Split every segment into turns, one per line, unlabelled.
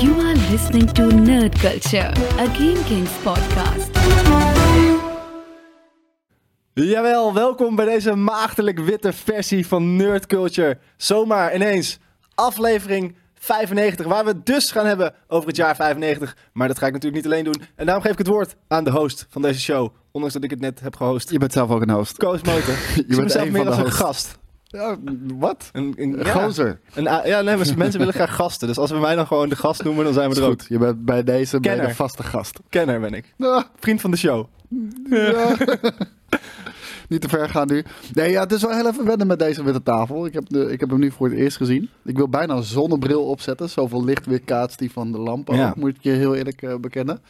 You are listening to Nerd Culture, a Game Kings podcast.
Jawel, welkom bij deze maagdelijk witte versie van Nerd Culture. Zomaar ineens aflevering 95, waar we het dus gaan hebben over het jaar 95. Maar dat ga ik natuurlijk niet alleen doen. En daarom geef ik het woord aan de host van deze show. Ondanks dat ik het net heb gehost.
Je bent zelf ook een host.
Koos Motor. Je
bent
mezelf
een
meer
van
als
de
een
hosts.
gast.
Ja, wat?
Een, een,
Een
ja.
gozer.
Een a- ja, nee, maar mensen willen graag gasten. Dus als we mij dan gewoon de gast noemen, dan zijn we
Is
er ook.
goed. Je bent bij deze ben je
Kenner.
de vaste gast.
Kenner ben ik.
Ah,
Vriend van de show.
ja. Niet te ver gaan nu. Nee, ja, het is wel heel even wennen met deze witte tafel. Ik heb, de, ik heb hem nu voor het eerst gezien. Ik wil bijna een zonnebril opzetten. Zoveel licht weerkaatst die van de lamp ook,
Ja.
moet ik je heel eerlijk eh, bekennen.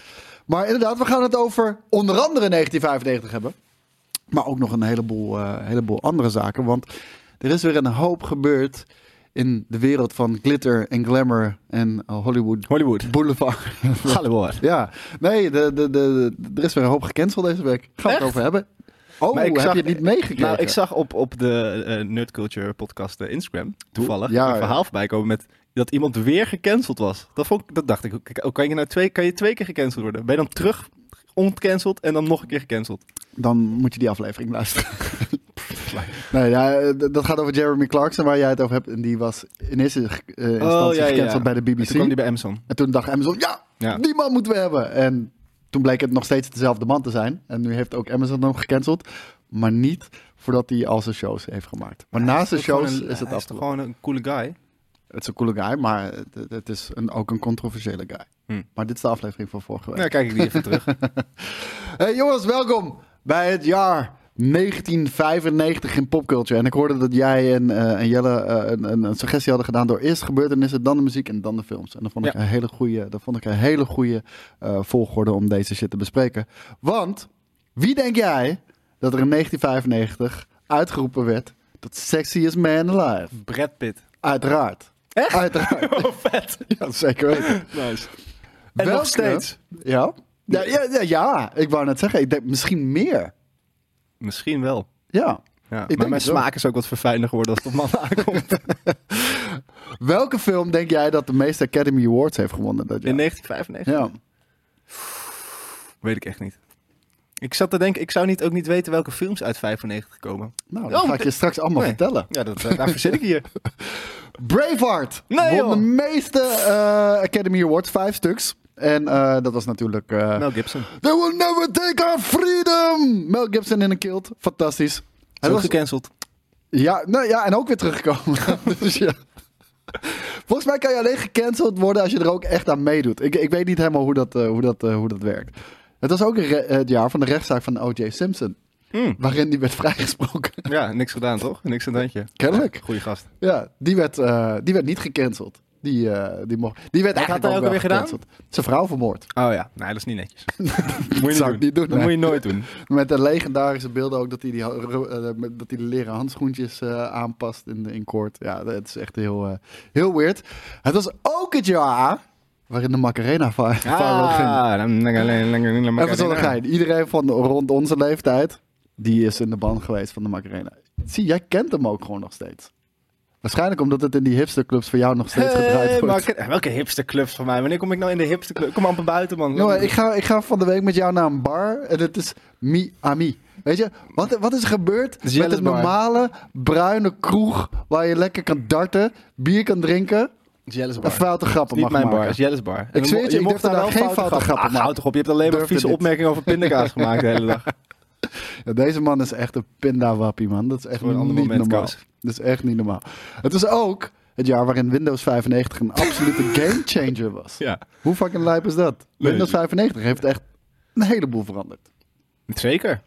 Maar inderdaad, we gaan het over onder andere 1995 hebben. Maar ook nog een heleboel, eh, heleboel andere zaken. Want er is weer een hoop gebeurd in de wereld van glitter en glamour en eh, Hollywood
Hollywood.
Boulevard.
Hollywood.
ja, nee, de, de, de, de- er is weer een hoop gecanceld deze week. Gaan we
Echt?
het over hebben. Oh,
Maar ik
heb
zag-
je het niet meegekregen?
Nou, ik zag op, op de eh, Nerd Culture podcast eh, Instagram toevallig
Ja,
een verhaal voorbij komen met dat iemand weer gecanceld was. Dat, vond ik, dat dacht ik, hoe- kijk, kan je, nou twee, kan je twee keer gecanceld worden? Ben je dan terug ontcanceld en dan nog een keer gecanceld?
Dan moet je die aflevering luisteren. nee, ja, d- dat gaat over Jeremy Clarkson, waar jij het over hebt. En die was in eerste eh, instantie
Oh, ja, ja.
gecanceld bij de BBC.
En toen kwam die bij Amazon.
En toen dacht Amazon, ja,
Ja.
die man moeten we hebben. En toen bleek het nog steeds dezelfde man te zijn. En nu heeft ook Amazon hem gecanceld. Maar niet voordat hij al zijn shows heeft gemaakt. Maar na zijn shows is het
Hij is
afgelopen.
toch gewoon een coole guy?
Het is een coole guy, maar het, het is een, ook een controversiële guy.
Hm.
Maar dit is de aflevering van vorige week.
Nou, kijk ik die even terug.
Hey jongens, welkom bij het jaar 1995 in popculture. En ik hoorde dat jij en, eh, en Jelle eh, een, een, een suggestie hadden gedaan door eerst gebeurtenissen, dan de muziek en dan de films. En dat vond ik
Ja.
een hele goede, dat vond ik een hele goede eh, volgorde om deze shit te bespreken. Want wie denk jij dat er in 1995 uitgeroepen werd tot sexiest man alive?
Brad Pitt.
Uiteraard. Echt? Uiteraard.
Oh, vet.
ja, zeker weten.
Nice. En
Welke-
nog steeds.
Ja. Ja, ja, ja, ja, ik wou net zeggen, ik denk misschien meer.
Misschien wel.
Ja.
Ja,
denk
maar mijn
het wel.
smaak is ook wat verfijnder geworden als het op mannen aankomt.
Welke film denk jij dat de meeste Academy Awards heeft gewonnen dat jaar?
In 1995.
Ja.
Weet ik echt niet. Ik zat te denken, ik zou niet, ook niet weten welke films uit 95 komen.
Nou, dat
Oh,
ga ik je straks allemaal
nee.
vertellen.
Ja, dat, eh, daarvoor zit ik hier.
Braveheart
Nee,
won
joh.
de meeste eh, Academy Awards, vijf stuks. En eh, dat was natuurlijk... eh,
Mel Gibson.
They will never take our freedom! Mel Gibson in een kilt. Fantastisch. Hij
Hij was
was,
gecanceld.
ja, nou, ja, en ook weer teruggekomen. dus ja. Volgens mij kan je alleen gecanceld worden als je er ook echt aan meedoet. Ik, ik weet niet helemaal hoe dat, eh, hoe, dat, eh, hoe dat werkt. Het was ook een re- het jaar van de rechtszaak van O.J. Simpson.
Hmm.
waarin die werd vrijgesproken.
Ja, niks gedaan toch? Niks aan het handje.
Kennelijk.
Ja, Goeie gast.
Ja, die werd, eh, die werd niet gecanceld. Die, eh, die, mocht, die werd
Wat had
eigenlijk
hij ook
wel
alweer gedaan?
gecanceld. Zijn vrouw vermoord.
Oh ja, nee, dat is niet netjes. dat
zou ik niet doen,
Dat
nee.
moet je nooit doen.
Met de legendarische beelden ook dat hij die, ho- eh, met- dat hij de leren handschoentjes eh, aanpast in, in court. Ja, dat is echt heel, eh, heel weird. Het was ook het jaar waarin de Macarena vi- viral ging.
Ah,
Even zonder gein. Iedereen van rond onze leeftijd, die is in de ban geweest van de Macarena. Zie, jij kent hem ook gewoon nog steeds. Waarschijnlijk omdat het in die hipsterclubs voor jou nog steeds gedraaid
Hey,
wordt.
maar- welke hipsterclubs van mij? Wanneer kom ik nou in de hipsterclub? Kom amper buiten, man.
Jongen, ik ga, ik ga van de week met jou naar een bar en het is Miami. Weet je, wat, wat is er gebeurd
is
met
Jelle's
het
bar.
normale bruine kroeg waar je lekker kan darten, bier kan drinken
Jealous
en foute grappen
Niet
mag
mijn
maken?
bar, het is Jelle's bar. En
zweer
mo-
het je, ik durf daar geen foute grappen
Ach, hou
maken.
Ah, toch op, je hebt alleen maar
Durfde
vieze
dit.
opmerkingen over pindakaas gemaakt de hele dag.
Ja, deze man is echt een pindawappie, man. Dat is echt
Voor een
niet
ander moment,
normaal.
Koos.
Dat is echt niet normaal. Het is ook het jaar waarin Windows 95 een absolute gamechanger was.
Ja.
Hoe fucking lijp is dat?
Nee.
Windows 95 heeft echt een heleboel veranderd.
Zeker.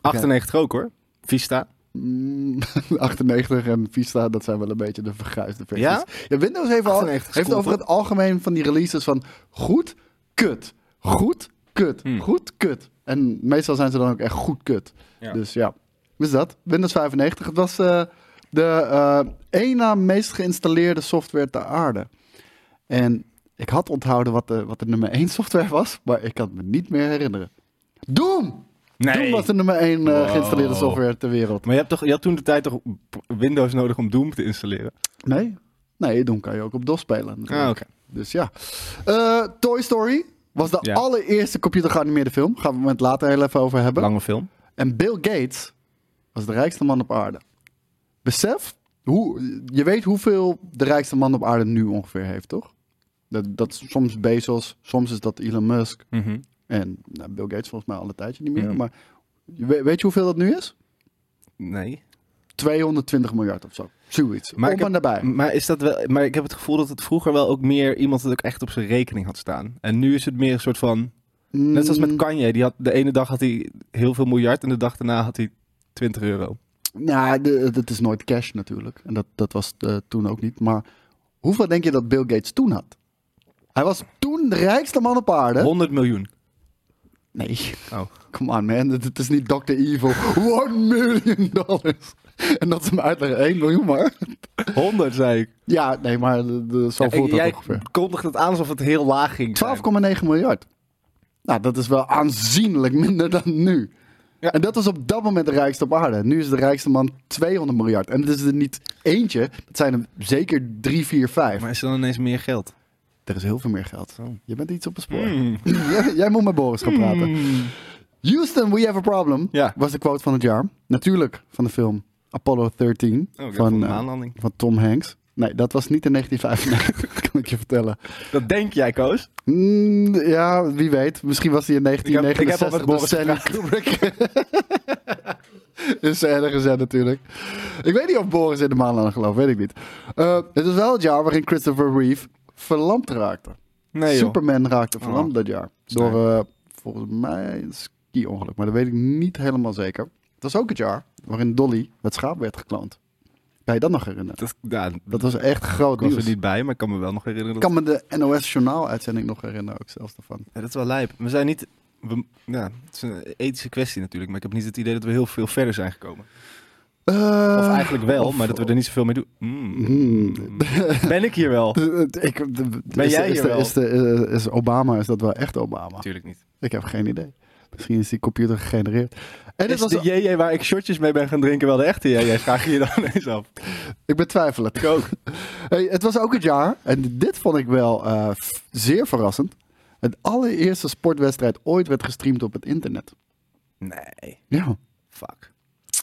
98 ook hoor. Vista.
Mm, 98 en Vista, dat zijn wel een beetje de verguisde versies.
Ja?
Windows heeft, al,
98 is
heeft
cool,
over
toch?
het algemeen van die releases van goed, kut, goed, kut,
Hmm.
goed, kut. En meestal zijn ze dan ook echt goed, kut.
Ja.
Dus ja, dus dat. Windows 95, het was eh, de eh één na meest geïnstalleerde software ter aarde. En ik had onthouden wat de, wat de nummer 1 software was, maar ik kan het me niet meer herinneren. Doom! Doom was de nummer 1
Wow.
geïnstalleerde software ter wereld.
Maar je, hebt toch, je had toen de tijd toch Windows nodig om Doom te installeren?
Nee? Nee, Doom kan je ook op DOS spelen. natuurlijk.
Ah, oké.
Dus ja. Eh, Toy Story was de
Ja.
allereerste computergeanimeerde film. Gaan we het later heel even over hebben.
Lange film.
En Bill Gates was de rijkste man op aarde. Besef, hoe, je weet hoeveel de rijkste man op aarde nu ongeveer heeft, toch? Dat, dat is soms Bezos, soms is dat Elon Musk. En nou, Bill Gates volgens mij al een tijdje niet meer.
Mhm.
Maar je weet, weet je hoeveel dat nu is?
Nee.
220 miljard of zo. Zoiets.
Maar
Maar
ik
Om en nabij.
Maar, is dat wel, maar ik heb het gevoel dat het vroeger wel ook meer iemand het ook echt op zijn rekening had staan. En nu is het meer een soort van. Net zoals met
Mm,
Kanye. Die had, de ene dag had hij heel veel miljard en de dag daarna had hij 20 euro.
Nou, de- dat is nooit cash natuurlijk. En dat, dat was eh, toen ook niet. Maar hoeveel denk je dat Bill Gates toen had? Hij was toen de rijkste man op aarde.
100 miljoen.
Nee.
Oh.
Come on, man. Het het is niet Dr. Evil. One million dollars. En dat ze hem uitleggen. 1 miljoen maar.
100 zei ik.
Ja, nee, maar de, de, zo voelt dat
jij
ongeveer.
kondigde het aan alsof het heel laag ging. zijn.
12,9 miljard. Nou, dat is wel aanzienlijk minder dan nu.
Ja.
En dat was op dat moment de rijkste op aarde. Nu is de rijkste man 200 miljard. En het is er niet eentje. Het zijn er zeker 3, 4, 5.
Maar Oh. is er dan ineens meer geld?
Er is heel veel meer geld. Je bent iets op het spoor.
Mm.
jij, jij moet met Boris gaan praten. Houston, we have a problem.
Hmm. Ja.
Was de quote van het jaar. Natuurlijk van de film Apollo 13.
Oh, ik van,
van,
een
eh,
maanlanding.
van Tom Hanks. Nee, dat was niet in 1995, kan ik je vertellen.
Dat denk jij, Koos?
Mm, ja, wie weet. Misschien was hij in
Ik heb- ik heb al
1969
met
door
Boris
Stanley Kubrick. Is ergens zijn natuurlijk. Ik weet niet of Boris in de maan aan geloof, weet ik niet. Eh, het is wel het jaar waarin Christopher Reeve verlamd raakte.
Nee, joh.
Superman raakte verlamd
Oh.
dat jaar.
Sneu.
Door eh, volgens mij een ski-ongeluk, maar dat weet ik niet helemaal zeker. Het was ook het jaar waarin Dolly het schaap werd gekloond. Kan je dat nog herinneren?
Dat, ja,
Dat was echt groot
ik was
nieuws.
er niet bij, maar ik kan me wel nog herinneren.
Ik
Dat,
kan me de NOS-journaal-uitzending nog herinneren, ook zelfs daarvan.
Ja, dat is wel lijp. We zijn niet... we- ja, het is een ethische kwestie natuurlijk, maar ik heb niet het idee dat we heel veel verder zijn gekomen. Of
Eh,
eigenlijk wel,
of-
maar dat we er niet zoveel mee doen. Mm.
Hmm.
Ben ik hier wel?
Eh, Ik, de-
Ben
is,
jij
is,
hier
de-
wel?
Is, de- eh, is Obama, is dat wel echt Obama?
Natuurlijk niet.
Ik heb geen idee. Misschien is die computer gegenereerd. En dit
Is
was,
de JJ waar ik shotjes mee ben gaan drinken wel de echte JJ? Vraag je je dan ineens af.
ik ben twijfelend.
Ik ook.
Hey, het was ook het jaar, en dit vond ik wel eh, f- zeer verrassend. Het allereerste sportwedstrijd ooit werd gestreamd op het internet.
Nee,
Ja.
fuck.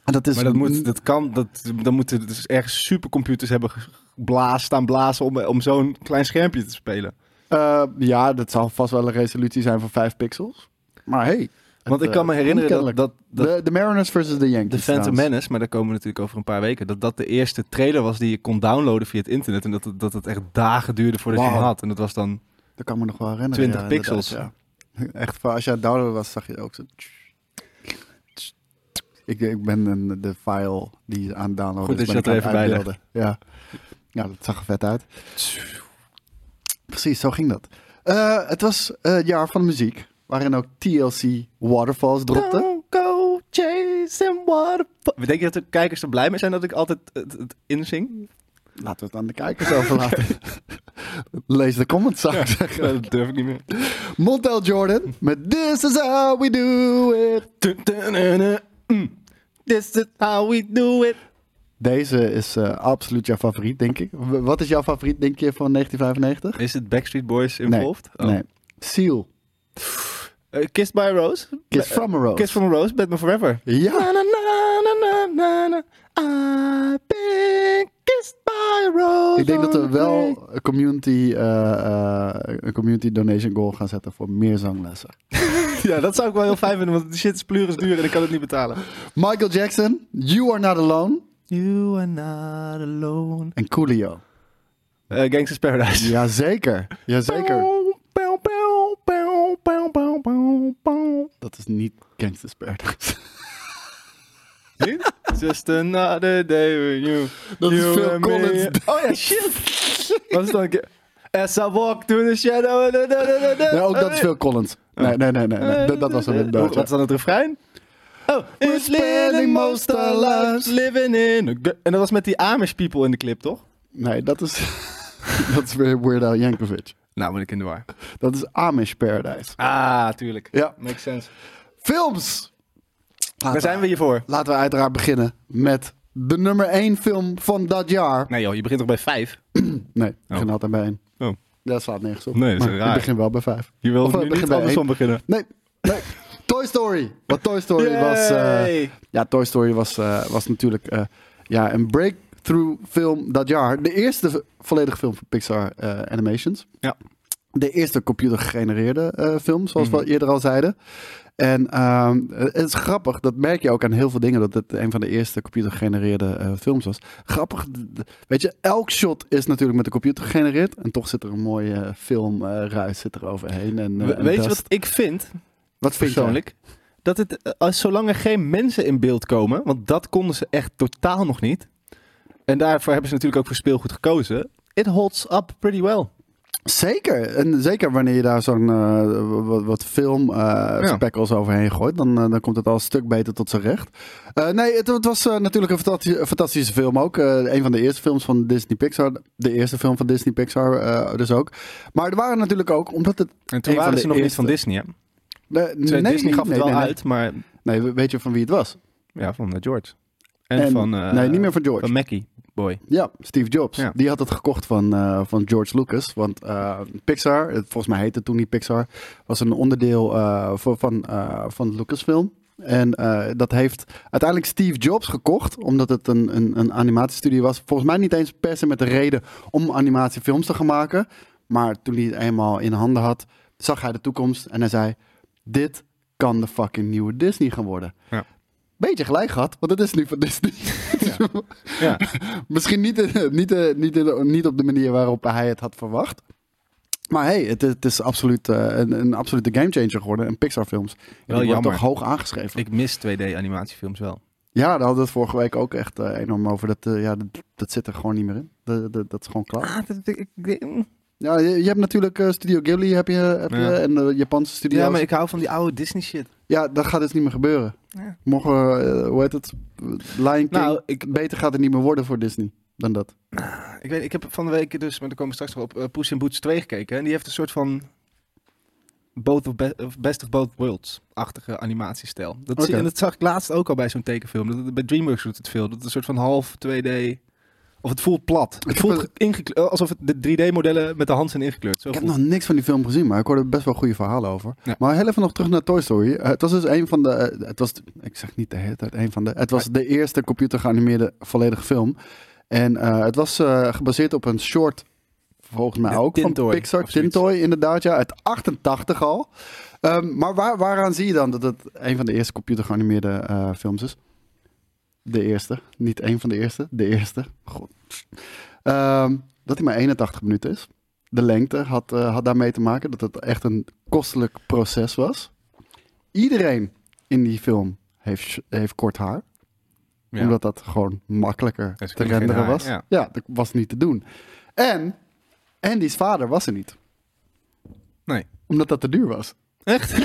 En dat is
Maar dat, moet, dat kan, dat, dan moeten dus ergens supercomputers hebben ge- blaas, staan blazen om, om zo'n klein schermpje te spelen.
Eh, ja, dat zal vast wel een resolutie zijn van 5 pixels. Maar hey.
Want
het,
ik kan me
eh,
herinneren dat,
kennelijk.
dat, dat
de, de Mariners versus de Yankees.
de Phantom
trouwens.
Menace, maar daar komen we natuurlijk over een paar weken, dat dat de eerste trailer was die je kon downloaden via het internet. En dat het, dat het echt dagen duurde voordat je hem
Wauw.
had. En dat was dan,
Dat kan me nog wel herinneren.
20
ja,
pixels.
inderdaad, ja. Echt, van, als je aan het downloaden was, zag je ook zo... Ik, ik ben een, de file die aan het downloaden
Goed
is,
dat
ben
je dat
ik
er
aan het
even
uitbeelden. Ja. ja, dat zag er vet uit. Precies, zo ging dat. Eh, het was eh, het jaar van de muziek, waarin ook TLC Waterfalls dropte.
Don't go chasing waterfalls. Denk je dat de kijkers er blij mee zijn dat ik altijd het, het inzing?
Laten we het aan de kijkers overlaten. Lees de comments, zou ik zeggen.
Dat durf ik niet meer.
Montel Jordan met This is how we do it.
Mm. This is how we do it.
Deze is eh, absoluut jouw favoriet, denk ik. W- wat is jouw favoriet, denk je, van 1995?
Is het Backstreet Boys involved? Oh.
Nee. Seal.
Eh, Kissed by a Rose.
Kiss
Ba-
from a Rose.
eh, Kiss from a Rose, Batman Forever.
Ja.
Na, na, na, na, na, na, na. I've been kissed by a rose.
Ik denk dat we
on a break.
wel een community, eh, eh, een community donation goal gaan zetten voor meer zanglessen.
Ja, dat zou ik wel heel fijn vinden, want die shit is pleuris duur en ik kan het niet betalen.
Michael Jackson, You Are Not Alone
You are not alone.
en Coolio.
Eh, Gangsta's Paradise.
Jazeker. Jazeker.
Pow, pow, pow, pow, pow, pow, pow.
Dat is niet Gangsta's Paradise.
Niet? Just another day with you.
Dat is
you
Phil
and me.
Collins.
Oh ja, shit. Wat is dan een keer? As I walk through the shadow. da, da, da, da, da.
Ja, ook dat is Phil Collins. Nee, nee, nee. nee, nee. Dat, dat was een
Wat
inderdaad.
is dan het refrein? Oh,
We're spending most our lives
living in a gu- En dat was met die Amish people in de clip, toch?
Nee, dat is, dat is weer Weird Al Yankovic.
Nou, ben ik in de war.
Dat is Amish Paradise.
Ah, tuurlijk.
Ja. Ah,
Makes sense.
Films! Laten,
Daar zijn we hier voor.
laten we uiteraard beginnen met de nummer 1 film van dat jaar.
Nee joh, je begint toch bij vijf?
Nee, ik begin altijd bij één.
Oh.
dat slaat nergens op.
Nee, dat is
Maar
raar.
Ik begin wel bij vijf.
Je wil
Of, eh,
nu
begin
niet
bij
andersom
één.
beginnen.
Nee, nee. Toy Story. Want Toy Story was... eh,
Yay.
ja, Toy Story was, eh, was natuurlijk eh, ja, een breakthrough film dat jaar. De eerste v- volledige film van Pixar eh, Animations.
Ja.
De eerste computer gegenereerde eh, film, zoals
Mhm.
we al eerder al zeiden. En ehm, het is grappig, dat merk je ook aan heel veel dingen, dat het een van de eerste computer gegenereerde eh, films was. Grappig, d- d- weet je, elk shot is natuurlijk met de computer gegenereerd. En toch zit er een mooie eh, filmruis zit er overheen. En, eh,
We-
en
Weet je
dust.
wat ik vind,
wat vind je?
persoonlijk? Dat het, eh, als, zolang er geen mensen in beeld komen, want dat konden ze echt totaal nog niet. En daarvoor hebben ze natuurlijk ook voor speelgoed gekozen. It holds up pretty well.
Zeker. En zeker wanneer je daar zo'n eh, wat, wat film eh, spekkels overheen gooit, dan, eh, dan komt het al een stuk beter tot zijn recht. Eh, nee, het, het was eh, natuurlijk een fantastische, een fantastische film ook. Eh, een van de eerste films van Disney Pixar. De eerste film van Disney Pixar eh, dus ook. Maar er waren natuurlijk ook, omdat het...
En
van
toen waren
de
ze nog niet
eerste.
van Disney, hè?
Nee,
Ze-
nee,
Disney gaf het
nee,
wel
nee, nee.
uit, maar
Nee, we- weet je van wie het was?
ja, van eh, George. En,
En-
van, eh,
nee, niet meer van George.
van Mackie, boy.
Ja, Steve Jobs.
Ja.
Die had het gekocht van, eh, van George Lucas. Want eh, Pixar, het- volgens mij heette het toen niet Pixar, was een onderdeel eh, voor, van, eh, van Lucasfilm. En eh, dat heeft uiteindelijk Steve Jobs gekocht, omdat het een, een, een animatiestudio was. Volgens mij niet eens per se met de reden om animatiefilms te gaan maken. Maar toen hij het eenmaal in handen had, zag hij de toekomst en hij zei: Dit kan de fucking nieuwe Disney gaan worden.
Ja.
Beetje gelijk gehad, want het is nu van Disney.
Ja.
Misschien niet, eh, niet, eh, niet, eh, niet op de manier waarop hij het had verwacht. Maar hey, het, is- het is absoluut eh, een, een absolute gamechanger geworden. En Pixar-films die worden
jammer.
toch hoog aangeschreven.
Ik mis 2D-animatiefilms wel.
Ja, daar hadden we het vorige week ook echt eh, enorm over. Dat, eh, ja, dat, dat zit er gewoon niet meer in. Dat, dat, dat is gewoon klaar.
Ah, dat- ik- ik-
Ja, je, je hebt natuurlijk eh, Studio Ghibli heb je, heb
Ja.
je, en de Japanse studio's.
Ja, maar ik hou van die oude Disney shit.
Ja, dat gaat dus niet meer gebeuren.
Ja.
Morgen, eh, hoe heet het? Lion King.
Nou, ik,
Beter gaat het niet meer worden voor Disney dan dat.
ik, weet, ik heb van de week dus, maar daar komen we straks nog op, eh, Puss in Boots 2 gekeken. En die heeft een soort van both of be- of Best of Both Worlds-achtige animatiestijl. Dat, zie-
Oké.
En dat zag ik laatst ook al bij zo'n tekenfilm. Dat, bij DreamWorks doet het veel. Dat het een soort van half 2D... Of het voelt plat. Het
heb
voelt
een-
ingekle- alsof het de 3D-modellen met de hand zijn ingekleurd. Zo
Ik heb
voelt
nog niks van die film gezien, maar ik hoorde best wel goede verhalen over.
Ja.
Maar heel even nog terug naar Toy Story. Eh, het was dus een van de... eh, het was, ik zeg niet de hele tijd een van de... Het was de eerste computer geanimeerde volledige film. En eh, het was eh, gebaseerd op een short, volgens mij
Ja,
ook, van
Tintoy
Pixar.
of zoiets.
Tintoy, inderdaad, ja. Uit 88 al. Ehm, maar waar, waaraan zie je dan dat het een van de eerste computer geanimeerde eh, films is? De eerste. Niet één van de eerste. De eerste. God. Ehm, dat hij maar 81 minuten is. De lengte had, eh, had daarmee te maken dat het echt een kostelijk proces was. Iedereen in die film heeft, sh- heeft kort haar.
Ja.
Omdat dat gewoon makkelijker
Dus
te
kun je geen
renderen
haar,
was.
ja.
Ja. dat was niet te doen. En Andy's vader was er niet.
Nee.
Omdat dat te duur was.
Echt?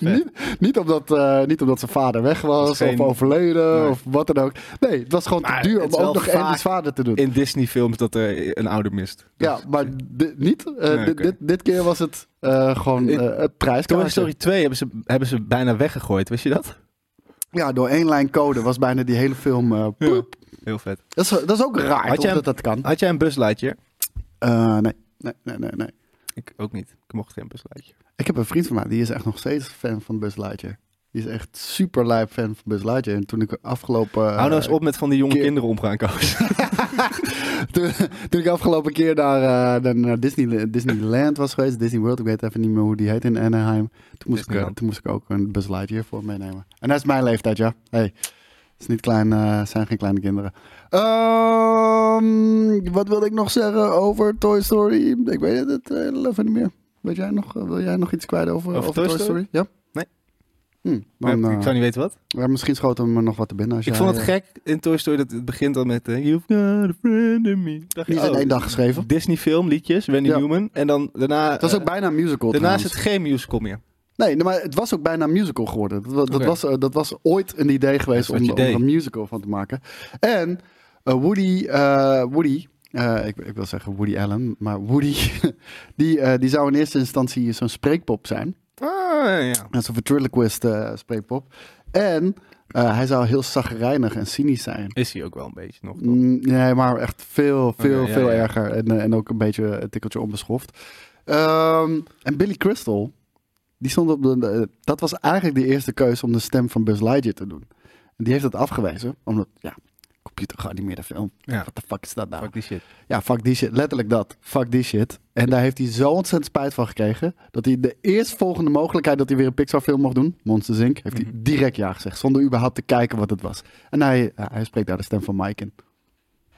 niet, niet, omdat, eh, niet omdat zijn vader weg was,
geen-
of overleden,
Nee.
of wat dan ook. Nee, het was gewoon
Maar
te duur
het
om
is wel
ook nog
vaak
Andy's vader te doen.
In Disney-films dat er een ouder mist.
Ja, maar di- niet. eh,
Nee,
di-
oké.
dit, dit keer was het eh, gewoon
Ik-
eh, het
Toy
prijskaartje.
Story 2 hebben ze, hebben ze bijna weggegooid, wist je dat?
Ja, door één lijn code was bijna die hele film. eh, ploep.
Heel vet.
dat, is, dat is ook raar
Had
toch,
jij hem-
dat dat kan.
Had jij een buslightje?
Eh, nee, nee, nee, nee, nee.
Ik ook niet. Ik mocht geen buslightje.
Ik heb een vriend van mij, die is echt nog steeds fan van Buzz Lightyear. Die is echt super lijp fan van Buzz Lightyear. En toen ik afgelopen... eh,
Hou nou eens op met van die jonge
keer-
kinderen omgaan, Koos.
toen, toen ik afgelopen keer naar, eh, naar- naar Disney, Disneyland was geweest, Disney World, ik weet even niet meer hoe die heet in Anaheim. Toen moest, ik, eh,
Disneyland.
toen moest ik ook een Buzz Lightyear voor meenemen. En dat is mijn leeftijd, ja. Hey, het is niet klein, eh, zijn geen kleine kinderen. Ehm, wat wil ik nog zeggen over Toy Story? Ik weet het heel even niet meer. Weet jij nog, eh, wil jij nog iets kwijt over,
Over
over,
Toy
Toy,
Story?
Story? Ja?
Nee.
Hm, dan, eh,
ik zou niet weten wat.
ja, misschien schoten we me nog wat te binnen. Als
Ik
jij,
vond het
eh,
gek in Toy Story dat het begint al met... eh, You've got a friend in me. Dacht je,
Niet in
oh,
één dag geschreven.
Disney film, liedjes, Wendy
Ja.
Newman. En dan daarna...
Het was ook
eh,
bijna een musical.
daarna is
trouwens.
het geen musical meer.
Nee, nee, maar het was ook bijna een musical geworden. Dat, wa- dat
Oké.
was, eh, dat was ooit een idee geweest
Dat
om,
is wat
om
je
er
deed.
een musical van te maken. En eh, Woody, eh, Woody eh, ik, ik wil zeggen Woody Allen, maar Woody, die, eh, die zou in eerste instantie zo'n spreekpop zijn.
Ah, ja.
Dat is een ventriloquist eh, spreekpop. En Eh, hij zou heel zagrijnig en cynisch zijn.
Is hij ook wel een beetje nog. toch?
Mm, Nee, maar echt veel, veel,
Oké, ja,
veel
ja.
erger. En, eh, en ook een beetje een tikkeltje onbeschoft. Ehm, en Billy Crystal, die stond op de, eh, dat was eigenlijk de eerste keuze om de stem van Buzz Lightyear te doen. En die heeft dat afgewezen, omdat, ja, computer geanimeerde film.
Ja.
What the fuck is dat nou?
Fuck die shit.
Ja, fuck die shit. Letterlijk dat. Fuck die shit. En daar heeft hij zo ontzettend spijt van gekregen. Dat hij de eerstvolgende mogelijkheid dat hij weer een Pixar film mocht doen, Monsters Inc., heeft
Mhm.
hij direct ja gezegd. Zonder überhaupt te kijken wat het was. En hij, ja, hij spreekt daar de stem van Mike in.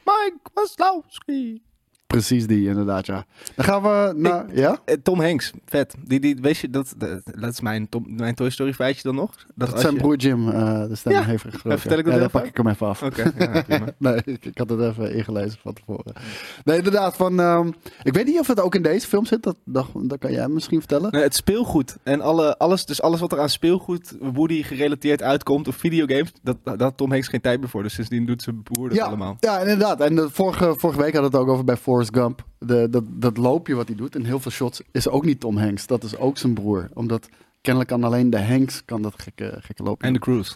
Mike Wazlowski.
Precies die, inderdaad, ja. Dan gaan we naar... ja?
Eh, Tom Hanks, vet. Die, die, weet je, dat, dat, dat is mijn, Tom, mijn Toy Story feitje dan nog. Dat,
Dat
als
zijn
je-
broer Jim eh, de stem
Ja,
heeft gesproken.
vertel ik dat
Ja,
heel
dan pak
vaak.
ik hem even af.
Oké, ja, prima.
Nee, ik, ik had het even ingelezen van tevoren. Nee, inderdaad. Van, ehm, ik weet niet of het ook in deze film zit. Dat, dat, dat kan jij misschien vertellen.
Nee, het speelgoed en alle, alles, dus alles wat er aan speelgoed, Woody gerelateerd uitkomt of videogames, dat, dat had Tom Hanks geen tijd meer voor. Dus sindsdien doet zijn broer dat
ja,
allemaal.
Ja, inderdaad. En de vorige, vorige week hadden we het ook over bij Forrest Gump. De, dat, dat loopje wat hij doet in heel veel shots is ook niet Tom Hanks. Dat is ook zijn broer. Omdat kennelijk kan alleen de Hanks kan dat gekke, gekke loopje.
En de
doen.
cruise.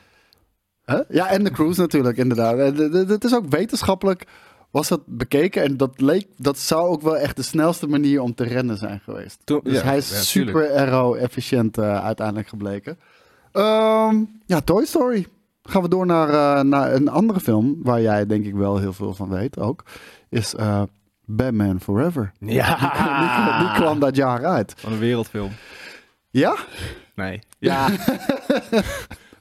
Huh? Ja, en de cruise natuurlijk, inderdaad. En de- de- Het is ook wetenschappelijk was dat bekeken. En dat, leek, dat zou ook wel echt de snelste manier om te rennen zijn geweest.
Toen-
dus
ja,
hij
ja,
is
tuurlijk.
super aero-efficiënt eh, uiteindelijk gebleken. Ehm, ja, Toy Story. Gaan we door naar, eh, naar een andere film waar jij denk ik wel heel veel van weet ook. Is eh, Batman Forever.
Ja.
Die, kwam- die kwam dat jaar uit.
Van een wereldfilm.
Ja?
Nee. Ja.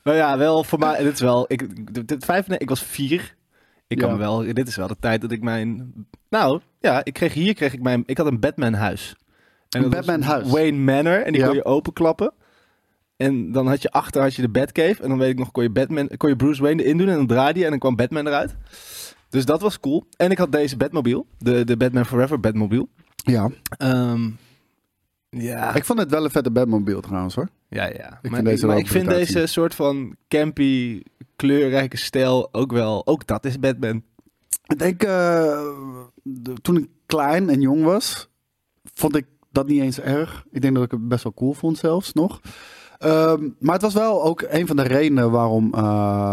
nou ja, wel voor mij. Dit is wel. Ik, dit, dit vijf, nee, ik was vier. Ik kan
Ja.
me wel. Dit is wel de tijd dat ik mijn. Nou ja, ik kreeg hier kreeg ik mijn. Ik had een Batman huis.
Een
dat was
Batman huis?
Wayne Manor en die
Ja.
kon je openklappen. En dan had je achter had je de Batcave en dan weet ik nog kon je Batman kon je Bruce Wayne erin doen en dan draaide je en dan kwam Batman eruit. Dus dat was cool. En ik had deze Batmobile, de, de Batman Forever Batmobile.
Ja.
Ehm, ja.
Ik vond het wel een vette Batmobile trouwens hoor.
Ja, ja.
vind
maar
deze
maar
wel
ik vind
goed uitzien.
deze soort van campy, kleurrijke stijl ook wel... Ook dat is Batman.
Ik denk, eh, de- toen ik klein en jong was, vond ik dat niet eens erg. Ik denk dat ik het best wel cool vond zelfs nog. Ehm, maar het was wel ook een van de redenen waarom eh,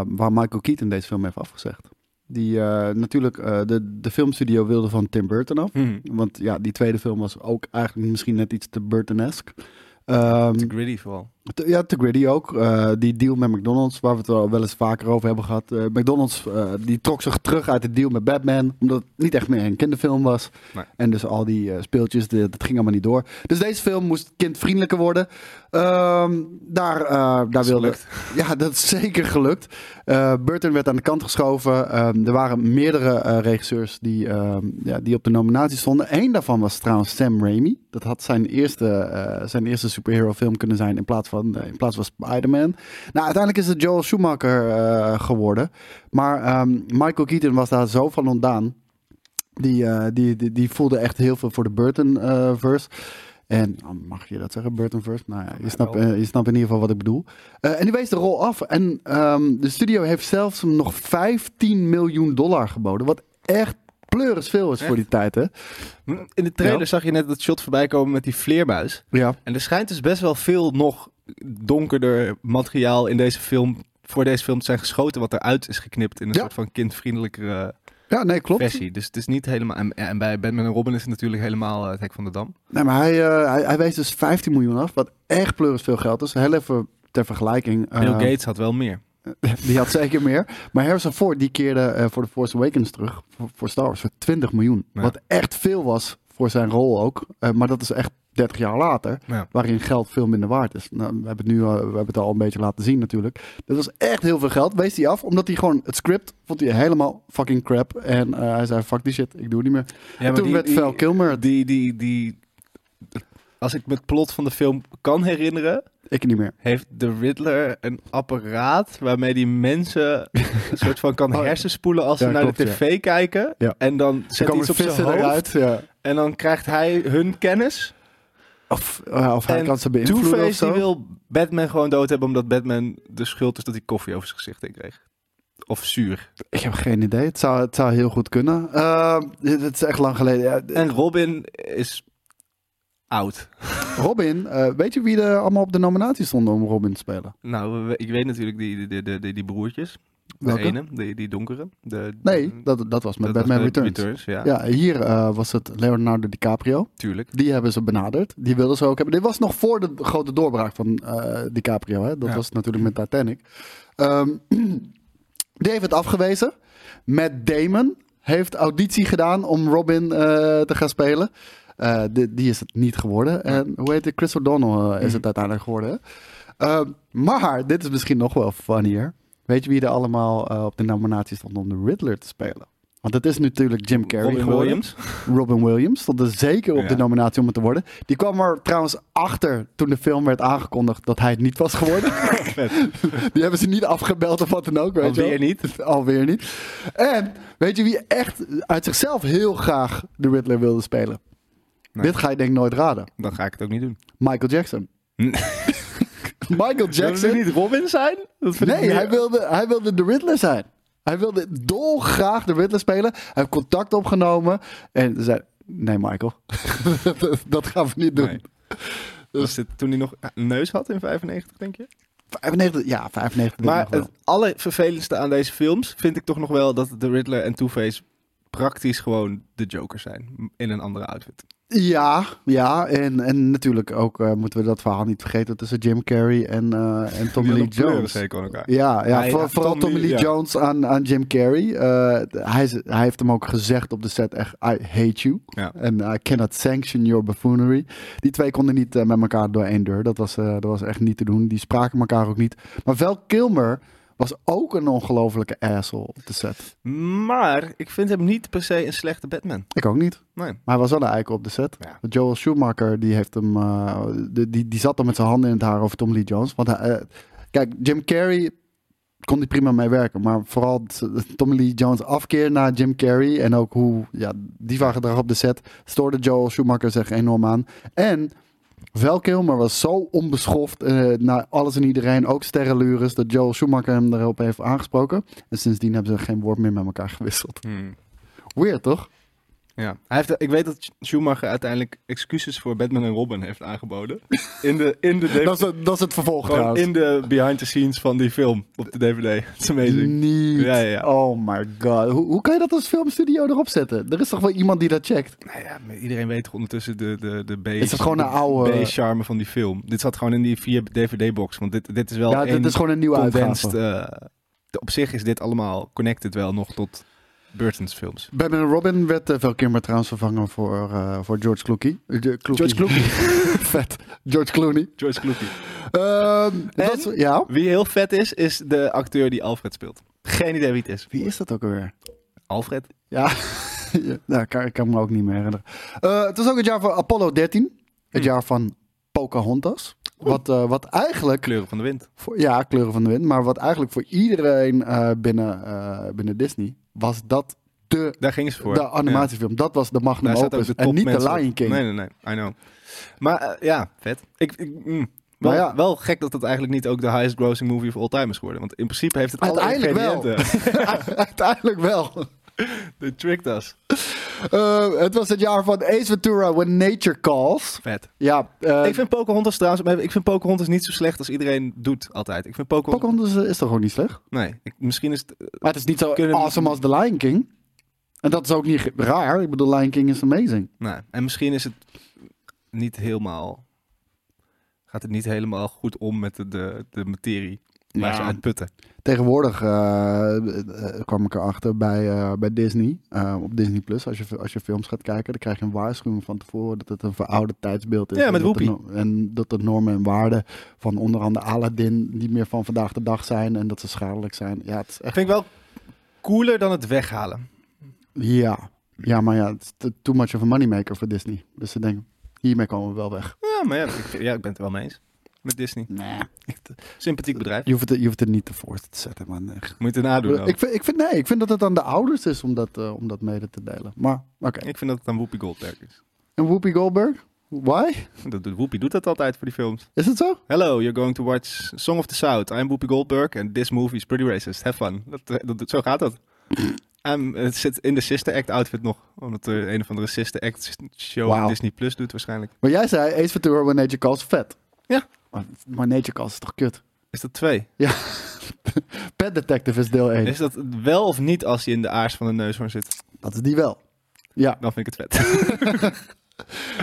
waar Michael Keaton deze film heeft afgezegd. Die eh, natuurlijk eh, de, de filmstudio wilde van Tim Burton af. Want ja, die tweede film was ook eigenlijk misschien net iets te Burton-esque. Ehm,
Te gritty vooral.
te- Ja, te gritty ook. Eh, die deal met McDonald's, waar we het al wel eens vaker over hebben gehad. Eh, McDonald's eh, die trok zich terug uit de deal met Batman, omdat het niet echt meer een kinderfilm was.
Nee.
En dus al die eh, speeltjes, de- dat ging allemaal niet door. Dus deze film moest kindvriendelijker worden. Ehm, daar, eh daar wilde... Ja, dat is zeker gelukt. Eh, Burton werd aan de kant geschoven. Ehm, er waren meerdere eh, regisseurs die, ehm, ja, die op de nominatie stonden. Eén daarvan was trouwens Sam Raimi. Dat had zijn eerste, eh, zijn eerste superhero film kunnen zijn in plaats van, eh, in plaats van Spider-Man. Nou, uiteindelijk is het Joel Schumacher eh, geworden. Maar ehm, Michael Keaton was daar zo van ontdaan. Die, eh, die, die, die voelde echt heel veel voor de Burton-verse. en oh, mag je dat zeggen, Burton-verse? Nou ja, je snapt
wel.
eh, je snapt in ieder geval wat ik bedoel. Eh, en die wees de rol af. En ehm, de studio heeft zelfs hem nog 15 miljoen dollar geboden. Wat echt pleuris veel is voor
Echt?
die tijd, hè?
In de trailer
Ja.
zag je net dat shot voorbij komen met die vleermuis.
Ja.
En er schijnt dus best wel veel nog donkerder materiaal in deze film... voor deze film te zijn geschoten... wat eruit is geknipt in een
Ja.
soort van kindvriendelijkere
Ja, nee, klopt.
versie. Dus het is niet helemaal... En, en bij Batman en Robin is het natuurlijk helemaal eh, het hek van de dam.
Nee, maar hij, eh, hij, hij wees dus 15 miljoen af. Wat echt pleuris veel geld is. Heel even ter vergelijking. eh,
Bill Gates had wel meer.
Die had zeker meer. Maar Harrison Ford die keerde eh, voor The Force Awakens terug. Voor, voor Star Wars. Voor 20 miljoen.
Ja.
Wat echt veel was voor zijn rol ook. Eh, maar dat is echt 30 jaar later.
Ja.
Waarin geld veel minder waard is. Nou, we hebben het nu eh, we hebben het al een beetje laten zien natuurlijk. Dat was echt heel veel geld. Wees hij af. Omdat hij gewoon het script vond hij helemaal fucking crap. En eh, hij zei fuck die shit. Ik doe het niet meer.
Ja,
en
maar
toen
die-
werd
die-
Val Kilmer.
Die, die, die, als ik me het plot van de film kan herinneren,
Ik niet meer.
heeft de Riddler een apparaat waarmee die mensen een soort van kan
Oh, ja.
hersenspoelen als
Ja,
ze naar de
klopt,
tv kijken.
Ja.
En dan
Ze
zet hij
komen
iets op zijn
vissen
hoofd
eruit. Ja.
en dan krijgt hij hun kennis.
Of, eh, of hij
En
kan ze beïnvloeden of
Two-Face die
zo.
wil Batman gewoon dood hebben omdat Batman de schuld is dat hij koffie over zijn gezicht heen kreeg. Of zuur.
Ik heb geen idee. Het zou, het zou heel goed kunnen. Eh, het is echt lang geleden. Ja,
En Robin is oud.
Robin, eh, weet je wie er allemaal op de nominatie stonden om Robin te spelen?
Nou, we- ik weet natuurlijk die, die, die, die, die broertjes.
Welke?
De ene, die, die donkere. De,
Nee, dat, dat was met
was
Batman
met
Returns.
ja,
Ja, hier eh, was het Leonardo DiCaprio.
tuurlijk.
Die hebben ze benaderd. Die wilden ze ook hebben. Dit was nog voor de grote doorbraak van eh, DiCaprio. Hè? Dat
Ja.
was natuurlijk met Titanic. Ehm, die heeft het afgewezen. Matt Damon heeft auditie gedaan om Robin eh, te gaan spelen. Eh, die, die is het niet geworden. En hoe heet het? Chris O'Donnell
Mhm.
eh, is het uiteindelijk geworden. hè? Ehm, maar dit is misschien nog wel funnier. Weet je wie er allemaal eh, op de nominatie stond om de Riddler te spelen? Want het is natuurlijk Jim Carrey
Robin
geworden.
Williams.
Robin Williams stond er zeker op
Ja.
de nominatie om het te worden. Die kwam er trouwens achter toen de film werd aangekondigd dat hij het niet was geworden. die hebben ze niet afgebeld of wat dan ook. Weet je wel.
Alweer niet.
Alweer niet. En weet je wie echt uit zichzelf heel graag de Riddler wilde spelen?
Nee.
Dit ga je denk ik nooit raden.
Dan ga ik het ook niet doen.
Michael Jackson. Michael
Zullen
Jackson.
niet Robin zijn? Dat vind ik
Nee,
meer-
hij wilde, hij wilde de Riddler zijn. Hij wilde dolgraag de Riddler spelen. Hij heeft contact opgenomen en zei... Nee, Michael. dat gaan we niet doen.
Nee. Was dit toen hij nog een neus had in 95, denk je?
95, ja, 95. denk
Maar
ik nog wel.
het allervervelendste aan deze films vind ik toch nog wel dat de Riddler en Two-Face praktisch gewoon de Joker zijn. In een andere outfit.
Ja, ja. En, en natuurlijk ook eh, moeten we dat verhaal niet vergeten tussen Jim Carrey en, eh, en Tommy
Die
Lee
kleuren
Jones.
Zeker aan elkaar.
Ja, ja
Hij-
voor-
ja,
vooral
Tommy
Tommy Lee
Lee, ja.
Jones aan, aan Jim Carrey. Eh, hij, is- hij heeft hem ook gezegd op de set echt, I hate you.
Ja.
En eh, I cannot sanction your buffoonery. Die twee konden niet eh, met elkaar door één deur. Dat was, eh, dat was echt niet te doen. Die spraken elkaar ook niet. Maar Val Kilmer was ook een ongelofelijke asshole op de set.
Maar ik vind hem niet per se een slechte Batman.
Ik ook niet.
Nee.
Maar hij was wel een eikel op de set.
Ja.
Want Joel Schumacher die heeft hem, eh, die, die, die zat dan met zijn handen in het haar over Tom Lee Jones. Want hij, eh, kijk, Jim Carrey kon die prima mee werken. Maar vooral t- Tom Lee Jones afkeer naar Jim Carrey. En ook hoe ja, diva gedrag op de set stoorde Joel Schumacher zich enorm aan. En Val Kilmer was zo onbeschoft eh, naar alles en iedereen. Ook sterrenlures dat Joel Schumacher hem erop heeft aangesproken. En sindsdien hebben ze geen woord meer met elkaar gewisseld. Weird toch?
Ja. Hij heeft, ik weet dat Schumacher uiteindelijk excuses voor Batman en Robin heeft aangeboden. In de, in de DVD.
Dat is, het- dat is het vervolg
gewoon
trouwens.
Oh, in de behind the scenes van die film op de DVD. Het is
Mm.
amazing.
Niet.
Ja, ja, ja.
Oh my god. Hoe, hoe kan je dat als filmstudio erop zetten? Er is toch wel iemand die dat checkt?
Nou ja, maar iedereen weet toch ondertussen de, de, de B...
Is het gewoon een oude-
B-charme van die film. Dit zat gewoon in die vier DVD-box. Want dit, dit is wel
ja,
één
dit is gewoon een nieuwe
condensed,
uitgave.
eh, de- op zich is dit allemaal connected wel nog tot Burton's films.
Batman en Robin werd uh, veel keer maar trouwens vervangen voor, eh, voor George Clooney. Eh, de- Clooney.
George Clooney.
Vet. George Clooney.
George Clooney.
Ehm, dat,
En?
ja.
Wie heel vet is, is de acteur die Alfred speelt. Geen idee wie het is.
Wie is dat ook alweer?
Alfred?
Ja, ja nou, ik kan, ik kan me ook niet meer herinneren. Eh, het was ook het jaar van Apollo 13. Het
Hmm.
jaar van Pocahontas. Wat, eh, wat eigenlijk
Kleuren van de wind.
Voor, ja, Kleuren van de Wind. Maar wat eigenlijk voor iedereen eh, binnen, eh, binnen Disney was dat de,
Daar ging ze voor.
de animatiefilm. Dat was de
Ja.
magnum
Daar staat ook
opus.
de
En niet de
topmensen op.
Lion King.
Nee, nee, nee. I know. Maar eh, ja, vet. Ik, ik, mm. wel,
Maar ja.
wel gek dat het eigenlijk niet ook de highest grossing movie of all time is geworden. Want in principe heeft het alle
Uiteindelijk wel.
ingrediënten.
Uiteindelijk wel.
They tricked us.
Eh, het was het jaar van Ace Ventura When Nature Calls.
Vet.
Ja, eh,
ik vind Pocahontas trouwens, maar ik vind Pocahontas niet zo slecht als iedereen doet altijd. Ik vind Pocahontas,
Pocahontas is toch ook niet slecht?
nee, ik- misschien is het, eh,
Maar het is niet zo
Kunnen-
awesome als The Lion King. En dat is ook niet ge- raar. Ik bedoel, Lion King is amazing.
nou, en misschien is het niet helemaal, gaat het niet helemaal goed om met de, de, de materie waar
Ja.
ze uit putten.
Tegenwoordig eh, eh, kwam ik erachter bij, eh, bij Disney, eh, op Disney Plus. Als je, als je films gaat kijken, dan krijg je een waarschuwing van tevoren dat het een verouderd tijdsbeeld is.
Ja,
En
met
dat de
Whoopi.
no- En dat de normen en waarden van onder andere Aladdin niet meer van vandaag de dag zijn en dat ze schadelijk zijn. Ja, het is echt.
Vind ik wel cooler dan het weghalen.
Ja, ja maar ja, het is te- too much of a moneymaker voor Disney. Dus ze denken, hiermee komen we wel weg.
Ja, maar ja, ik, ja, ik ben het er wel mee eens. Met Disney.
Nee,
Sympathiek bedrijf.
je hoeft het, je hoeft het niet te voor te zetten, man. Echt.
Moet je het nadoen ook.
Ik
Ik,
vind, ik, vind, nee, ik vind dat het aan de ouders is om dat, eh, om dat mede te delen. Maar oké.
vind dat het aan Whoopi Goldberg is.
En Whoopi Goldberg? Why?
Dat doet, Whoopi doet dat altijd voor die films.
Is het zo?
Hello, you're going to watch Song of the South. I'm Whoopi Goldberg and this movie is pretty racist. Have fun. Dat, dat, dat- zo eh, gaat dat. I'm- het zit in de Sister Act outfit nog. Omdat er een of andere Sister Act show
Wauw.
op Disney Plus doet waarschijnlijk.
Maar jij zei Ace Ventura, When Nature Calls, vet.
Ja.
Maar, maar Nature Calls is toch kut?
Is dat twee?
Ja. Pet Detective is deel 1.
Is dat wel of niet als hij in de aars van de neushoorn zit?
Dat is die wel. Ja.
Dan vind ik het vet.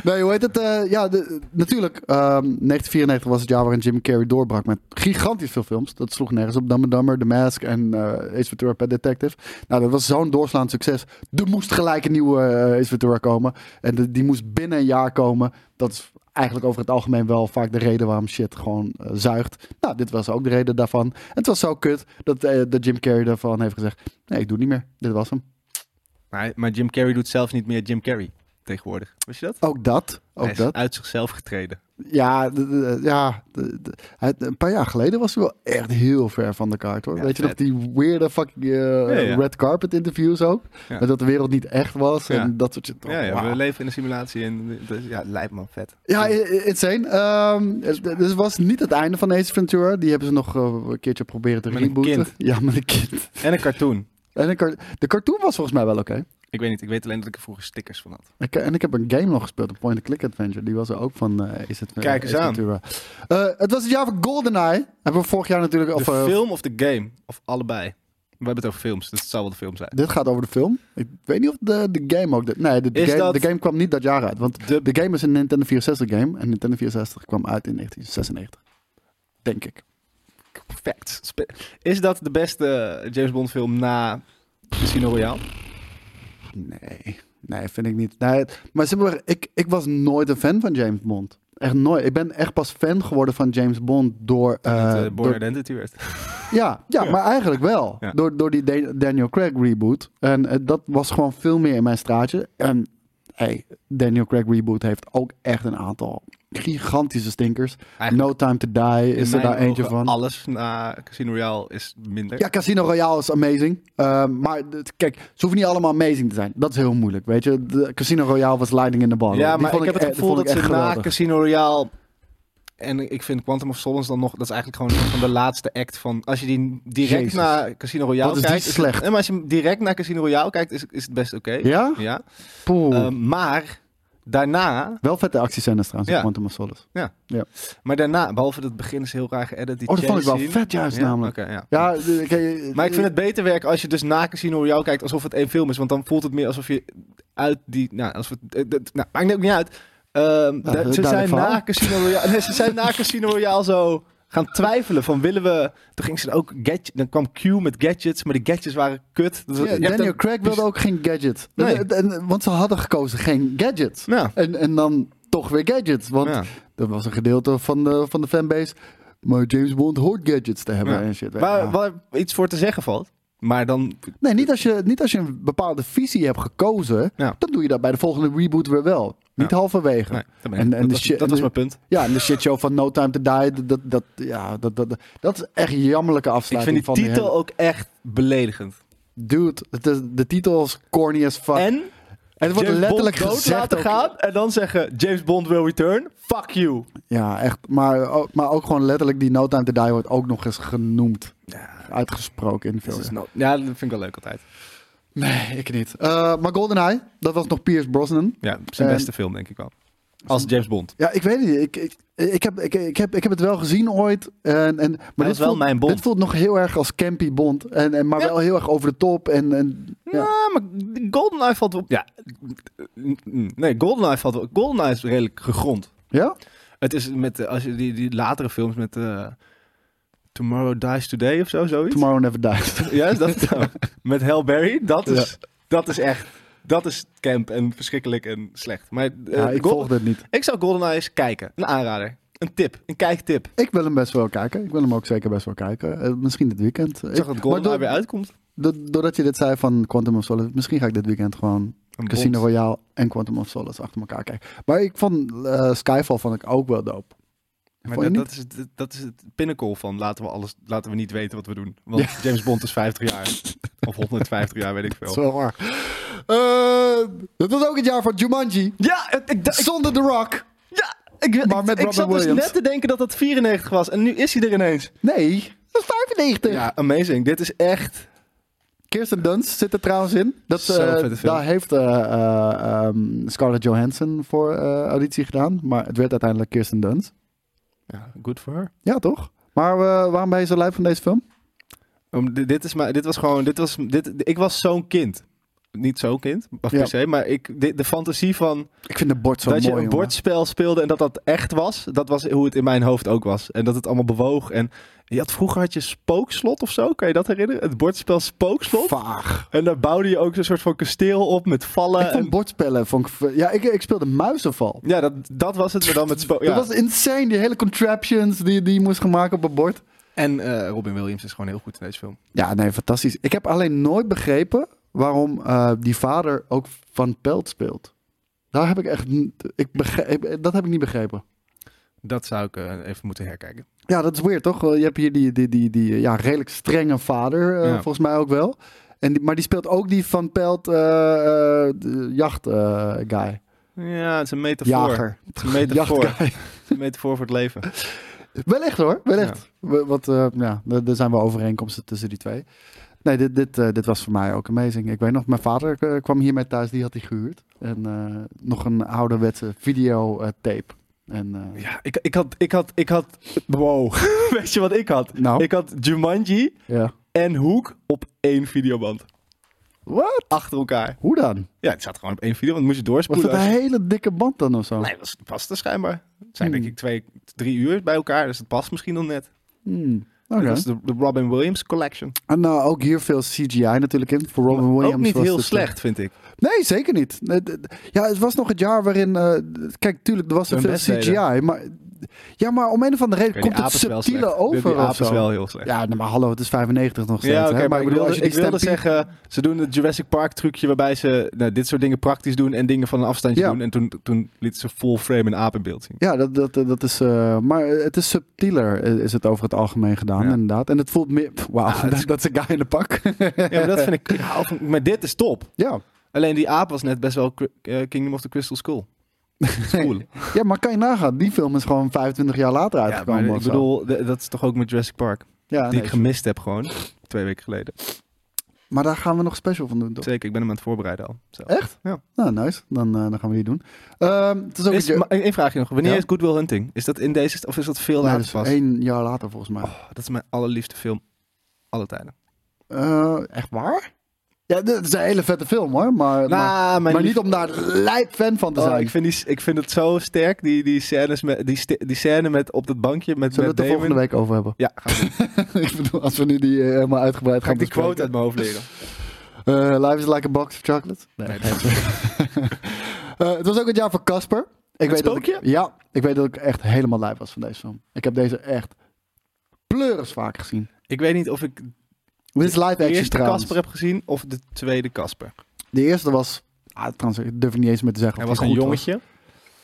Nee, hoe heet het? Eh, ja, de- natuurlijk. ehm, 1994 was het jaar waarin Jim Carrey doorbrak met gigantisch veel films. Dat sloeg nergens op. Dumb and Dumber, The Mask en eh Ace Ventura, Pet Detective. Nou, dat was zo'n doorslaand succes. Er moest gelijk een nieuwe eh, Ace Ventura komen. En de- die moest binnen een jaar komen. Dat is eigenlijk over het algemeen wel vaak de reden waarom shit gewoon eh, zuigt. Nou, dit was ook de reden daarvan. En het was zo kut dat, eh, dat Jim Carrey daarvan heeft gezegd... Nee, ik doe het niet meer. Dit was hem.
maar, maar Jim Carrey doet zelf niet meer Jim Carrey tegenwoordig. Wist je dat?
Ook dat.
hij
Ook
is
dat.
uit zichzelf getreden.
Ja, d- d- ja d- d- hij- een paar jaar geleden was hij wel echt heel ver van de kaart hoor.
Ja,
Weet je nog
vet.
die weirde fucking eh,
ja.
red carpet interviews ook?
Ja.
Met dat de wereld niet echt was
Ja.
en dat soort shit. Oh,
ja, ja
Wauw.
we leven in een simulatie. En, dus, ja, lijp man, vet.
Ja, i- i- insane. Ehm, het- het- dus was niet het einde van Ace Ventura. Die hebben ze nog eh, een keertje proberen te
Met een
rebooten.
kind.
Ja, met een kind.
En een cartoon.
En een car- de cartoon was volgens mij wel oké.
Ik weet niet, ik weet alleen dat ik er vroeger stickers van had.
Ik- en ik heb een game nog gespeeld, een point-and-click adventure. Die was er ook van eh Ace, Adve-
Kijk eens
Ace
aan.
Ventura. Eh, het was het jaar van GoldenEye. Hebben we vorig jaar natuurlijk...
De
of, eh,
film of de game? Of allebei? We hebben het over films, dus het zal wel de film zijn.
Dit gaat over de film. Ik weet niet of de, de game ook... De, nee, de, de
Is
game,
dat-
de game kwam niet dat jaar uit. Want
De-
de game is een Nintendo 64 game. En Nintendo 64 kwam uit in 1996. Denk ik.
Perfect. Spe- Is dat de beste eh, James Bond film na Casino Royale?
Nee, nee, vind ik niet. Nee, het- maar simpelweg, ik, ik was nooit een fan van James Bond. Echt nooit. Ik ben echt pas fan geworden van James Bond door...
Dat
eh,
het, eh, Born
door-
Identity werd.
ja, ja,
Ja.
maar eigenlijk wel.
Ja.
Door, door die Da- Daniel Craig reboot. En eh, dat was gewoon veel meer in mijn straatje. En hey, Daniel Craig reboot heeft ook echt een aantal gigantische stinkers.
Eigenlijk
no Time to Die is
in
er
mijn
daar eentje
ogen
van.
Alles na Casino Royale is minder.
Ja, Casino Royale is amazing. Eh, maar dit- kijk, ze hoeven niet allemaal amazing te zijn. Dat is heel moeilijk, weet je. De Casino Royale was lightning in the bottle.
Ja,
Die
maar ik
vond
heb het
e- die
gevoel
vond
dat ze
ik echt
na
geweldig.
Casino Royale... En ik vind Quantum of Solace dan nog... Dat is eigenlijk gewoon een soort van de laatste act van... Als je die direct
Jezus.
naar Casino Royale
Wat is die
kijkt... het-
slecht.
Nee, maar als je hem direct naar Casino Royale kijkt, is, is het best oké.
Ja?
Ja.
Poeh.
Eh, maar daarna...
wel vette actiescènes trouwens,
Ja.
ja. Quantum of Solace.
Maar daarna, behalve dat begin is heel raar geëdit. Die
Oh, dat vond ik wel
chase scene.
vet juist
Ja?
namelijk.
Oké, ja.
Ja, de- oké,
Maar ik vind het beter werken als je dus na Casino Royale kijkt alsof het één film is. Want dan voelt het meer alsof je uit die... Nou, alsof het, eh, dat- nou maakt ook niet uit. Ehm, da-
Nou, dat is
ze,
een
zijn
duidelijk
na
verhaal.
Casino Royale, nee, ze zijn na Casino Royale zo gaan twijfelen van willen we... Toen ging ze ook gadget, dan kwam Q met gadgets, maar die gadgets waren kut. Dus
Ja,
je hebt
Daniel
een-
Craig wilde ook geen gadget.
Nee.
En- en- want ze hadden gekozen geen gadgets.
Ja.
En, en dan toch weer gadgets. Want
Ja.
er was een gedeelte van de, van de fanbase. Maar James Bond hoort gadgets te hebben
Ja.
en shit.
Waar,
Ja.
waar iets voor te zeggen valt. Maar dan...
Nee, niet als, je, niet als je een bepaalde visie hebt gekozen.
Ja.
Dan doe je dat bij de volgende reboot weer wel. Niet halverwege.
Nee, dat, ben ik-
En- en
dat
de
was,
shit-
dat was mijn punt.
Ja, en de shitshow van No Time To Die. Dat, dat, ja, dat, dat, dat is echt een jammerlijke
Ik
afsluiting
vind die
van die
titel ook echt beledigend.
hele- Dude, het is, de titel is corny as fuck. En,
En
het wordt
James
letterlijk
Bond dood
gezegd
laten
ook-
gaan en dan zeggen James Bond will return. Fuck you.
Ja, echt. Maar, ook- maar ook gewoon letterlijk die No Time To Die wordt ook nog eens genoemd. Uitgesproken in
Dat
films.
is no- ja, dat vind ik wel leuk altijd.
Nee, ik niet. Eh, maar GoldenEye, dat was nog Pierce Brosnan.
Ja, zijn
En-
beste film denk ik wel. Als James Bond.
Ja, ik weet het niet. Ik, ik, ik, heb, ik, ik, heb, ik heb het wel gezien ooit. En, en, maar
was
dit
wel
voelt,
mijn Bond.
Dit voelt nog heel erg als campy Bond. En, en, maar
Ja.
wel heel erg over de top. En, en,
Ja,
ja.
Nou, maar GoldenEye valt op. Ja, nee, GoldenEye valt op. GoldenEye is redelijk gegrond.
ja?
Het is met eh, als je die, die latere films met eh, Tomorrow Dies Today of zo zoiets.
Tomorrow Never Dies.
Ja, is dat het nou? Met Hail Berry, dat is
Ja.
dat is echt dat is camp en verschrikkelijk en slecht. Maar eh,
Ja, ik
Golden-
volg dit niet.
Ik zou GoldenEye eens kijken. Een aanrader. Een tip. Een kijktip.
Ik wil hem best wel kijken. Ik wil hem ook zeker best wel kijken. Eh, misschien dit weekend.
Ik zag dat
maar
GoldenEye
door-
weer uitkomt.
do- doordat je dit zei van Quantum of Solace, misschien ga ik dit weekend gewoon
Een
Casino
bond.
Royale en Quantum of Solace achter elkaar kijken. Maar ik vond eh, Skyfall vond ik ook wel dope.
Maar
Vond je
dat,
niet?
dat, is het, dat is het pinnacle van laten we, alles, laten we niet weten wat we doen. Want James Bond is 50 jaar. of 150 jaar, weet ik
Dat is
veel.
wel waar. Eh, dat was ook het jaar van Jumanji.
Ja, ik, ik, ik-
Zonder The Rock.
ja, ik,
Maar
ik-
met
ik
Robin
zat dus
Williams.
net te denken dat dat 94 was. En nu is hij er ineens.
Nee, dat is 95.
Ja, amazing. Dit is echt...
Kirsten Dunst zit er trouwens in. Dat,
Zo'n
eh,
vette film.
daar heeft eh, eh, ehm, Scarlett Johansson voor eh, auditie gedaan. Maar het werd uiteindelijk Kirsten Dunst.
Ja, good for her.
Ja, toch? Maar eh, waarom ben je zo lijp van deze film?
Om, di- dit, is maar, dit was gewoon, dit was, dit, ik was zo'n kind. Niet zo'n kind, of
Ja.
per se, maar ik, dit- de fantasie van
Ik vind de bord zo
dat
mooi,
je een
jongen.
bordspel speelde en dat dat echt was, dat was hoe het in mijn hoofd ook was. En dat het allemaal bewoog. En je had, vroeger had je spookslot of zo, kan je dat herinneren? Het bordspel spookslot.
Vaag.
en daar bouwde je ook een soort van kasteel op met vallen.
ik vond
en-
bordspellen... Vond ik, v- ja, ik, ik speelde muizenval.
ja, dat, dat was het, maar dan met spook. Ja.
Dat was insane. Die hele contraptions die, die je moest gaan maken op een bord.
En eh, Robin Williams is gewoon heel goed in deze film.
Ja, nee, fantastisch. Ik heb alleen nooit begrepen waarom eh, die vader ook Van Pelt speelt. Daar heb ik echt... n- Ik begrijp, dat heb ik niet begrepen.
Dat zou ik eh, even moeten herkijken.
Ja, dat is weird, toch? Je hebt hier die, die, die, die eh, ja, redelijk strenge vader, eh,
Ja.
volgens mij ook wel. En die, maar die speelt ook die Van Pelt eh, eh, de jacht eh, guy.
Ja, het is een metafoor.
Jager.
Het is een metafoor. Het
Jachtguy.
is een metafoor voor het leven.
Wellicht hoor, wellicht. We- Wat, eh, ja, er er zijn wel overeenkomsten tussen die twee. Nee, dit, dit, eh, dit was voor mij ook amazing. Ik weet nog, mijn vader eh, kwam hiermee thuis, die had hij gehuurd. En eh, nog een ouderwetse videotape. en eh,
Ja, ik, ik had, ik had, ik had, wow. Weet je wat ik had?
nou,
Ik had Jumanji
ja.
en Hoek op één videoband.
Wat?
Achter elkaar.
Hoe dan?
Ja, het zat gewoon op één videoband. Moest je
Was dat
doorspoelen.
een
als
hele dikke band dan of zo?
je- Nee, dat is- past er schijnbaar. Het zijn
Hmm.
denk ik twee, drie uur bij elkaar. Dus het past misschien nog net.
Hmm,
Dat
oké.
was de, de Robin Williams collection.
En nou, ook hier veel CGI natuurlijk in. Voor Robin Williams
Ook niet
was
heel
het, eh,
slecht, vind ik.
Nee, zeker niet. Nee, d- d- Ja, het was nog het jaar waarin... eh, d- kijk, tuurlijk, er was er
Hun
veel
best deden.
CGI, maar... Ja, maar om een of andere reden
Oké, die
komt
aap
het
is wel
subtiele
slecht. Die-
over
Die
of
aap is
zo.
wel heel slecht.
Ja, nou, maar hallo, het is 95 nog steeds.
Ja, oké,
hè?
maar ik
bedoel,
wilde,
als je die
ik wilde
stampede-
zeggen, ze doen het Jurassic Park trucje waarbij ze nou, dit soort dingen praktisch doen en dingen van een afstandje
Ja.
doen. En toen, toen lieten ze full frame een aap in beeld zien.
Ja, dat, dat, dat is... eh, maar het is subtieler, eh, is het over het algemeen gedaan,
Ja.
inderdaad. En het voelt meer... pff, Wauw,
Ah, het
dat,
is-
dat is een guy in de pak.
Ja, maar dat vind ik, ik hou van- maar dit is top.
ja.
Alleen die aap was net best wel cri- eh, Kingdom of the Crystal Skull. Cool.
ja, maar kan je nagaan, die film is gewoon 25 jaar later
ja, maar
uitgekomen.
ik
of zo.
bedoel, de- dat is toch ook met Jurassic Park,
ja,
die
nee,
ik gemist heb gewoon, twee weken geleden.
Maar daar gaan we nog special van doen, toch?
Zeker, ik ben hem aan het voorbereiden al. zelf.
Echt?
Ja.
Nou, nice. Dan, eh, dan gaan we die doen. Ehm, het is ook
Is,
een,
maar één vraagje nog, wanneer
Ja?
is Good Will Hunting? Is dat in deze, of is dat veel
nee, dat
later
is
pas?
één jaar later volgens mij.
Oh, dat is mijn allerliefste film, alle tijden.
Eh, echt waar? Ja, dit is een hele vette film hoor. Maar, maar,
Nou, mijn
maar
lief-
niet om daar lijp fan van te
Oh,
zijn.
ik, vind die, ik vind het zo sterk, die, die, scènes met, die, st- die scène met op dat bankje met,
Zullen we
met
het er
Damon.
volgende week over hebben?
Ja, ga ik doen.
ik bedoel, als we nu die eh, helemaal uitgebreid
Ga
gaan
ik die
bespreken.
quote uit mijn hoofd leren.
Eh, Life is like a box of chocolates. Nee,
Nee,
geen idee. Eh, het was ook het jaar van Casper. Ik
Het
weet dat ik-
spookje?
ja, ik weet dat ik echt helemaal lijp was van deze film. Ik heb deze echt pleuris vaak gezien.
Ik weet niet of ik de
Dit is live action
eerste
trouwens.
Casper heb gezien of de tweede Casper.
De eerste was, ah, trouwens, ik durf het niet eens meer te zeggen.
Hij
of
was
die
een
goed
jongetje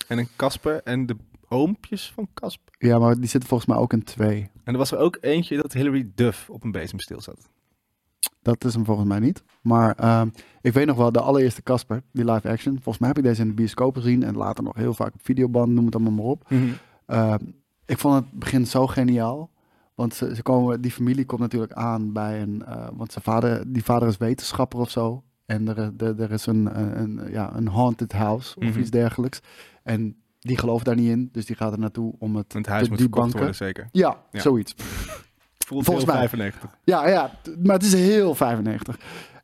en een Casper en de oompjes van Casper.
was. Ja, maar die zitten volgens mij ook in twee.
En er was er ook eentje dat Hilary Duff op een bezemstil zat.
Dat is hem volgens mij niet. Maar ehm, ik weet nog wel, de allereerste Casper, die live action. Volgens mij heb ik deze in de bioscoop gezien en later nog heel vaak op videoband, noem het allemaal maar op.
Mhm.
Ehm, ik vond het begin zo geniaal. Want ze, ze komen, die familie komt natuurlijk aan bij een. eh, want zijn vader, die vader is wetenschapper of zo. En er, er, er is een, een, een- ja, een haunted house of
Mhm.
iets dergelijks. En die gelooft daar niet in. Dus die gaat er naartoe om het.
Het huis
De-
moet
die
verkocht
banken.
worden, zeker.
Ja,
Ja.
zoiets.
Voelt
Volgens
heel
mij.
95.
Ja, ja, t- maar het is heel 95.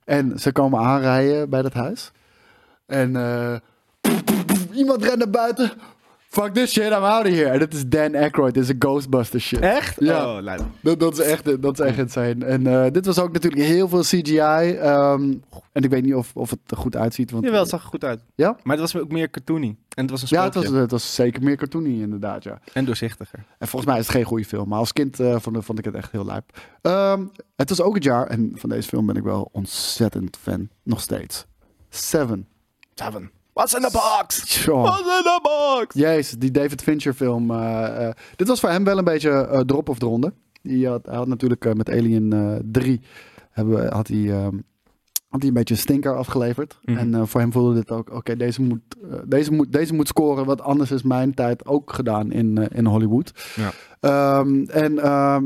En ze komen aanrijden bij dat huis. En eh, iemand rent naar buiten. Fuck this shit, I'm out of here. En dit is Dan Aykroyd, dit is een Ghostbuster shit.
Echt?
Ja.
Oh, lijp.
Dat, dat, is echt, dat is echt insane. En eh, dit was ook natuurlijk heel veel CGI. ehm, en ik weet niet of, of het er goed uitziet. Want,
Jawel, het zag er goed uit.
Ja?
Maar het was ook meer cartoony. En het was een
ja,
spookje.
het was, het was zeker meer cartoony inderdaad, ja.
En doorzichtiger.
En volgens mij is het geen goede film. Maar als kind eh, vond, vond ik het echt heel lijp. Ehm, het was ook het jaar, en van deze film ben ik wel ontzettend fan. Nog steeds. Seven.
Seven. What's in the box?
Tjoh.
in the box?
Jezus, die David Fincher film. eh, eh, dit was voor hem wel een beetje eh, drop of dronde. Hij had, hij had natuurlijk eh, met Alien eh 3 hebben, had hij ehm, Had hij een beetje een stinker afgeleverd.
Mhm.
En eh, voor hem voelde dit ook, oké, deze, moet, eh, deze, moet, deze moet scoren. Want anders is mijn tijd ook gedaan in, eh, in Hollywood.
Ja.
Ehm, en ehm,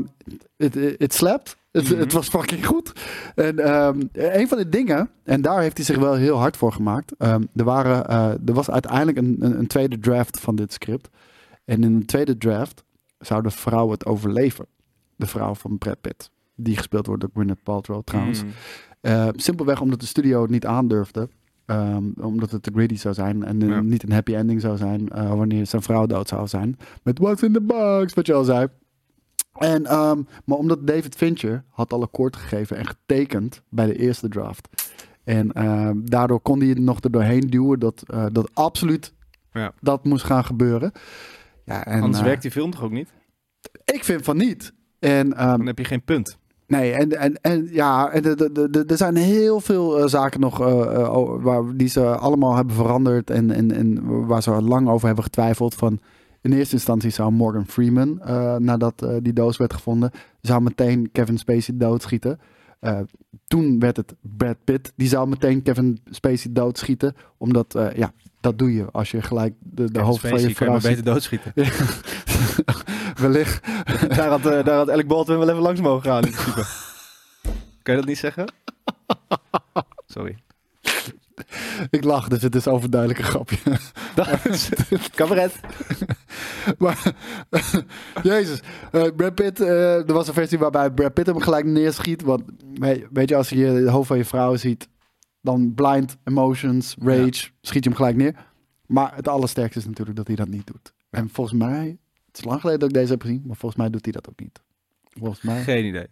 het het slept. Het,
Mhm.
het was fucking goed. En ehm, een van de dingen, en daar heeft hij zich wel heel hard voor gemaakt. ehm, er, waren, eh, er was uiteindelijk een, een, een tweede draft van dit script. En in de tweede draft zou de vrouw het overleven. De vrouw van Brad Pitt. Die gespeeld wordt door Gwyneth Paltrow trouwens.
Mm.
Eh, simpelweg omdat de studio het niet aandurfde. Ehm, omdat het te gritty zou zijn en eh,
Ja.
niet een happy ending zou zijn eh, wanneer zijn vrouw dood zou zijn. Met What's in the Box, wat je al zei. En, ehm, maar omdat David Fincher had al akkoord gegeven en getekend bij de eerste draft. En ehm, daardoor kon hij het nog er doorheen duwen dat, eh, dat absoluut
Ja.
dat moest gaan gebeuren. Ja, en,
Anders
eh,
werkt die film toch ook niet?
Ik vind van niet. En ehm,
Dan heb je geen punt.
Nee, en, en, en ja, en de- de- de- de- er zijn heel veel eh, zaken nog eh, eh, o- waar, die ze allemaal hebben veranderd en, en, en waar ze lang over hebben getwijfeld. Van, in eerste instantie zou Morgan Freeman, eh, nadat eh, die doos werd gevonden, zou meteen Kevin Spacey doodschieten. Eh, toen werd het Brad Pitt, die zou meteen Kevin Spacey doodschieten. Omdat, eh, ja, dat doe je als je gelijk de, de
Kevin
hoofd van
Spacey
je
kan je
vrouw
maar
ziet.
beter doodschieten.
Wellicht.
daar, had, eh, daar had Alec Baldwin wel even langs mogen gaan in principe. kan je dat niet zeggen? Sorry.
Ik lach, dus het is overduidelijk een grapje.
Dat is cabaret.
Maar, jezus, Eh, Brad Pitt, eh, er was een versie waarbij Brad Pitt hem gelijk neerschiet. Want we- weet je, als je het hoofd van je vrouw ziet, dan blind emotions, rage, schiet je hem gelijk neer. Maar het allersterkste is natuurlijk dat hij dat niet doet. En volgens mij, het is lang geleden dat ik deze heb gezien, maar volgens mij doet hij dat ook niet. Volgens mij,
Geen idee.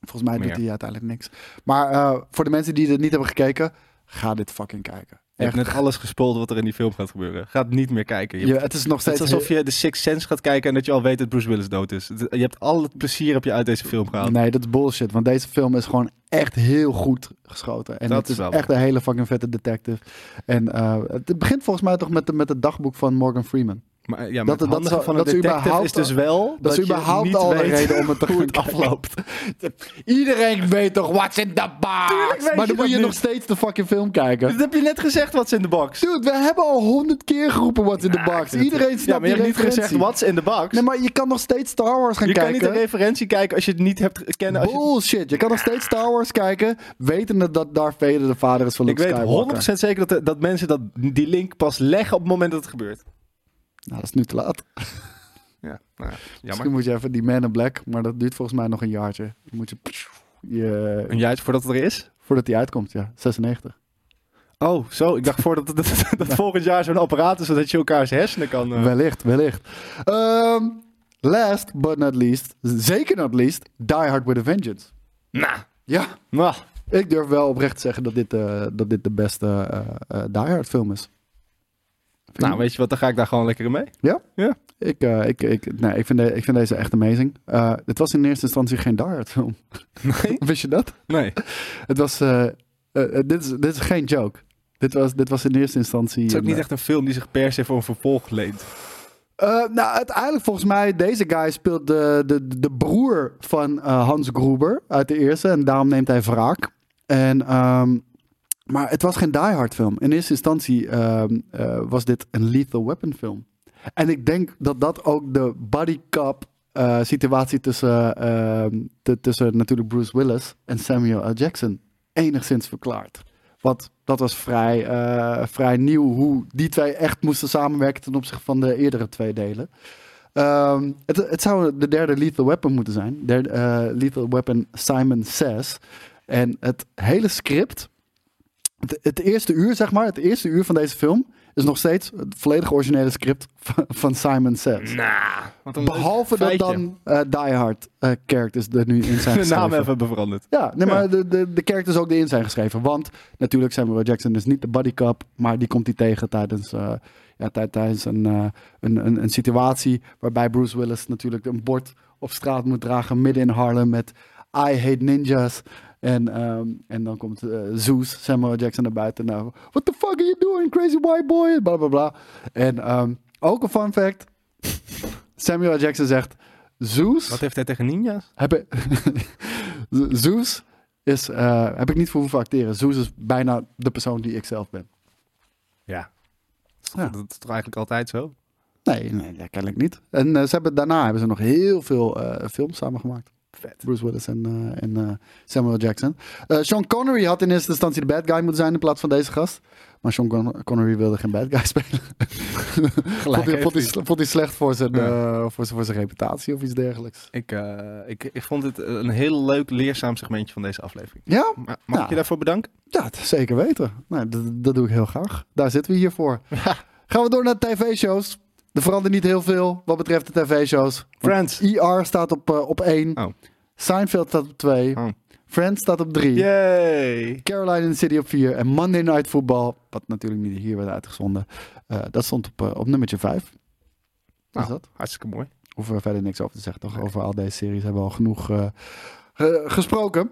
volgens mij
meer.
doet hij uiteindelijk niks. Maar eh, voor de mensen die dit niet hebben gekeken, ga dit fucking kijken.
Je hebt
Echt.
net alles gespoeld wat er in die film gaat gebeuren. Ga het niet meer kijken. Je
Je- het is nog
Het
steeds
is alsof je de Sixth Sense gaat kijken en dat je al weet dat Bruce Willis dood is. Het- Je hebt al het plezier heb je uit deze film gehaald.
Nee, dat is bullshit. Want deze film is gewoon echt heel goed geschoten. En
Dat
het is
is wel
echt een hele fucking vette detective. En eh, het begint volgens mij toch met, de, met het dagboek van Morgan Freeman.
Maar ja, maar
Dat-
het
dat
handige
is-
van een
dat is
detective
überhaupt
is dus wel dat,
Dat, is
je
überhaupt
niet
al een
weet
reden om het te
hoe
goed afloopt. Iedereen weet toch what's in the
Tuurlijk
box?
weet je
Maar dan moet je
dat
nog
niet.
steeds de fucking film kijken.
Dat heb je net gezegd, what's in the box.
Dude, we hebben al honderd keer geroepen what's in the box. Iedereen snapt
ja, maar je
die
hebt niet
referentie.
gezegd, what's in the box.
Nee, maar je kan nog steeds Star Wars gaan
je kan
kijken.
niet een referentie kijken als je het niet hebt gekend. Als je...
Bullshit. Je kan nog steeds Star Wars kijken, wetende dat Darth Vader de vader is van
Ik
Luke
weet
Skywalker.
100% zeker dat, de- dat mensen dat, die link pas leggen op het moment dat het gebeurt.
Nou, dat is nu te laat.
Ja, nou, ja, jammer.
Misschien moet je even die Man in Black, maar dat duurt volgens mij nog een jaartje. Dan moet je, je
Een jaartje voordat het er is?
voordat die uitkomt, ja, 96.
Oh, zo. Ik dacht voordat dat, dat, dat volgend jaar zo'n apparaat is, zodat je elkaars hersenen kan... eh,
Wellicht, wellicht. Ehm, last but not least, zeker not least, Die Hard with a Vengeance.
Nou,
Ja,
nou,
ik durf wel oprecht te zeggen dat dit, eh, dat dit de beste eh, eh, Die Hard film is. Vind
nou,
je?
weet je wat, dan ga ik daar gewoon lekker in mee.
Ik, eh, ik, ik, nee, ik, vind de- ik vind deze echt amazing. Eh, het was in eerste instantie geen Die Hard film.
Nee?
Wist je dat?
Nee.
Het was, eh, eh, eh, dit, is, dit is geen joke. Dit was, dit was in eerste instantie...
Het is ook
een,
niet echt een film die zich per se voor een vervolg leent.
eh, nou, uiteindelijk volgens mij, deze guy speelt de, de, de broer van eh, Hans Gruber uit de eerste. En daarom neemt hij wraak. En, ehm, maar het was geen Die Hard film. In eerste instantie ehm, eh, was dit een Lethal Weapon film. En ik denk dat dat ook de body cop eh, situatie tussen, ehm, t- tussen natuurlijk Bruce Willis en Samuel L. Jackson enigszins verklaart. Want dat was vrij, eh, vrij nieuw hoe die twee echt moesten samenwerken ten opzichte van de eerdere twee delen. Ehm, het, het zou de derde Lethal Weapon moeten zijn. Derde, eh, Lethal Weapon Simon Says. En het hele script, het, het eerste uur zeg maar, het eerste uur van deze film is nog steeds het volledig originele script van, van Simon Says.
Want een
Behalve
leuk
dat
Nou, feitje.
dan eh, Die Hard eh, characters er nu in zijn
de naam
geschreven.
even hebben veranderd.
Ja, nee,
Ja.
maar de, de, de characters ook erin zijn geschreven. Want natuurlijk Samuel L. Jackson is niet de bodycup, maar die komt hij tegen tijdens, eh, ja, tij- tijdens een, eh, een, een, een situatie waarbij Bruce Willis natuurlijk een bord op straat moet dragen midden in Harlem met I hate ninjas. En, ehm, en dan komt eh, Zeus, Samuel L. Jackson naar buiten. Nou, what the fuck are you doing, crazy white boy? Bla bla bla. En ehm, ook een fun fact: Samuel L. Jackson zegt. Zeus.
Wat heeft hij tegen ninja's?
Heb je- Zeus is, eh, heb ik niet voor hoeven acteren. Zeus is bijna de persoon die ik zelf ben.
Ja.
Ja.
Dat is toch eigenlijk altijd zo?
Nee, nee ja, kennelijk niet. En eh, ze hebben, daarna hebben ze nog heel veel eh, films samengemaakt.
Vet.
Bruce Willis en, eh, en eh, Samuel Jackson. Eh, Sean Connery had in eerste instantie de bad guy moeten zijn in plaats van deze gast. Maar Sean Con- Connery wilde geen bad guy spelen. vond, hij,
heeft
vond, hij,
hij.
sle- vond hij slecht voor zijn,
Ja.
eh, voor, zijn, voor zijn reputatie of iets dergelijks.
Ik, eh, ik, ik vond het een heel leuk, leerzaam segmentje van deze aflevering.
Ja,
Maar mag ik
Ja.
je daarvoor bedanken?
ja dat zeker weten. Nou, dat, dat doe ik heel graag. Daar zitten we hier voor. Gaan we door naar de tv-shows. Er verandert niet heel veel wat betreft de tv-shows.
Friends.
ER staat op, eh, op 1.
Oh.
Seinfeld staat op 2.
Oh.
Friends staat op 3.
Yay!
Caroline in the City op 4 en Monday Night Football, wat natuurlijk niet hier werd uitgezonden, eh, dat stond op, eh, op nummertje 5.
Nou.
Is dat?
Hartstikke mooi.
Hoeven we verder niks over te zeggen, toch? Over al deze series hebben we al genoeg eh, eh, gesproken.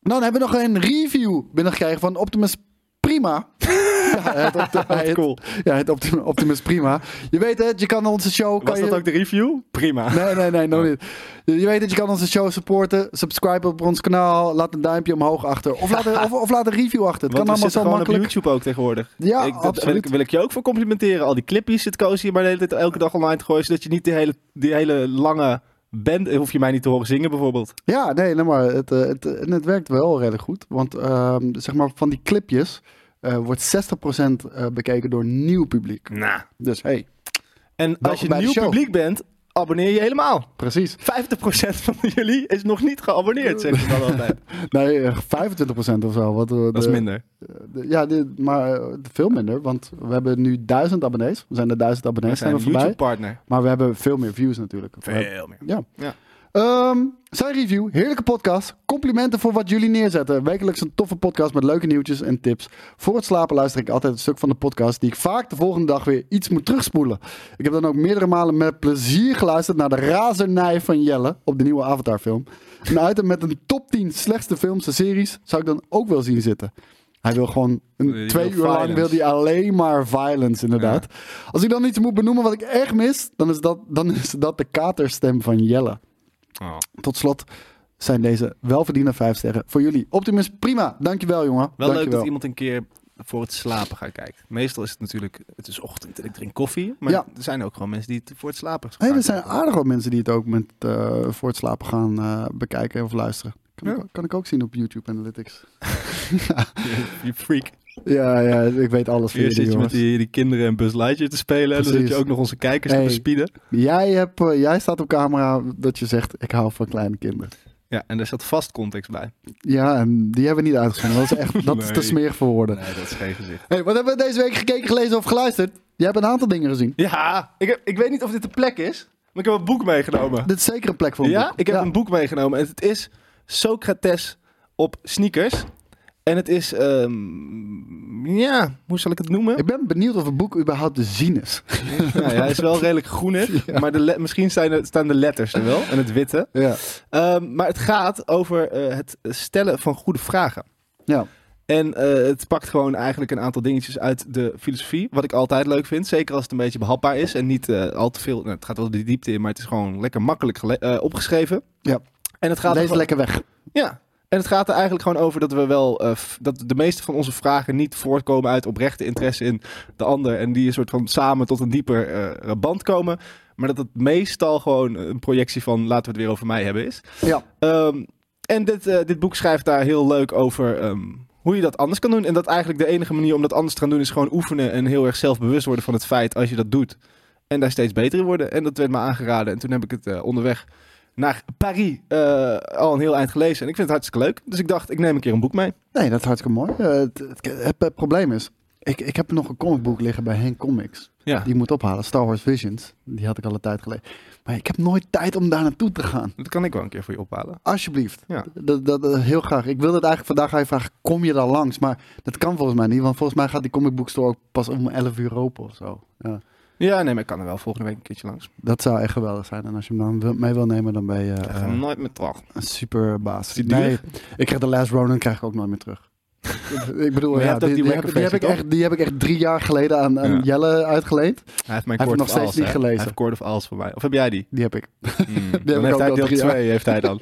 Dan hebben we nog een review binnengekregen van Optimus Prima. ja, het, Opti- het-
cool.
ja, het Opti- Optimus Prima. Je weet het, je kan onze show... kan
Was dat
je...
ook Oh. de review? Prima.
Nee, nee, nee, nog niet. Je je weet dat je kan onze show supporten. Subscribe op ons kanaal. Laat een duimpje omhoog achter. Of laat een, of, of laat een review achter. Het
Want
kan
we
allemaal
zitten
zo
gewoon
makkelijk.
op YouTube ook tegenwoordig.
Ja,
ik, dat wil,
absoluut.
ik, wil ik je ook voor complimenteren. Al die clipjes zit Koos hier maar de hele tijd elke dag online te gooien. Zodat je niet die hele, die hele lange band... Hoef je mij niet te horen zingen bijvoorbeeld.
Ja, nee, nee maar het, eh, het, en het werkt wel redelijk goed. Want ehm, zeg maar van die clipjes eh, wordt 60% eh, bekeken door nieuw publiek.
Nou.
Dus hey,
En als
Welkom
je
bij de
nieuw
show.
publiek bent, abonneer je helemaal.
precies.
50% van jullie is nog niet geabonneerd, zeggen ze dan altijd.
Nee, eh, 25% of zo. Wat, eh,
Dat is
de-
minder.
de- ja, de- maar eh, veel minder. Want we hebben nu 1000 abonnees. We zijn de 1000
We
abonnees.
zijn
Zijn
een
we voorbij.
YouTube-partner.
Maar we hebben veel meer views natuurlijk. We hebben-
Veel meer.
Ja.
Ja.
Ehm, zijn review, heerlijke podcast. Complimenten voor wat jullie neerzetten. Wekelijks een toffe podcast met leuke nieuwtjes en tips. Voor het slapen luister ik altijd een stuk van de podcast die ik vaak de volgende dag weer iets moet terugspoelen. Ik heb dan ook meerdere malen met plezier geluisterd naar de razernij van Jelle op de nieuwe Avatar film. Een item met een top 10 slechtste films en series zou ik dan ook wel zien zitten. Hij wil gewoon een,
Die
twee
wil
uur lang
violence.
wil die alleen maar violence inderdaad. Als ik dan iets moet benoemen wat ik echt mis, dan is dat, dan is dat de katerstem van Jelle.
Oh.
Tot slot zijn deze welverdiende vijf sterren voor jullie. Optimus, prima. Dankjewel, jongen.
Wel
Dankjewel.
leuk dat iemand een keer voor het slapen gaat kijken. Meestal is het natuurlijk, het is ochtend en ik drink koffie. Maar
Ja.
er zijn ook gewoon mensen die het voor het slapen
Hey,
gaan
er zijn
kijken.
aardig wat mensen die het ook met, eh, voor het slapen gaan eh, bekijken of luisteren. Kan,
Ja.
ik, kan ik ook zien op YouTube Analytics.
Je, je freak.
Ja, ja, ik weet alles van
Eerst zit
jullie,
je met
jongens.
die, die kinderen en Buzz Lightyear te spelen. En dan zit
Precies.
je ook nog onze kijkers
Hey.
te bespieden.
Jij, hebt, eh, jij staat op camera dat je zegt, ik hou van kleine kinderen.
Ja, en daar zat vast context bij.
Ja, en die hebben we niet uitgezonden. Dat is, echt, dat is te
Nee.
smerig voor woorden.
Nee, dat is geen gezicht.
Hey, wat hebben we deze week gekeken, gelezen of geluisterd? Jij hebt een aantal dingen gezien.
Ja, ik, heb, ik weet niet of dit de plek is, maar ik heb een boek meegenomen.
Dit is zeker een plek voor een
Ja,
boek.
ik heb
Ja.
een boek meegenomen en het is Socrates op sneakers. En het is, ehm, ja, hoe zal ik het noemen?
Ik ben benieuwd of het boek überhaupt te zien is.
Nou ja, hij is wel redelijk groenig, maar de le- misschien zijn er, staan de letters er wel en het witte.
Ja.
Ehm, maar het gaat over eh, het stellen van goede vragen.
Ja.
En eh, het pakt gewoon eigenlijk een aantal dingetjes uit de filosofie. Wat ik altijd leuk vind. Zeker als het een beetje behapbaar is. En niet eh, al te veel. nou, het gaat wel de diepte in, maar het is gewoon lekker makkelijk gele- eh, opgeschreven.
Ja.
En het gaat er
Lees
gewoon-
lekker weg.
Ja. En het gaat er eigenlijk gewoon over dat we wel. eh, f- dat de meeste van onze vragen niet voortkomen uit oprechte interesse in de ander. En die een soort van samen tot een dieper eh, band komen. Maar dat het meestal gewoon een projectie van laten we het weer over mij hebben is.
Ja.
Ehm, en dit, eh, dit boek schrijft daar heel leuk over ehm, hoe je dat anders kan doen. En dat eigenlijk de enige manier om dat anders te gaan doen is gewoon oefenen en heel erg zelfbewust worden van het feit als je dat doet. En daar steeds beter in worden. En dat werd me aangeraden. En toen heb ik het eh, onderweg naar Parijs eh, al een heel eind gelezen. En ik vind het hartstikke leuk. Dus ik dacht, ik neem een keer een boek mee.
Nee, dat is hartstikke mooi. Eh, het, het, het- het probleem is, ik, ik heb nog een comicboek liggen bij Henk Comics.
Ja.
Die ik moet ophalen. Star Wars Visions. Die had ik al een tijd geleden. Maar ik heb nooit tijd om daar naartoe te gaan.
Dat kan ik wel een keer voor je ophalen.
Alsjeblieft.
Ja.
Dat, dat, dat- heel graag. Ik wilde het eigenlijk vandaag aan je vragen. Kom je daar langs? Maar dat kan volgens mij niet. Want volgens mij gaat die comicboekstore ook pas om 11 uur open of zo. Ja.
Ja, nee, maar ik kan er wel volgende week een keertje langs.
Dat zou echt geweldig zijn. En als je hem dan wil- mee wil nemen, dan ben je
Ik
eh,
ga nooit meer terug.
een superbaas.
Is die duur?
Nee, ik krijg de Last Ronin krijg ik ook nooit meer terug. ik bedoel,
Maar je
ja,
hebt ook
die,
die
die heb,
wacker
ik- die heb ik
versie,
echt, die heb ik echt drie jaar geleden aan, aan
Ja.
Jelle uitgeleend.
Hij heeft mijn
Hij heeft
Court
nog
of
steeds
Owls,
niet
hè?
gelezen.
Hij heeft Court of Owls voor mij. Of heb jij die?
Die heb ik.
Hmm. Dan
ik ook
heeft hij
al
deel
drie jaar.
2, heeft hij dan.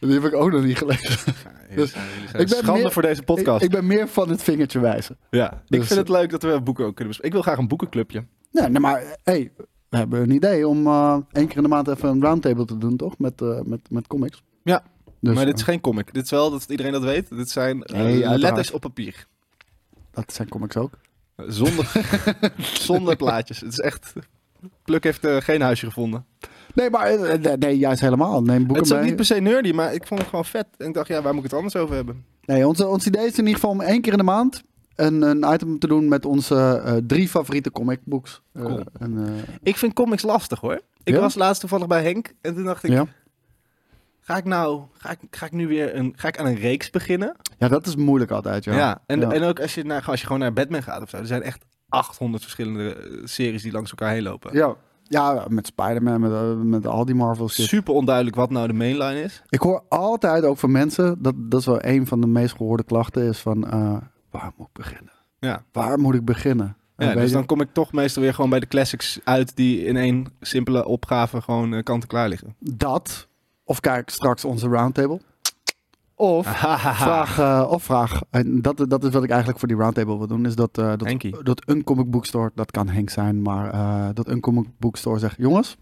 Die heb ik ook nog niet gelezen. Dus, ik ben
Schande
meer-
voor deze podcast.
Ik, ik ben meer van het vingertje wijzen.
ja, ik
dus-
vind het leuk dat we boeken ook kunnen bespreken. Ik wil graag een boekenclubje.
Nee, nee, maar hey, we hebben een idee om eh, één keer in de maand even een roundtable te doen, toch? Met, eh, met, met comics.
Ja,
Dus,
maar dit is geen comic. Dit is wel dat iedereen dat weet. Dit zijn eh,
Nee, uiteraard.
letters op papier.
Dat zijn comics ook.
Zonder, zonder plaatjes. Het is echt... Pluk heeft eh, geen huisje gevonden.
Nee, maar eh, eh, nee, juist helemaal. Neem boeken
het is ook
mee.
niet per se nerdy, maar ik vond het gewoon vet. En ik dacht, ja, waar moet ik het anders over hebben?
Nee, ons, ons idee is in ieder geval om één keer in de maand een, een item te doen met onze eh, drie favoriete comicbooks. Eh,
Cool.
en, eh,
Ik vind comics lastig, hoor. Ik
Ja?
was laatst toevallig bij Henk en toen dacht ik...
ja.
Ga ik nou... Ga ik, ga ik nu weer een... Ga ik aan een reeks beginnen?
ja, dat is moeilijk altijd, ja.
Ja, en,
Ja.
en ook als je, naar, als je gewoon naar Batman gaat of zo. Er zijn echt 800 verschillende eh, series die langs elkaar heen lopen.
Ja, ja met Spider-Man, met, eh, met al die Marvel shit.
Super onduidelijk wat nou de mainline is.
Ik hoor altijd ook van mensen, dat, dat is wel een van de meest gehoorde klachten, is van eh, waar moet ik beginnen?
Ja.
Waar moet ik beginnen? En
Ja,
weet
dus
je-
dan kom ik toch meestal weer gewoon bij de classics uit die in één simpele opgave gewoon eh, kant-en-klaar liggen.
Dat, of kijk straks onze roundtable. Of
Hahaha.
vraag, eh, of vraag en dat, dat is wat ik eigenlijk voor die roundtable wil doen, is dat, eh, dat,
Henkie.
dat een comic book store, dat kan Henk zijn, maar eh, dat een comic book store zegt, jongens,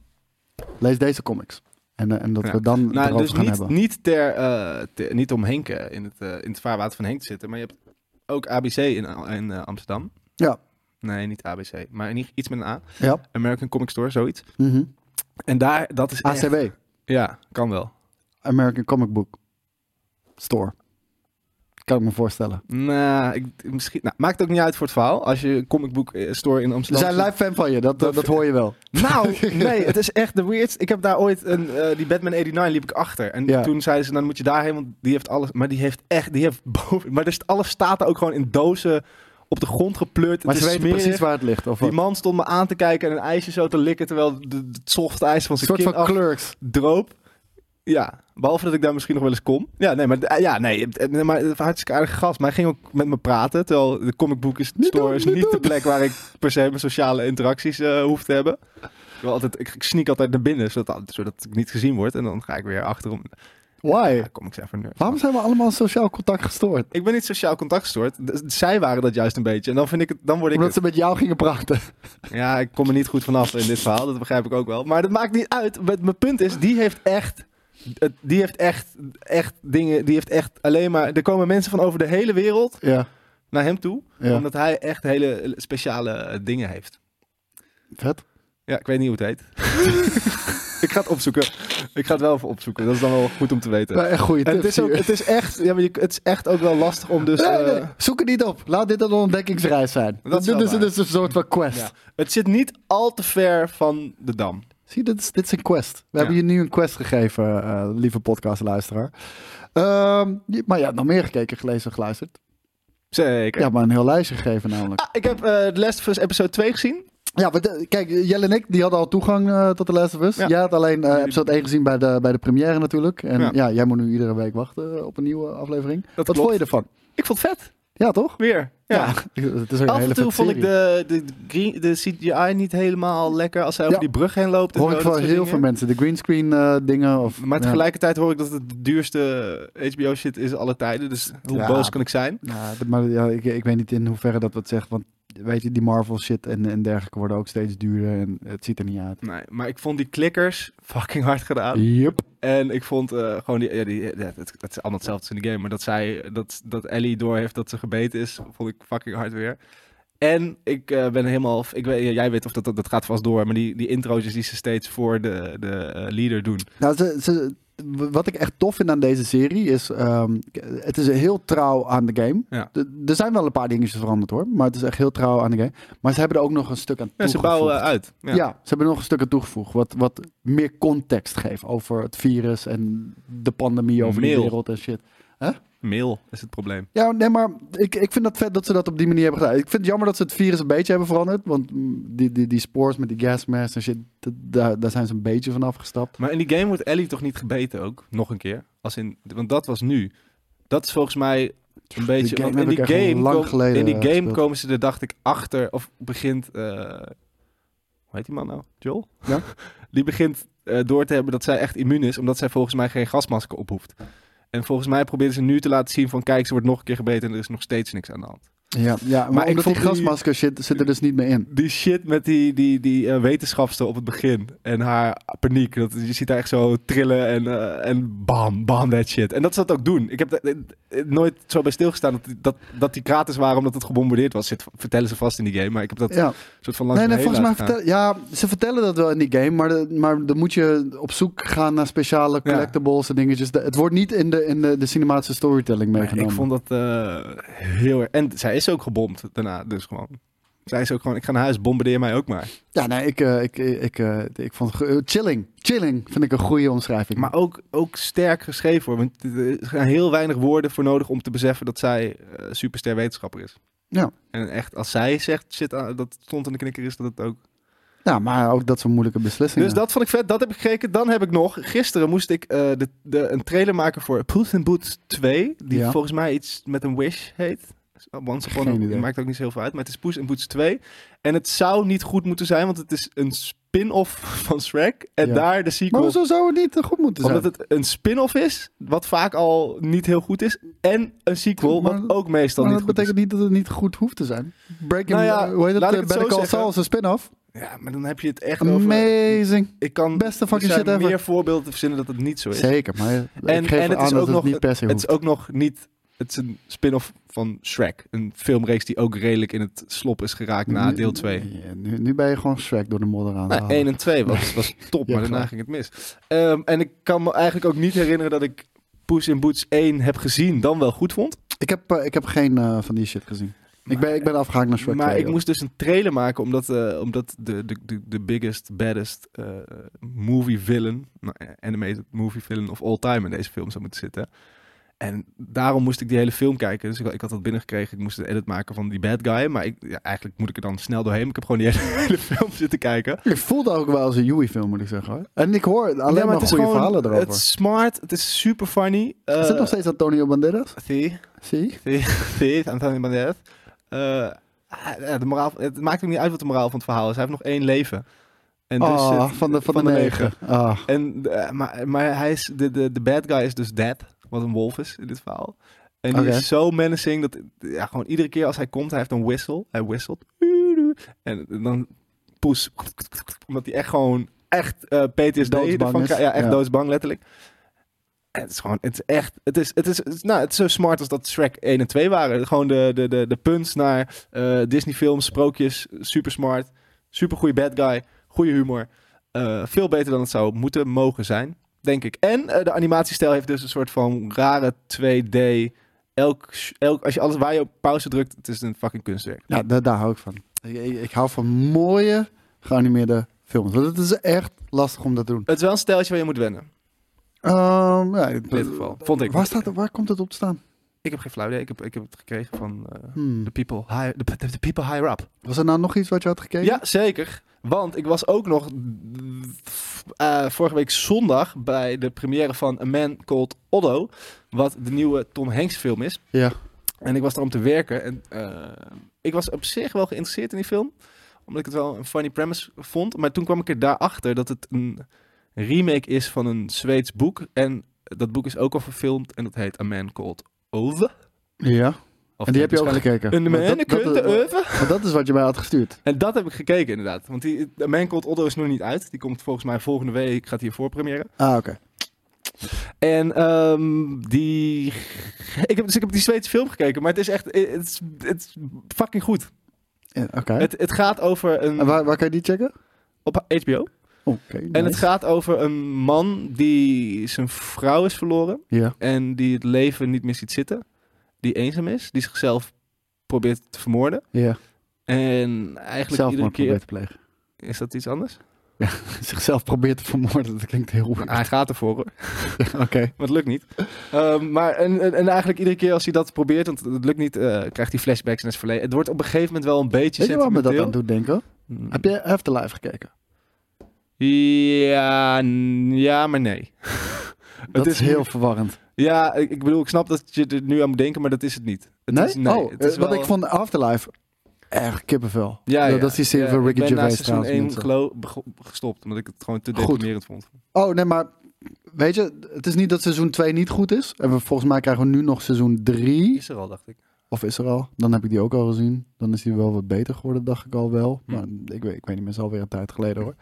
lees deze comics. En, eh, en dat
Ja.
we dan
Nou,
erover
dus
gaan
niet,
hebben.
niet, ter, eh, ter- niet om Henk eh, in het, eh, in het vaarwater van Henk te zitten, maar je hebt ook ABC in, Al- in eh, Amsterdam.
Ja.
Nee, niet ABC, maar in ieder- iets met een A.
Ja.
American Comic Store, zoiets.
Mhm.
En daar, dat is echt-
ACB,
Ja, kan wel.
American Comic Book Store. Kan ik me voorstellen.
Nou, ik, misschien, nou, maakt ook niet uit voor het verhaal. Als je een comic book eh, store in
We
Amsterdam...
zijn live fan van je, dat, eh, dat,
Dat-
dat hoor je wel.
Nou, nee, het is echt de weirdst. Ik heb daar ooit een, eh, die Batman 89 liep ik achter. En
Ja.
toen zeiden ze, dan moet je daarheen, want die heeft alles. Maar die heeft echt, die heeft boven. Maar dus alles staat er ook gewoon in dozen op de grond gepleurd.
Maar
het
ze
is
weten
smerig.
precies waar het ligt. Of
Die
wat.
man stond me aan te kijken en een ijsje zo te likken, terwijl de, de- het soft ijs van
Een
zijn
soort
kin
van
af
clerks.
droop. Ja, behalve dat ik daar misschien nog wel eens kom. Ja, nee, maar, eh, ja, nee, het- eh, maar het hartstikke aardige gast. Maar hij ging ook met me praten, terwijl de comic book is,
Niet
store
doen,
is
niet
niet
doen.
de plek waar ik per se mijn sociale interacties eh, hoef te hebben. Ik, wil altijd, ik sneak altijd naar binnen, zodat, zodat ik niet gezien word. En dan ga ik weer achterom.
Why?
Ja, kom ik even nerd.
Waarom zijn we allemaal sociaal contact gestoord?
Ik ben niet sociaal contact gestoord. D- Zij waren dat juist een beetje. En dan vind ik het, dan word ik
Omdat ze met jou gingen praten.
Ja, ik kom er niet goed vanaf in dit verhaal. Dat begrijp ik ook wel. Maar dat maakt niet uit. Wat Mijn punt is, die heeft echt... het- Die heeft echt, echt dingen... Die heeft echt alleen maar... Er komen mensen van over de hele wereld
Ja,
naar hem toe.
Ja.
Omdat hij echt hele speciale eh, dingen heeft.
vet.
Ja, ik weet niet hoe het heet. ik ga het opzoeken. Ik ga het wel even opzoeken. Dat is dan wel goed om te weten.
Ja, echt goede
En
tips
het, is ook,
hier.
het, is echt, ja, maar je- het is echt ook wel lastig om dus...
Nee, nee,
eh,
Zoek het niet op. Laat dit een ontdekkingsreis zijn.
is
Dat
wel
dit, is,
waar.
dit is een soort van quest.
ja. Het zit niet al te ver van de dam.
Zie, dit is, dit is een quest. We hebben
Ja.
je nu een quest gegeven, eh, lieve podcastluisteraar. Ehm, je- maar ja, nog meer gekeken, gelezen, geluisterd.
Zeker.
Ja, maar een heel lijstje gegeven namelijk.
Ah, ik heb eh The Last of Us episode 2 gezien.
Ja, want, eh, kijk, Jelle en ik die hadden al toegang eh, tot de Last of Us.
Ja.
Jij had alleen eh,
die-
episode 1 gezien bij de, bij de première natuurlijk. En ja.
Ja.
jij moet nu iedere week wachten eh, op een nieuwe aflevering. Wat
klopt.
vond je ervan?
Ik vond het vet.
Ja, toch?
Weer. Ja.
het is ook een
Af
hele
en toe
vette
vond ik
serie.
de, de, green- de CGI niet helemaal lekker als hij
Ja.
over die brug heen loopt. en
Hoor
zo,
ik
dat
van
soort
heel veel
dingen.
mensen. De greenscreen eh, dingen. Of,
Maar
ja.
tegelijkertijd hoor ik dat het de duurste HBO-shit is alle tijden. Dus hoe
Ja.
boos kan ik zijn?
Ja, d- Nou, maar ja, ik, ik weet niet in hoeverre dat wat zegt. Want weet je, die Marvel shit en, en dergelijke worden ook steeds duurder. En het ziet er niet uit.
Nee, maar ik vond die klikkers fucking hard gedaan.
Yep.
En ik vond eh, gewoon die... Ja, die ja, het, het is allemaal hetzelfde als in de game. Maar dat, zij, dat, dat Ellie door heeft dat ze gebeten is, vond ik fucking hard weer. En ik eh, ben helemaal... Ik weet, jij weet of dat, dat, dat gaat vast door. Maar die, die introotjes die ze steeds voor de, de eh, leader doen.
Nou, ze, ze- w- wat ik echt tof vind aan deze serie is, ehm, k- het is heel trouw aan de game.
Ja.
D- Er zijn wel een paar dingetjes veranderd hoor, maar het is echt heel trouw aan de game. Maar ze hebben er ook nog een stuk aan
Ja,
toegevoegd.
ze bouwen uit.
Ja. ze hebben er nog een stuk aan toegevoegd, wat, wat meer context geeft over het virus en de pandemie over de
Mail.
wereld en shit.
Mail is het probleem.
Ja, nee, maar ik, ik vind dat vet dat ze dat op die manier hebben gedaan. Ik vind het jammer dat ze het virus een beetje hebben veranderd, want mm, die, die, die spores met die gasmasks en shit, dat- daar, daar zijn ze een beetje van afgestapt.
Maar in die game wordt Ellie toch niet gebeten ook? Nog een keer. Als in, want dat was nu. Dat is volgens mij een beetje...
game
want
heb
in
ik
die
echt
game,
lang
kom-
geleden,
in die
eh,
game
gespeeld.
komen ze er, dacht ik, achter. Of begint... eh, hoe heet die man nou? Joel?
Ja.
die begint eh, door te hebben dat zij echt immuun is, omdat zij volgens mij geen gasmasker op hoeft. En volgens mij proberen ze nu te laten zien van kijk, ze wordt nog een keer gebeten en er is nog steeds niks aan de hand.
Ja, ja maar,
Maar ik
omdat
vond
die
die-
gasmasker shit zit er dus niet meer in.
Die shit met die, die, die eh, wetenschapster op het begin en haar paniek. Dat, je ziet haar echt zo trillen en, eh, en bam, bam, that shit. En dat ze dat ook doen. Ik heb da- eh, eh, nooit zo bij stilgestaan dat, die- dat, dat die kraters waren omdat het gebombardeerd was. Zit, vertellen ze vast in die game, maar ik heb dat
Ja.
soort van langs
Nee, nee,
me
volgens
heen
mij
laten gaan.
vertel, ja, ze vertellen dat wel in die game, maar, de- maar dan moet je op zoek gaan naar speciale collectibles en dingetjes. De- Het wordt niet in de, in de, de cinematische storytelling
Maar
meegenomen.
Ik vond dat eh, heel erg... En zij is ook gebomd daarna, dus gewoon. Zij is ook gewoon, ik ga naar huis, bombardeer mij ook maar.
Ja, nee, ik, eh, ik, ik, ik, eh, ik vond ge- eh, chilling. Chilling vind ik een goede omschrijving.
Maar ook, ook sterk geschreven hoor. Want er zijn heel weinig woorden voor nodig om te beseffen dat zij eh, superster wetenschapper is.
Ja.
En echt, als zij zegt shit, ah, dat stond in de knikker is, dat het ook.
ja, maar ook dat soort moeilijke beslissingen.
Dus dat vond ik vet, dat heb ik gekeken. Dan heb ik nog, gisteren moest ik eh, de, de, een trailer maken voor Puss in Boots 2. Die
Ja.
volgens mij iets met een wish heet. Once upon
Geen
a...
idee.
Maakt ook niet zo heel veel uit, maar het is Puss in Boots 2. En het zou niet goed moeten zijn, want het is een spin-off van Shrek. En
Ja.
daar de
Maar
sequel
hoezo zou het niet eh, goed moeten zijn?
omdat het een spin-off is, wat vaak al niet heel goed is. En een sequel,
Maar-
wat ook meestal
maar
niet
dat
goed
betekent niet dat het niet goed hoeft te zijn. Breaking,
Nou ja,
eh, hoe heet het?
laat ik
eh,
het
Better
zo
Call
zeggen.
Saul is een spin-off.
is. Ja, maar dan heb je het echt over...
Amazing.
ik kan,
Beste fucking
er
shit
zijn
ever.
meer voorbeelden te verzinnen dat het niet zo is.
Zeker, maar eh,
En-
ik geef
en het
aan
is
dat
ook
het
nog-
niet per se
Het
hoeft.
is ook nog niet... Het is een spin-off van Shrek. Een filmreeks die ook redelijk in het slop is geraakt na
Nu-
deel 2.
Ja, nu, nu ben je gewoon Shrek door de modder aan. het
Nou,
halen.
1 en 2 was, was top,
Ja,
maar daarna
gelijk.
ging het mis. Ehm, en ik kan me eigenlijk ook niet herinneren dat ik Poes in Boots 1 heb gezien, dan wel goed vond.
ik, heb, eh, ik heb geen eh, van die shit gezien. ik, ben, ik ben afgehaakt naar Shrek
maar
2,
ik
joh.
moest dus een trailer maken omdat, eh, omdat de, de, de, de biggest, baddest eh, movie villain, nou, eh, animated movie villain of all time in deze film zou moeten zitten. En daarom moest ik die hele film kijken. Dus ik, ik had dat binnengekregen. Ik moest een edit maken van die bad guy. Maar ik, ja, eigenlijk moet ik er dan snel doorheen. maar Ik heb gewoon die hele, hele film zitten kijken.
Ik voelde ook wel als een Joey-film, moet ik zeggen. Hoor. En ik hoor alleen
Ja,
maar,
het is
goede
gewoon-
verhalen erover.
Het is smart. Het is super funny. Eh,
is het nog steeds Antonio Banderas?
Zie,
Zie?
zie, zie, Antonio Banderas. Eh, ah, de moraal, het maakt ook niet uit wat de moraal van het verhaal is. Hij heeft nog één leven. En dus
Ah,
het-
van de, van de, negen. Ah.
En, eh, maar, maar hij is, de, de, de bad guy is dus Dead, wat een wolf is in dit verhaal. En die
Oké.
is zo menacing dat ja, gewoon iedere keer als hij komt, hij heeft een whistle. Hij whistelt. En dan poes. Omdat hij echt gewoon, echt eh PTSD
Doodsbang
ervan
is.
krijgt. Ja, echt
Ja.
doodsbang letterlijk. En het is gewoon, het is echt, het is, het is, het is- nou, het is zo smart als dat Shrek 1 en 2 waren. Gewoon de, de, de, de punts naar eh, Disney-films, sprookjes, super smart, super goede bad guy, goede humor. Eh, veel beter dan het zou moeten mogen zijn, denk ik. En eh, de animatiestijl heeft dus een soort van rare 2D. Elk, elk, als je alles waar je op pauze drukt, het is een fucking kunstwerk. Nou,
Ja, daar, daar hou ik van. Ik, ik, ik hou van mooie geanimeerde films. Want het is echt lastig om dat te doen.
Het is wel een stijltje waar je moet wennen.
Ehm, ja,
In dit geval. Vond ik.
Waar, staat, het- waar komt het op te staan?
Ik heb geen flauw idee. Ik heb, ik heb het gekregen van eh,
Hmm.
the, people high, the, the people higher up.
Was er nou nog iets wat je had gekeken?
Ja, zeker. Want ik was ook nog eh, vorige week zondag bij de première van A Man Called Otto. Wat de nieuwe Tom Hanks film is.
Ja.
En ik was daar om te werken. En eh, ik was op zich wel geïnteresseerd in die film. Omdat ik het wel een funny premise vond. Maar toen kwam ik er daarachter dat het een remake is van een Zweeds boek. En dat boek is ook al verfilmd. En dat heet A Man Called Ove.
Ja.
Of dus
en die heb je ook
waarschijnlijk
gekeken.
Een
Want
man
dat- dat-
called Ove.
want dat is wat je mij had gestuurd.
En dat heb ik gekeken inderdaad. Want die A Man Called Otto is nog niet uit. Die komt volgens mij volgende week. Gaat hier voor première.
Ah, oké.
En ehm, die... Ik heb, dus ik heb die Zweedse film gekeken. Maar het is echt... eh, Het is, het is fucking goed.
Ja, Oké.
Het, het gaat over
En
een...
waar, waar kan je die checken? Oh,
Op HBO.
Oké.
En het
nice.
gaat over een man die zijn vrouw is verloren.
Ja.
En die het leven niet meer ziet zitten. Die eenzaam is. Die zichzelf probeert te vermoorden.
Ja.
En eigenlijk
Zelfmoord
iedere keer...
probeert te plegen.
Is dat iets anders?
Zichzelf probeert te vermoorden. Dat klinkt heel weird.
Hij gaat ervoor hoor.
Oké.
Maar het lukt niet. Ehm, maar en, en, en eigenlijk iedere keer als hij dat probeert, want het lukt niet, eh, krijgt hij flashbacks naar het verleden. Het wordt op een gegeven moment wel een beetje
Weet je waar me dat aan
sentimenteel.
doet denken? Heb je Afterlife gekeken?
Ja, n- ja, maar nee.
Dat
is
is heel
niet-
verwarrend.
Ja, ik, ik bedoel, ik snap dat je er nu aan moet denken, maar dat is het niet. Het
nee?
Is, nee,
oh,
het is
eh, want
wel-
ik vond Afterlife erg kippenvel.
Ja,
dat,
ja.
dat is die serie
Ja,
van Ricky
Ik ben na
Gervais
seizoen
trouwens.
1
mensen.
gestopt, omdat ik het gewoon te
Goed.
deprimerend vond.
Oh, nee, maar weet je, het is niet dat seizoen 2 niet goed is. En we, volgens mij krijgen we nu nog seizoen 3.
Is er al, dacht ik.
Of is er al? Dan heb ik die ook al gezien. Dan is die wel wat beter geworden, dacht ik al wel.
Hm.
Maar ik, weet, ik weet niet meer, is alweer een tijd geleden hoor.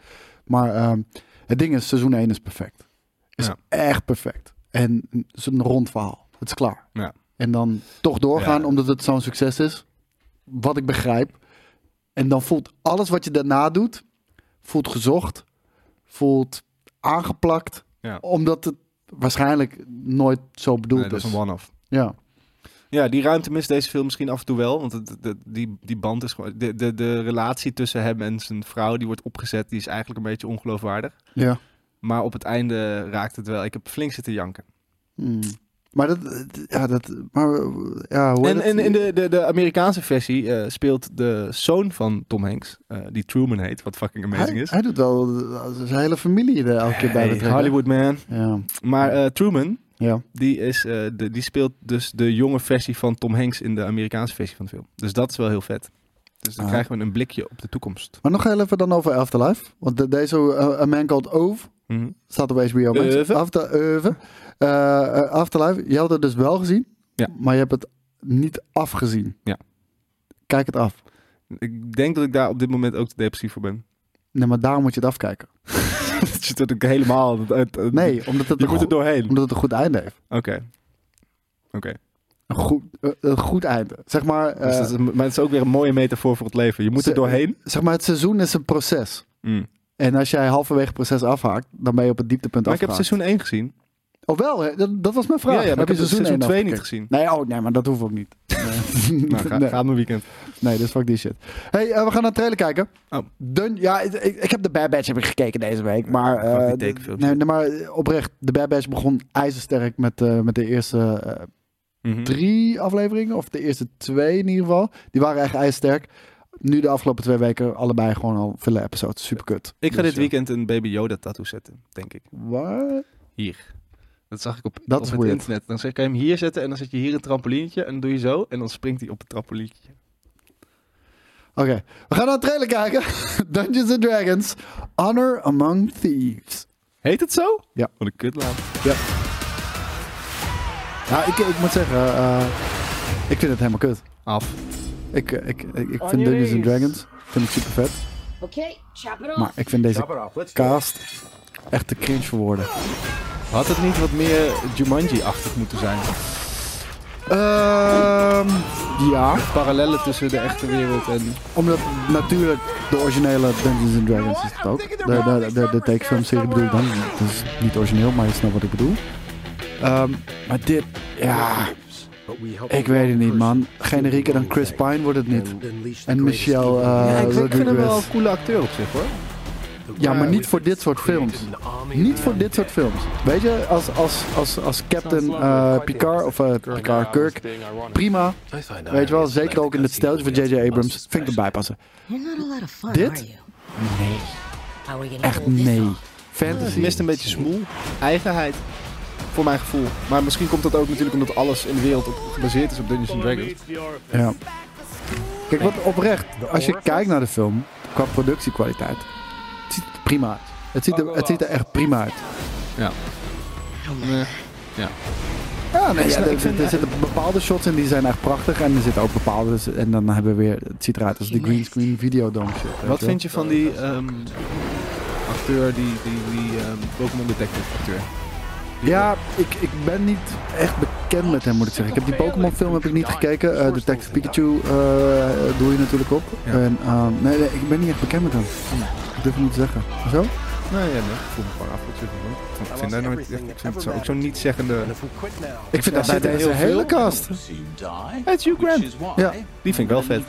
Maar ehm, het ding is, seizoen 1 is perfect. Is
Ja.
echt perfect. En het is een rond verhaal. Het is klaar.
Ja.
En dan toch doorgaan
Ja.
omdat het zo'n succes is. Wat ik begrijp. En dan voelt alles wat je daarna doet, voelt gezocht, voelt aangeplakt.
Ja.
Omdat het waarschijnlijk nooit zo bedoeld
Nee, dat is
is.
een one-off.
Ja.
Ja, die ruimte mist deze film misschien af en toe wel. Want het- het- die, die band is gewoon. De, de, de relatie tussen hem en zijn vrouw die wordt opgezet, die is eigenlijk een beetje ongeloofwaardig.
ja.
Maar op het einde raakt het wel. Ik heb flink zitten janken.
Hmm. Maar dat, ja, dat, maar, ja, hoe heet
En, en
het?
in de, de, de Amerikaanse versie eh, speelt de zoon van Tom Hanks, eh, die Truman heet, wat fucking amazing
hij,
is.
hij doet wel eh, zijn hele familie er elke keer bij
Hey,
betrekken.
Hollywood man.
Ja,
Maar eh, Truman,
ja.
die, is, eh, de, die speelt dus de jonge versie van Tom Hanks in de Amerikaanse versie van de film. Dus dat is wel heel vet. Dus dan
Ah.
krijgen we een blikje op de toekomst.
Maar nog heel even dan over Afterlife. Want de- deze eh, A Man Called Ove
Mhm.
staat op HBO Max.
Ove.
After, Ove. Eh, eh, Afterlife, je had het dus wel gezien,
Ja.
maar je hebt het niet afgezien.
Ja.
Kijk het af.
Ik denk dat ik daar op dit moment ook te depressief voor ben.
Nee, maar daar moet je het afkijken.
dat je dat ook helemaal... het- het- het-
Nee, omdat het,
Je
een,
moet er
goed,
doorheen. Oké.
omdat het een goed einde heeft.
Oké.
Een goed, eh, een goed einde. Zeg maar,
Dus
eh,
dat is een- maar het is ook weer een mooie metafoor voor het leven. Je moet er
Ze-
doorheen.
zeg maar het seizoen is een proces.
Mm.
En als jij halverwege het proces afhaakt, dan ben je op het dieptepunt
Maar ik heb
afgehaakt.
seizoen 1 gezien.
Oh wel, hè? Dat, dat was mijn vraag.
Ja, ja, maar
heb
ik
je
heb seizoen,
één
2 niet gezien.
afgekeken? Nee, oh, nee, maar dat hoeft ook niet. Nee.
Nou, ga,
nee.
ga mijn weekend.
nee, dus fuck die shit. hey, eh, we gaan naar de trailer kijken.
Oh.
Dun, ja, ik, ik ik heb de Bad Batch heb ik gekeken deze week. Maar,
fuck die
eh,
tekenfilms.
nee, nee, maar eh, oprecht, de Bad Batch begon ijzersterk met, eh, met de eerste eh,
Mhm.
drie afleveringen. Of de eerste twee in ieder geval. Die waren echt ijzersterk. Nu de afgelopen twee weken allebei gewoon al vele episodes. Super kut.
Ik ga dit weekend een Baby Yoda tattoo zetten, denk ik.
Waar?
Hier. Dat zag ik op,
Dat
op
is
het
weird.
internet. Dan zeg- kan je hem hier zetten en dan zet je hier een trampolientje en dan doe je zo en dan springt hij op het trampolientje.
Oké, we gaan naar de trailer kijken. Dungeons and Dragons, Honor Among Thieves.
Heet het zo?
Ja.
Wat een kutlaat.
Nou, ik, ik moet zeggen, eh, ik vind het helemaal kut.
Af.
Ik, eh, ik, ik, ik
On
vind
your
Dungeons and
knees.
Dragons vind ik super vet.
Okay, chop it off.
Maar ik vind deze cast echt te cringe voor woorden.
Had het niet wat meer Jumanji-achtig moeten zijn?
Ehm, ja,
Parallellen tussen de echte wereld en...
omdat natuurlijk de originele Dungeons and Dragons is het ook. De, de, de, de tekenfilmserie bedoel ik dan. Dat is niet origineel, maar je snapt wat ik bedoel. Ehm, maar dit, ja, ik weet het niet man. Generieker dan Chris Pine wordt het niet. En Michelle eh,
ik vind- ik vind hem wel
Rodriguez.
een coole acteur op zich hoor.
Ja, maar niet voor dit soort films. Niet voor dit soort films. Weet je, als, als, als, als Captain eh, Picard of eh, Picard Kirk, prima. Weet je wel, zeker ook in het steltje van J.J. Abrams. Vind ik erbij passen.
You're not a lot of fun,
Dit?
are you?
Nee,
How are you gonna
echt
pull this
nee.
off?
Het
Fantasy.
mist een beetje smoel, eigenheid, voor mijn gevoel. Maar misschien komt dat ook natuurlijk omdat alles in de wereld op, gebaseerd is op Dungeons and Dragons.
Ja. Kijk, wat oprecht, als je kijkt naar de film, qua productiekwaliteit, het ziet er prima uit. Het ziet er, het ziet er echt prima uit.
Ja.
Ja, nee, ja,
snap-
er,
ik vind-
er zitten bepaalde shots in die zijn echt prachtig. En er zitten ook bepaalde. En dan hebben we weer. Het ziet eruit als de green screen videodome shit. weet
Wat
je wel.
vind je van die ehm, acteur, die, die, die ehm, Pokémon Detective acteur?
Ja, ik, ik ben niet echt bekend met hem, moet ik zeggen. Ik heb die Pokémon-film heb ik niet gekeken. Eh, Detective Pikachu eh, doe je natuurlijk op.
Ja.
En, ehm, nee, nee, ik ben niet echt bekend met hem. Ik durf het niet te zeggen. Zo?
Nou ja, nee, ik voel me gewoon af. wat je ervan doet. Ik vind daar nooit echt, ik vind het zo, ook zo'n niet-zeggende...
Ik vind dat bij
zitten
deze
heel
hele
veel.
cast.
Het is Hugh Grant.
Ja.
Die vind ik wel vet.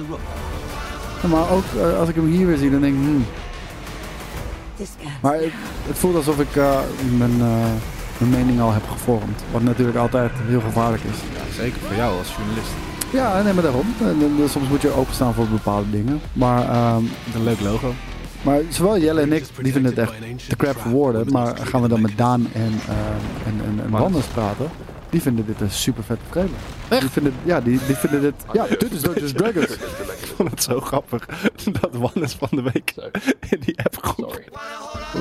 Ja, Maar ook eh, als ik hem hier weer zie, dan denk ik... hmm.
This guy.
Maar het, het voelt alsof ik eh, mijn, eh, mijn mening al heb gevormd. Wat natuurlijk altijd heel gevaarlijk is.
Zeker voor jou als journalist.
Ja, nee, maar daarom. En, en, en soms moet je openstaan voor bepaalde dingen. Maar, ehm,
Een leuk logo.
maar zowel Jelle en ik, die vinden het echt te crap voor woorden. Maar gaan we dan met Daan en, ehm, en, en, en Wanders praten, die vinden dit een super vette trailer. Die vinden, ja, die, die vinden dit... Ja, dit is Dungeons Dragons.
vond het zo grappig dat Wannes van de week
Zo.
in die app groep
Sorry.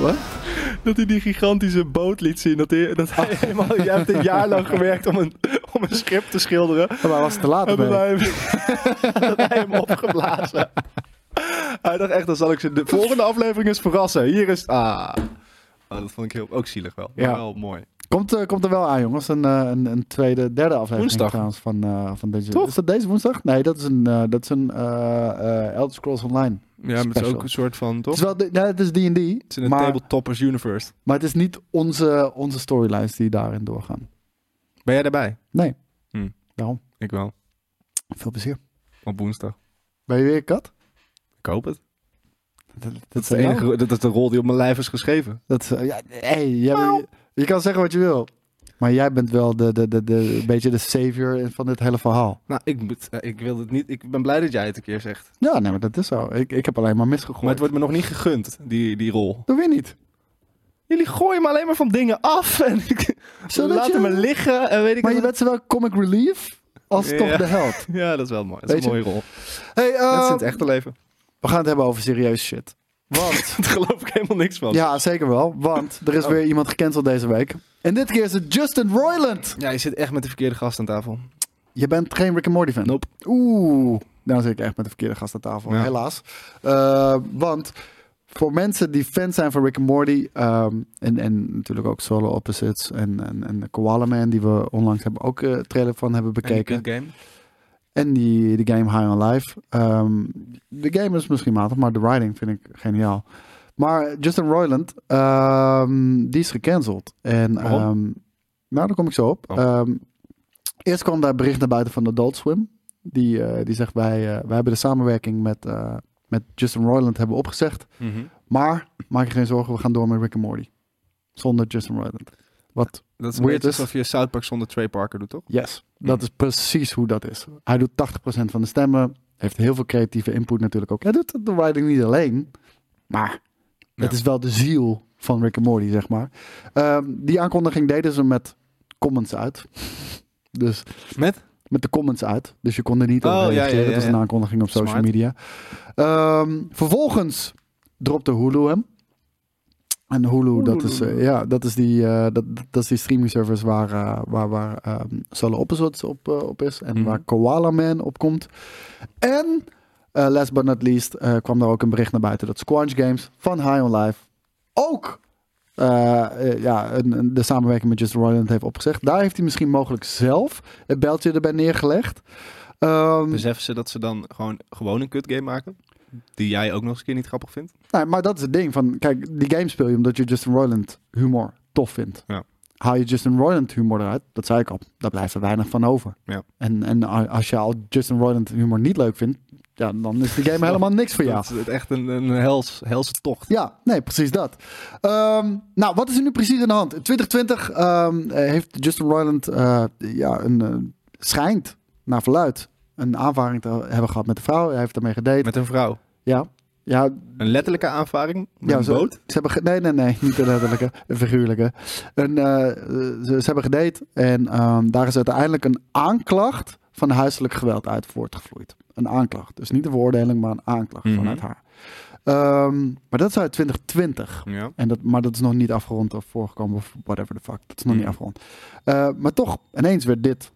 Wat?
dat hij die gigantische boot liet zien. Dat hij, dat hij helemaal, jij hebt een jaar lang gewerkt om een, om een schip te schilderen.
Maar was het te laat?
Hebben
ben ik.
wij hem, hebben wij hem opgeblazen. Hij dacht echt, dan zal ik ze de volgende aflevering eens verrassen. Hier is... Ah. Oh, dat vond ik heel, ook zielig wel.
Ja.
Maar wel mooi.
Komt, eh, komt er wel aan, jongens. Een, eh, een, een tweede, derde aflevering
Woensdag.
trouwens van, eh, van deze.
Toch?
Is dat deze woensdag? Nee, dat is een, eh, dat is een eh, eh, Elder Scrolls Online.
Ja, maar het is
Special.
ook een soort van,
Het
toch?
is wel, de- nee, het is D&D.
Het is in het
maar,
tabletoppers universe.
maar het is niet onze, onze storylines die daarin doorgaan.
Ben jij daarbij?
Nee.
Hm.
Daarom.
Ik wel.
Veel plezier.
Op woensdag.
Ben je weer een kat?
Ik hoop het.
Dat,
Dat is de, enige, dat is de rol die op mijn lijf is geschreven.
Dat, is- ja, hey, jij bent- je kan zeggen wat je wil. Maar jij bent wel de, de, de, de, een beetje de savior van dit hele verhaal.
Nou, ik, moet- eh, ik, wil het niet, ik ben blij dat jij het een keer zegt.
Ja, nee, maar dat is zo. Ik, ik heb alleen maar misgegooid.
Maar het wordt me nog niet gegund, die, die rol.
Doe weer niet.
Jullie gooien me alleen maar van dingen af. En ik,
Zodat
laten
je-
me liggen. En weet ik
Maar je
wat.
bent zowel comic relief als
Ja.
toch de held.
Ja, dat is wel mooi. Dat
Weet
is een
je?
mooie rol.
Hey, eh,
Dat is in het echte leven.
we gaan het hebben over serieus shit. Want,
Daar geloof ik helemaal niks van.
ja, zeker wel. Want er is
Oh.
weer iemand gecanceld deze week. En dit keer is het Justin Roiland.
Ja, je zit echt met de verkeerde gast aan tafel.
Je bent geen Rick and Morty fan.
Nope.
Oeh, nou zit ik echt met de verkeerde gast aan tafel.
Ja.
Helaas. Eh, want voor mensen die fan zijn van Rick and Morty... ehm, en, en natuurlijk ook Solo Opposites en, en, en Koala Man... die we onlangs hebben ook eh trailer van hebben bekeken.
game.
En die, de game High on Life. Ehm, de game is misschien matig, maar de writing vind ik geniaal. Maar Justin Roiland, ehm, die is gecanceld. En,
Waarom?
ehm, nou, daar kom ik zo op.
Oh.
Ehm, eerst kwam daar bericht naar buiten van Adult Swim. Die, eh, die zegt, wij, eh, wij hebben de samenwerking met, eh, met Justin Roiland hebben opgezegd.
Mhm.
Maar, maak je geen zorgen, we gaan door met Rick and Morty. Zonder Justin Roiland. Wat
Dat is een
Weird
beetje
is-
alsof je South Park zonder Trey Parker doet, toch?
Yes,
Mm.
dat is precies hoe dat is. Hij doet 80% van de stemmen, heeft heel veel creatieve input natuurlijk ook. Hij doet de writing niet alleen, maar
Ja.
het is wel de ziel van Rick and Morty, zeg maar. Ehm, die aankondiging deden ze met comments uit. Dus
Met?
met de comments uit. Dus je kon er niet
Oh,
op
ja,
reageren.
ja, ja,
dat was
ja.
een aankondiging op social
Smart.
media. Ehm, vervolgens dropte Hulu hem. En Hulu, dat is, eh, ja, dat is die, eh, dat, dat is die streaming service waar, eh, waar, waar ehm, Solo Episodes op, eh, op is. En
Mhm.
waar Koala Man op komt. En eh, last but not least eh, kwam daar ook een bericht naar buiten dat Squanch Games van High on Life ook eh, eh, ja, een, een- de samenwerking met Justin Roiland heeft opgezegd. Daar heeft hij misschien mogelijk zelf het beltje erbij neergelegd. Ehm,
Beseffen Dus ze dat ze dan gewoon, gewoon een kut game maken? Die jij ook nog eens een keer niet grappig vindt?
nou, maar dat is het ding van, kijk, die game speel je omdat je Justin Roiland humor tof vindt.
Ja.
Haal je Justin Roiland humor eruit, dat zei ik al, daar blijft er weinig van over.
Ja.
En, en a- als je al Justin Roiland humor niet leuk vindt, ja, dan is die game helemaal niks voor jou.
Dat is echt een, een hels, helse tocht.
Ja, nee, precies dat. Ehm, nou, wat is er nu precies aan de hand? In 2020 ehm, eh, heeft Justin Roiland, eh, ja, een, eh, schijnt naar verluid, een aanvaring te hebben gehad met de vrouw. Hij heeft daarmee gedate.
Met een vrouw.
Ja, ja,
Een letterlijke aanvaring? Met
ja
een
ze,
boot?
ze hebben ge- nee, nee, nee, niet de letterlijke, een figuurlijke. Een, eh, eh, ze, ze hebben gedate en ehm, daar is uiteindelijk een aanklacht van huiselijk geweld uit voortgevloeid. Een aanklacht, dus niet een veroordeling, maar een aanklacht
Mhm.
vanuit haar. Ehm, maar dat is uit 2020.
Ja.
En dat, maar dat is nog niet afgerond of voorgekomen of whatever the fuck. Dat is nog
Mm.
niet afgerond. Eh, maar toch, ineens werd dit,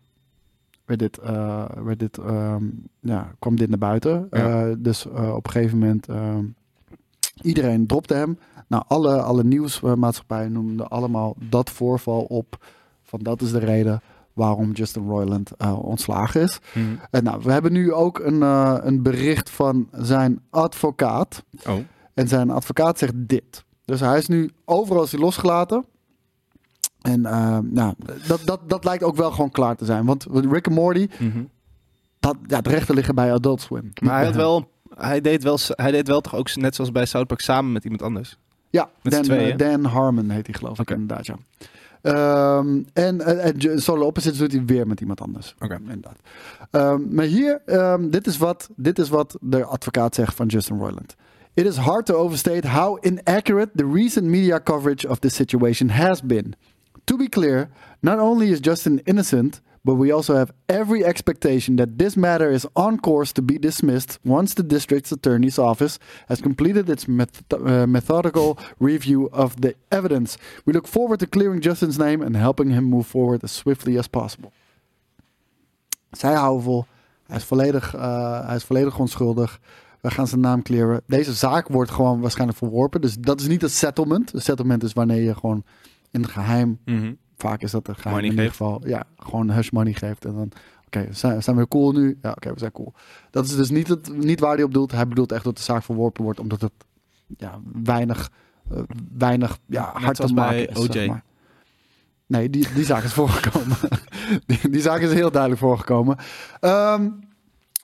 werd dit, eh, werd dit ehm, ja, kwam dit naar buiten.
Ja.
Eh, dus eh, op een gegeven moment, ehm, iedereen dropte hem. Nou, alle, alle nieuwsmaatschappijen noemden allemaal dat voorval op. Van dat is de reden waarom Justin Roiland eh, ontslagen is.
Mm.
En nou, we hebben nu ook een, eh, een bericht van zijn advocaat.
Oh.
En zijn advocaat zegt dit. Dus hij is nu overal is hij losgelaten. En eh, nou, dat, dat, dat lijkt ook wel gewoon klaar te zijn. Want Rick en Morty, dat, ja, het rechten liggen bij Adult Swim.
Mhm. Maar hij, had wel, hij, deed wel, hij deed wel toch ook net zoals bij South Park samen met iemand anders?
Ja,
Met
Dan,
z'n tweeën,
eh, Dan Harmon heet hij geloof ik
Oké.
inderdaad, ja. Ehm, en, eh, en J- Solo Opposites doet hij weer met iemand anders.
Oké.
Inderdaad. Ehm, maar hier, ehm, dit, is wat, dit is wat de advocaat zegt van Justin Roiland. It is hard to overstate how inaccurate the recent media coverage of this situation has been. To be clear, not only is Justin innocent, but we also have every expectation that this matter is on course to be dismissed once the district's attorney's office has completed its meth- uh, methodical review of the evidence. We look forward to clearing Justin's name and helping him move forward as swiftly as possible. Zij houden vol. Hij is volledig, eh, hij is volledig onschuldig. We gaan zijn naam clearen. Deze zaak wordt gewoon waarschijnlijk verworpen. Dus dat is niet het settlement. Het settlement is wanneer je gewoon in het geheim
Mhm.
vaak is dat een geheim
Money
in ieder
geeft.
geval. Ja, gewoon hush money geeft. En dan, oké, zijn, zijn we cool nu? Ja, oké, we zijn cool. Dat is dus niet, het, niet waar hij op doelt. Hij bedoelt echt dat de zaak verworpen wordt, omdat het ja, weinig, eh, weinig ja,
Net
hard te
zoals
maken
bij
is.
OJ.
zeg maar. Nee, die, die zaak is voorgekomen. die, die zaak is heel duidelijk voorgekomen. Ehm,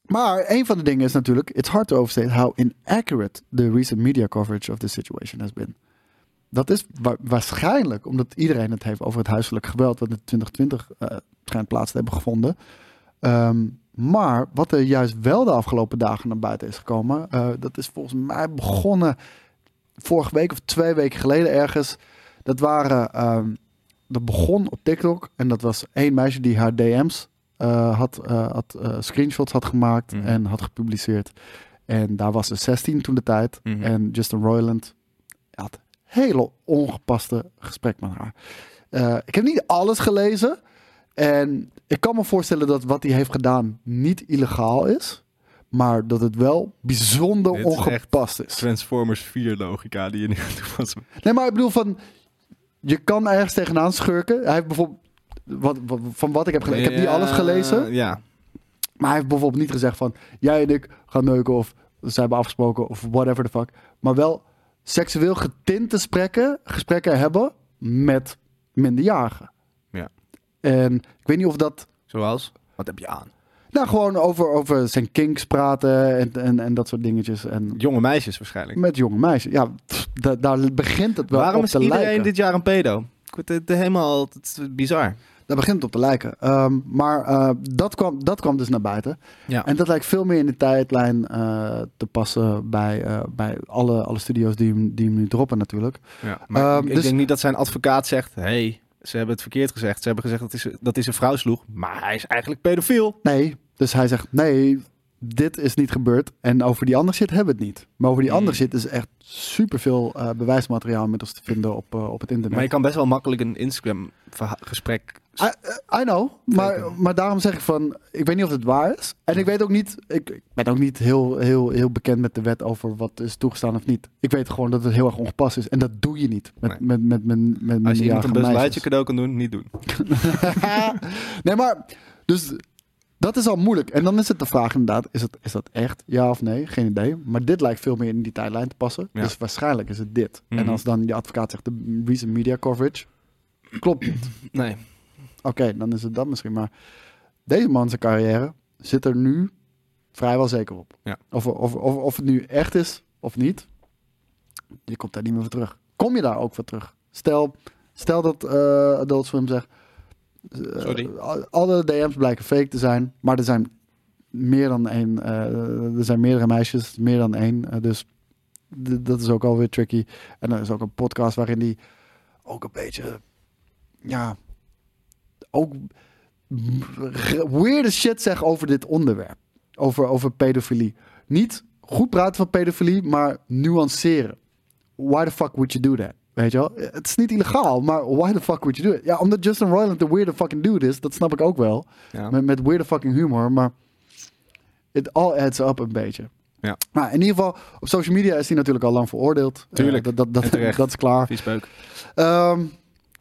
maar een van de dingen is natuurlijk, it's hard to overstate how inaccurate the recent media coverage of this situation has been. Dat is wa- waarschijnlijk omdat iedereen het heeft over het huiselijk geweld wat in 2020 eh schijnt plaats te hebben gevonden. Ehm, maar wat er juist wel de afgelopen dagen naar buiten is gekomen, eh, dat is volgens mij begonnen vorige week of twee weken geleden ergens. Dat waren, ehm, dat begon op TikTok en dat was één meisje die haar DM's eh, had, eh, had eh, screenshots had gemaakt
Mhm.
en had gepubliceerd. En daar was ze 16 toen de tijd.
Mhm.
En Justin Roiland had hele ongepaste gesprek met haar. Eh, ik heb niet alles gelezen. En ik kan me voorstellen dat wat hij heeft gedaan niet illegaal is. Maar dat het wel bijzonder
Dit is echt
ongepast is.
Transformers 4 logica die je nu aan het toepassen bent.
Nee, maar ik bedoel van... Je kan ergens tegenaan schurken. Hij heeft bijvoorbeeld... Wat, wat- van wat ik heb gelezen. Ik heb niet alles gelezen.
Ja.
Maar hij heeft bijvoorbeeld niet gezegd van... Jij en ik gaan neuken of ze hebben afgesproken of whatever the fuck. Maar wel seksueel getinte gesprekken, gesprekken hebben met minderjarigen.
Ja.
En ik weet niet of dat...
Zoals? Wat heb je aan?
Nou, gewoon over, over zijn kinks praten en, en, en dat soort dingetjes. En
Jonge meisjes waarschijnlijk.
met jonge meisjes. Ja, pff, da- daar begint het wel
Waarom
op
is
te
iedereen
lijken.
dit jaar een pedo? Ik word het helemaal het is bizar.
Daar begint het op te lijken. Ehm, maar eh, dat, kwam, dat kwam dus naar buiten.
Ja.
En dat lijkt veel meer in de tijdlijn eh, te passen bij, eh, bij alle, alle studio's die hem, die hem nu droppen natuurlijk.
Ja.
Maar
Ehm,
ik, ik
dus-
denk niet dat zijn advocaat zegt: hey, ze hebben het verkeerd gezegd. Ze hebben gezegd dat hij, ze- dat hij zijn vrouw sloeg. Maar hij is eigenlijk pedofiel.
Nee, dus hij zegt nee, dit is niet gebeurd. En over die andere shit hebben we het niet. Maar over die andere shit is echt superveel eh bewijsmateriaal inmiddels te vinden op, eh, op het internet.
Maar je kan best wel makkelijk een Instagram-gesprek.
I, I know, maar, maar daarom zeg ik van, ik weet niet of het waar is. En ik weet ook niet, ik, ik ben ook niet heel, heel, heel bekend met de wet over wat is toegestaan of niet. Ik weet gewoon dat het heel erg ongepast is. En dat doe je niet met,
Nee.
met, met, met, met
Als je iemand
minderjarige
een best
meisjes.
luidje cadeau kan doen, niet doen.
nee, maar dus dat is al moeilijk. En dan is het de vraag inderdaad, is, het, is dat echt? Ja of nee? Geen idee. Maar dit lijkt veel meer in die tijdlijn te passen.
Ja.
Dus waarschijnlijk is het dit.
Mhm.
En als dan je advocaat zegt, de recent media coverage, klopt niet.
Nee.
Oké, dan is het dat misschien. Maar deze man zijn carrière zit er nu vrijwel zeker op.
Ja.
Of, of, of, of het nu echt is of niet, je komt daar niet meer voor terug. Kom je daar ook voor terug? Stel, stel dat eh Adult Swim zegt... eh,
Sorry.
al- Alle DM's blijken fake te zijn, maar er zijn meer dan één. eh, er zijn meerdere meisjes, meer dan één. eh, dus d- dat is ook alweer tricky. En er is ook een podcast waarin die ook een beetje, ja, ook weirde shit zegt over dit onderwerp. Over, over pedofilie. Niet goed praten van pedofilie, maar nuanceren. Why the fuck would you do that? Weet je wel? Het is niet illegaal, maar why the fuck would you do it? Ja, omdat Justin Roiland de weirde fucking dude is, dat snap ik ook wel.
Ja.
Met, met weirde fucking humor, maar it all adds up een beetje.
Ja.
Maar in ieder geval, op social media is hij natuurlijk al lang veroordeeld.
Tuurlijk.
Eh, dat, dat,
En
dat,
terecht.
dat is klaar.
Viespeuk.
Ehm,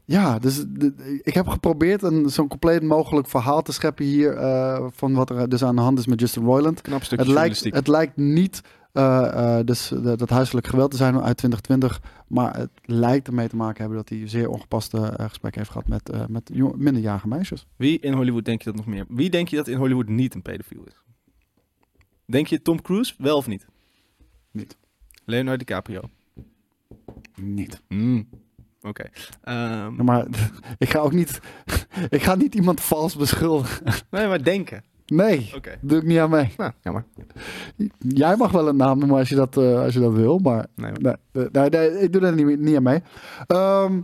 ja, dus de- ik heb geprobeerd een zo'n compleet mogelijk verhaal te scheppen hier eh, van wat er dus aan de hand is met Justin Roiland.
Knap stukje
Het lijkt,
journalistiek.
het lijkt niet eh, eh, dus de- dat huiselijk geweld te zijn uit 2020, maar het lijkt ermee te maken hebben dat hij zeer ongepaste eh, gesprekken heeft gehad met, eh, met jong- minderjarige meisjes.
Wie in Hollywood denk je dat nog meer? Wie denk je dat in Hollywood niet een pedofiel is? Denk je Tom Cruise wel of niet?
Niet.
Leonardo DiCaprio.
Niet.
Mm. Oké. Ehm,
Maar ik ga ook niet, ik ga niet iemand vals beschuldigen.
nee, maar denken.
Nee,
Oké.
doe ik niet aan mee.
Nou, jammer.
Jij mag wel een naam noemen als je dat, eh, als je dat wil, maar
Nee, hoor.
Nee, nee, nee, nee, ik doe daar niet, niet aan mee. Ehm,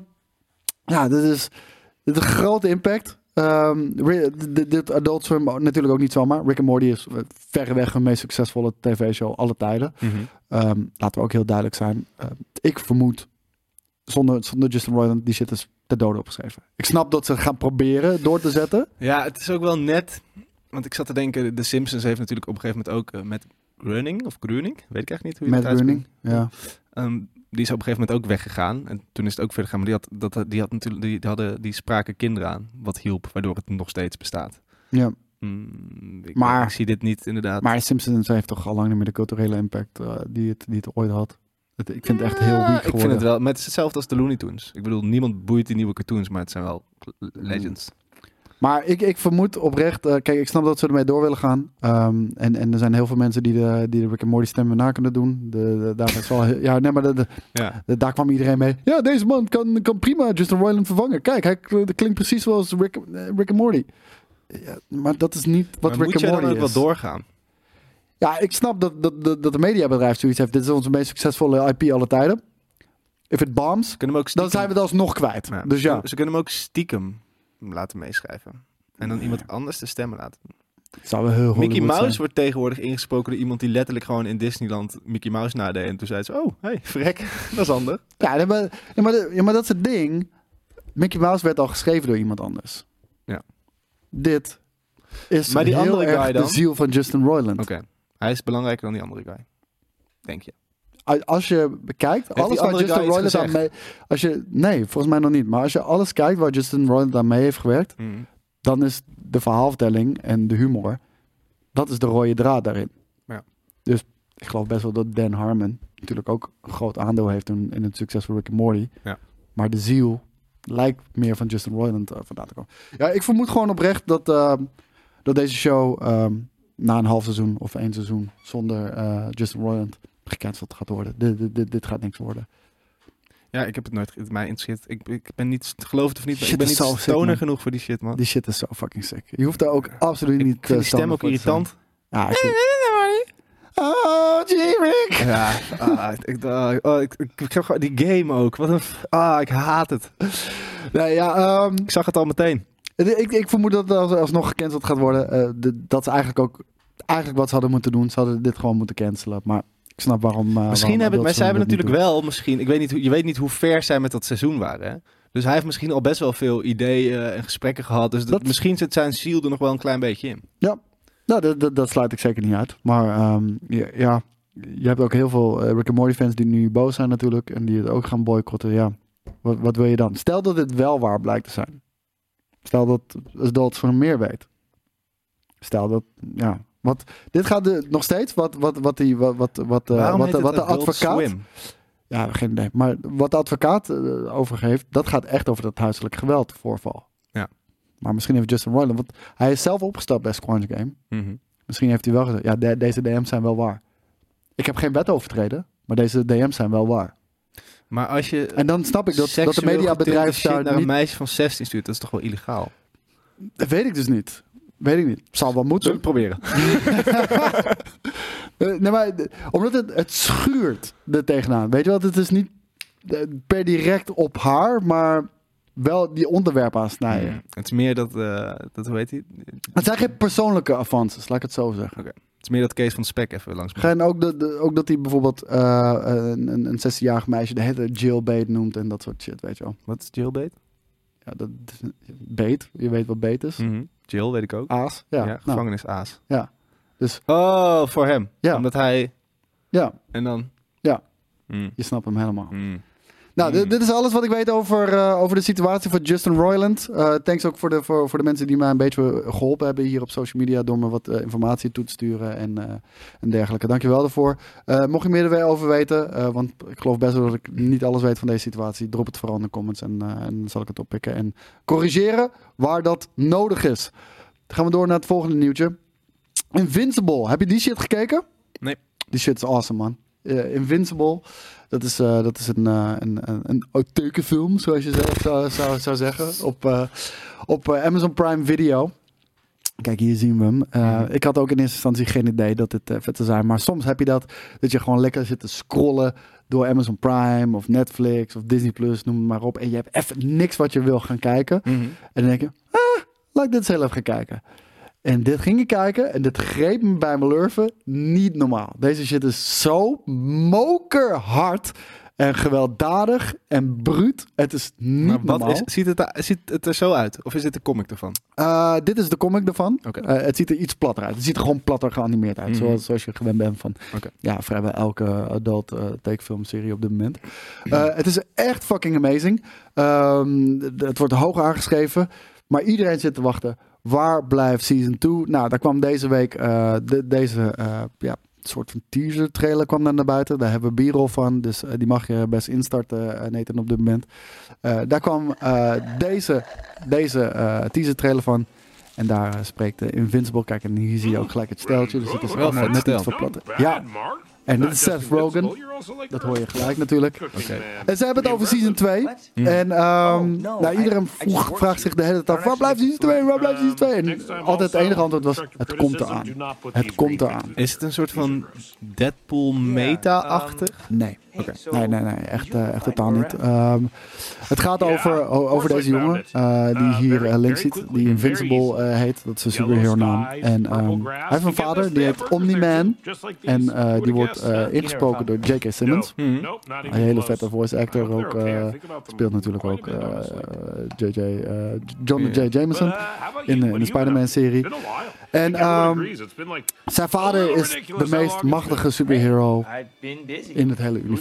ja, dit is, dit is een grote impact. Ehm, Ri- dit- dit Adult Swim natuurlijk ook niet zomaar. Rick and Morty is eh, verreweg hun meest succesvolle tv-show alle tijden.
Mhm.
Ehm, laten we ook heel duidelijk zijn. Eh, ik vermoed, zonder, zonder Justin Roiland, die shit is te dode opgeschreven. Ik snap dat ze het gaan proberen door te zetten.
Ja, het is ook wel net. Want ik zat te denken, The Simpsons heeft natuurlijk op een gegeven moment ook eh, met Groening of Groening, weet ik echt niet hoe je
Met
het uitspreekt.
Groening. Ja.
Ehm, die is op een gegeven moment ook weggegaan. En toen is het ook verder gegaan. Maar die, had, dat, die, had natuurlijk, die, hadden, die spraken kinderen aan. Wat hielp, waardoor het nog steeds bestaat.
ja.
Mm, ik,
Maar-
ik zie dit niet inderdaad.
Maar Simpsons heeft toch al lang niet meer de culturele impact eh, die, het, die het ooit had. Het- ik vind het echt heel weak
Ja,
geworden.
Ik vind het wel. Maar het is hetzelfde als de Looney Tunes. Ik bedoel, niemand boeit die nieuwe cartoons, maar het zijn wel l- legends.
Maar ik, ik vermoed oprecht, eh, kijk, ik snap dat ze ermee door willen gaan. Ehm, en, en er zijn heel veel mensen die de, die de Rick and Morty stemmen na kunnen doen. De, de- daar, is wel, ja, nee, maar de- de-
Ja.
de- daar kwam iedereen mee. Ja, deze man kan, kan prima Justin Roiland vervangen. Kijk, hij kl- klinkt precies zoals Rick, eh, Rick and Morty. Ja, maar dat is niet wat
maar
Rick
moet
and
je dan
Morty
ook
is.
wel doorgaan?
Ja, ik snap dat, dat, dat, dat de mediabedrijf zoiets heeft. Dit is onze meest succesvolle IP alle tijden. If it bombs,
Ze kunnen hem ook
dan
stiekem...
zijn we het alsnog kwijt.
Ja,
Dus
ze-
ja,
Ze kunnen hem ook stiekem laten meeschrijven. En dan iemand anders de stemmen laten. doen.
het zou wel heel
Mickey
Hollywood
Mouse
zijn.
wordt tegenwoordig ingesproken door iemand die letterlijk gewoon in Disneyland Mickey Mouse nadeed. En toen zei ze, oh, hey, vrek, dat is handig.
Ja, nee, maar, nee, maar, de- ja, maar dat is het ding. Mickey Mouse werd al geschreven door iemand anders.
Ja.
Dit is
Maar die
heel
andere
erg
guy dan?
de ziel van Justin Roiland.
Oké, hij is belangrijker dan die andere guy. Denk je.
A- Als je bekijkt, alles
die
waar
andere
Justin
guy iets
Roiland aan mee... Als je, nee, volgens mij nog niet. Maar als je alles kijkt waar Justin Roiland aan mee heeft gewerkt...
Mm.
dan is de verhaalvertelling en de humor... dat is de rode draad daarin.
Ja.
Dus ik geloof best wel dat Dan Harmon... natuurlijk ook een groot aandeel heeft in, in het succes van Rick and Morty.
Ja.
Maar de ziel lijkt meer van Justin Roiland eh, vandaan te komen. Ja, ik vermoed gewoon oprecht dat, ehm, dat deze show... ehm, na een half seizoen of één seizoen zonder eh, Justin Roiland gecanceld gaat worden. Dit, dit, dit, dit gaat niks worden.
Ja, ik heb het nooit, het mij interesseert. Ik, ik ben niet, geloof het of niet, maar
Shit,
ik ben
dat
niet
is zo sick,
stoner
man.
genoeg voor die shit, man.
Die shit is zo fucking sick. Je hoeft daar ook absoluut
ik
niet
vind die
eh,
stem
stander
ook
voor te zijn.
irritant.
Ja, ik vind- Oh, gee, Rick.
Ja, ah, ik, ah, oh, ik, ik, ik heb gewoon die game ook. Wat een, f- ah, ik haat het.
Nee, ja, ehm,
Ik zag het al meteen.
ik, ik, ik vermoed dat het als, alsnog gecanceld gaat worden. Eh, de- dat is eigenlijk ook eigenlijk wat ze hadden moeten doen. Ze hadden dit gewoon moeten cancelen. Maar ik snap waarom. eh, waarom
Misschien hebben,
Adult
maar zij
Swim
hebben
dat niet
natuurlijk wel, misschien, ik weet niet, hoe- je weet niet hoe ver zij met dat seizoen waren. Hè? Dus hij heeft misschien al best wel veel ideeën eh, en gesprekken gehad. Dus dat,
Dat-
misschien zit zijn ziel er nog wel een klein beetje in.
doet. Nou, dat, dat, dat sluit ik zeker niet uit. Maar ehm, ja, ja, je hebt ook heel veel eh, Rick and Morty fans die nu boos zijn natuurlijk. En die het ook gaan boycotten. Ja, wat, wat wil je dan? Stel dat dit wel waar blijkt te zijn. Stel dat Adult Swim meer weet. Stel dat, ja. Wat, dit gaat de, nog steeds, wat, wat, wat, die, wat, wat, wat, eh,
Waarom
wat,
heet
de- wat
het
de
Adult
advocaat...
Swim?
Ja, geen idee. Maar wat de advocaat eh, overgeeft, dat gaat echt over dat huiselijk geweldvoorval.
Ja.
Maar misschien heeft Justin Roiland, want hij is zelf opgestapt bij Squanch Game.
Mhm.
Misschien heeft hij wel gezegd, ja, de- deze DM's zijn wel waar. Ik heb geen wet overtreden, maar deze DM's zijn wel waar.
Maar als je
En dan snap ik dat, dat de
seksueel getinte
mediabedrijf
shit
daar
naar een
niet...
meisje van 16 stuurt, dat is toch wel illegaal?
Dat weet ik dus niet. Weet ik niet. Zal wel moeten.
proberen?
Eh, nee, maar de- omdat het, het schuurt er tegenaan. Weet je wat? Het is niet eh, per direct op haar, maar wel die onderwerpen aansnijden.
Mhm. Het is meer dat, eh, dat hoe heet die?
Het zijn geen persoonlijke avances, laat ik het zo zeggen.
Het is meer dat Kees van Spek even langs. moet.
En ook, de, de- ook dat hij bijvoorbeeld eh, een, een, een 16-jarig meisje de hele tijd jailbait noemt en dat soort shit, weet je wel.
Wat is jailbait?
Ja, dat is een- bait, je weet wat bait is.
Mhm. Jail weet ik ook.
Aas, ja.
Hm. ja,
nou,
gevangenisaas.
ja. Dus
Oh, voor hem.
Ja.
Omdat hij...
ja,
En dan...
Ja.
Mm.
je snapt hem helemaal.
Mm.
Nou, dit,
Mm.
dit is alles wat ik weet over, eh, over de situatie van Justin Roiland. Eh, thanks ook voor de, voor, voor de mensen die mij een beetje geholpen hebben hier op social media door me wat eh, informatie toe te sturen en, eh, en dergelijke. Dankjewel daarvoor. Eh, mocht je meer er weer over weten, eh, want ik geloof best wel dat ik niet alles weet van deze situatie, drop het vooral in de comments en, eh, en dan zal ik het oppikken en corrigeren waar dat nodig is. Dan gaan we door naar het volgende nieuwtje. Invincible, heb je die shit gekeken?
Nee.
Die shit is awesome, man. Eh, Invincible, dat is, eh, dat is een, eh een, een, een auteukenfilm, zoals je zelf zou, zou, zou zeggen, op, eh, op eh, Amazon Prime Video. Kijk, hier zien we hem. Eh, Ik had ook in eerste instantie geen idee dat dit eh, vet zou zijn. Maar soms heb je dat, dat je gewoon lekker zit te scrollen door Amazon Prime of
Mhm.
Netflix of Disney Plus, noem het maar op. En je hebt even niks wat je wil gaan kijken. En dan denk je, ah, laat ik dit eens heel even gaan kijken. En dit ging ik kijken en dit greep me bij mijn lurven. Niet normaal. Deze shit is zo mokerhard en gewelddadig en bruut. Het is niet
Maar wat
normaal.
is, ziet, het, daar- ziet het er zo uit? Of is dit de comic ervan?
Eh, dit is de comic ervan.
Oké. Mhm.
Eh, het ziet er iets platter uit. Het ziet er gewoon platter geanimeerd uit. Zoals, zoals je gewend bent van
Oké.
ja, vrijwel elke adult eh takefilmserie op dit moment. Eh, het is echt fucking amazing. Ehm, d- het wordt hoog aangeschreven. Maar iedereen zit te wachten. Waar blijft season 2? Nou, daar kwam deze week eh, de- deze eh, ja, soort van teaser trailer kwam daar naar buiten. Daar hebben we b-roll van. Dus eh, die mag je best instarten, eh, Nathan, op dit moment. Eh, daar kwam eh, deze, deze eh, teaser trailer van. En daar eh, spreekt eh, Invincible. Kijk, en hier zie je ook gelijk het steltje. Dus het is
Wel
allemaal
vet
net iets
stel.
verplatten. Ja, en dit is Seth Rogen. Dat hoor je gelijk natuurlijk. En ze hebben het over season 2. En ehm,
Oh, no,
nou,
I-
iedereen
I
vroeg-
just
vraagt zich de hele tijd af, waar blijft season 2? Waar blijft season 2? En altijd het enige antwoord was, het komt eraan. Het komt eraan.
Is het een soort van Deadpool meta-achtig?
Nee. Nee, nee, nee. Echt, eh, echt totaal niet. Ehm, het gaat over, o- over deze jongen eh, die hier eh, links ziet, die Invincible eh, heet. Dat is zijn superhero naam. En ehm, hij heeft een vader, die heet Omni-Man. En eh, die wordt eh, ingesproken door J.K. Simmons. Een hele vette voice actor ook. eh, speelt natuurlijk ook eh, JJ, eh, John J. Jameson in, eh, in de Spider-Man-serie. En ehm, zijn vader is de meest machtige superhero in het hele universum.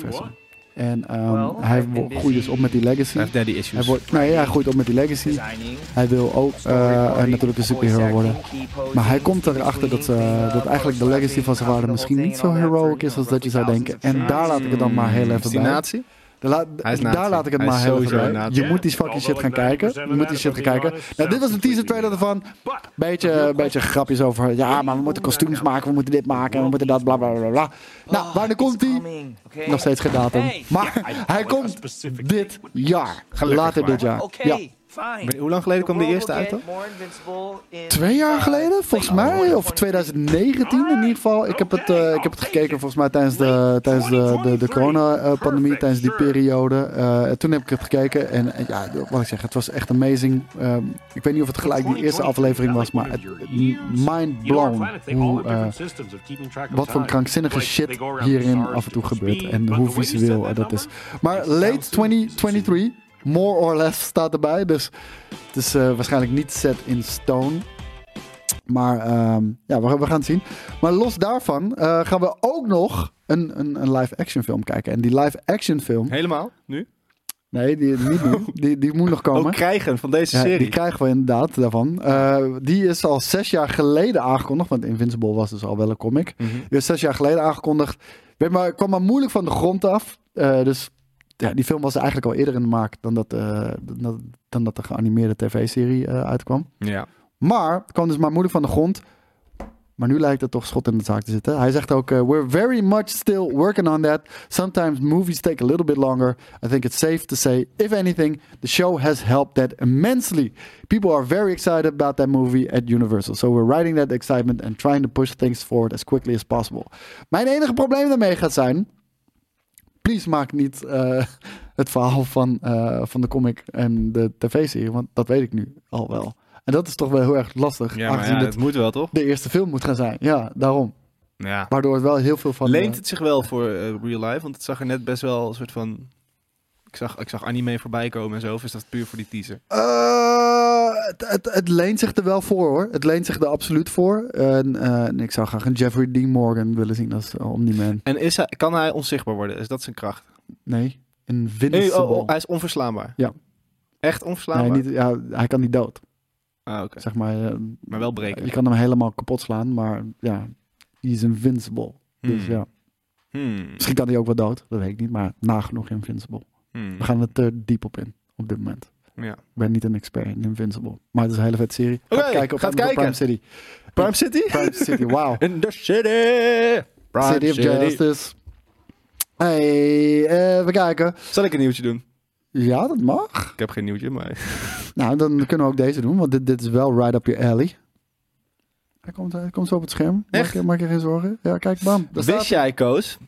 En ehm,
Well,
hij
I've been
wo- groeit dus
busy.
op met die legacy.
Hij heeft daddy
Hij,
issues.
wordt, nou ja, hij groeit op met die legacy. Hij wil ook eh, een natuurlijk een superhero worden. Maar hij komt erachter dat, eh, dat eigenlijk de legacy van zijn vader misschien niet zo heroic is als dat je zou denken. En daar laat ik het dan maar heel even bij.
Fascinatie?
Daar laat-
Hij is nazi.
daar laat ik het
Hij
maar
is
heel even
sowieso
bij.
een nazi.
Je moet die fucking shit gaan kijken. Je moet die shit gaan kijken. Nou, dit was de teaser trailer ervan. Beetje, beetje grapjes over. Ja, maar we moeten kostuums maken. We moeten dit maken. en We moeten dat. Bla bla bla bla. Nou, wanneer komt die? Nog steeds geen datum. Maar hij komt dit jaar.
Gelukkig
Later
maar.
dit jaar. Ja.
Maar Hoe lang geleden kwam de eerste uit dan?
eh, Twee jaar geleden, volgens mij, of 2019 in ieder geval. Ik heb het, eh, ik heb het gekeken volgens mij tijdens de, tijdens de, de, de corona-pandemie, tijdens die periode. Eh, en toen heb ik het gekeken en eh, ja, wat ik zeg, het was echt amazing. Ehm, ik weet niet of het gelijk die eerste aflevering was, maar het, mind blown hoe, eh, wat voor een krankzinnige shit hierin af en toe gebeurt en hoe visueel eh, dat is. Maar late 2023, more or less, staat erbij. Dus het is eh, waarschijnlijk niet set in stone. Maar ehm, ja, we, we gaan het zien. Maar los daarvan eh, gaan we ook nog een, een, een live-action film kijken. En die live-action film...
Helemaal? Nu?
Nee, die, niet nu. Die, die moet nog
Ook
komen.
krijgen van deze
Ja,
serie.
die krijgen we inderdaad daarvan. Eh, die is al zes jaar geleden aangekondigd. Want Invincible was dus al wel een comic. Die is zes jaar geleden aangekondigd. Weet maar, kwam maar moeilijk van de grond af. Eh, dus ja, die film was eigenlijk al eerder in de maak dan dat, eh, dan, dat- dan dat de geanimeerde tv-serie eh, uitkwam.
ja.
Maar het kwam dus maar moeilijk van de grond. Maar nu lijkt het toch schot in de zaak te zitten. Hij zegt ook: eh, We're very much still working on that. Sometimes movies take a little bit longer. I think it's safe to say, if anything, the show has helped that immensely. People are very excited about that movie at Universal. So we're riding that excitement and trying to push things forward as quickly as possible. Mijn enige probleem daarmee gaat zijn. Please maak niet eh, het verhaal van, eh, van de comic en de tv-serie, want dat weet ik nu al wel. En dat is toch wel heel erg lastig,
Ja, maar
aangezien
ja,
dit
het moet wel, toch?
de eerste film moet gaan zijn. Ja, daarom.
Ja.
Waardoor het wel heel veel van...
Leent
eh,
het zich wel voor eh, real life? Want het zag er net best wel een soort van... Ik zag, ik zag anime voorbij komen en zo. Of is dat puur voor die teaser?
eh, het, het, het leent zich er wel voor, hoor. Het leent zich er absoluut voor. En, eh, en ik zou graag een Jeffrey Dean Morgan willen zien als eh, Omni-Man.
En is hij, kan hij onzichtbaar worden? Is dat zijn kracht?
Nee, Invincible.
Nee, oh, oh, hij is onverslaanbaar.
Ja.
Echt
nee,
onverslaanbaar?
niet, ja, hij kan niet dood,
Ah, oké.
zeg maar. eh,
Maar wel breken.
Je kan hem helemaal kapot slaan, maar ja, hij is Invincible. Dus
Hmm.
ja,
Hmm.
misschien kan hij ook wel dood, dat weet ik niet, maar nagenoeg Invincible.
Hmm.
We gaan er te diep op in, op dit moment.
Ja.
Ik ben niet een expert in Invincible. Maar het is een hele vette serie.
Oké,
Gaat kijken op
gaat
Amazon
kijken.
Prime City.
Prime City?
Prime City, wauw.
In the city! Prime
City of Justice. Hey, eh, we kijken.
Zal ik een nieuwtje doen?
Ja, dat mag.
Ik heb geen nieuwtje, maar...
Nou, dan kunnen we ook deze doen, want dit, dit is wel right up your alley. Hij komt, hij komt zo op het scherm. Maak
Echt?
je, maak je geen zorgen. Ja, kijk, bam. Daar staat
Wist jij, Koos?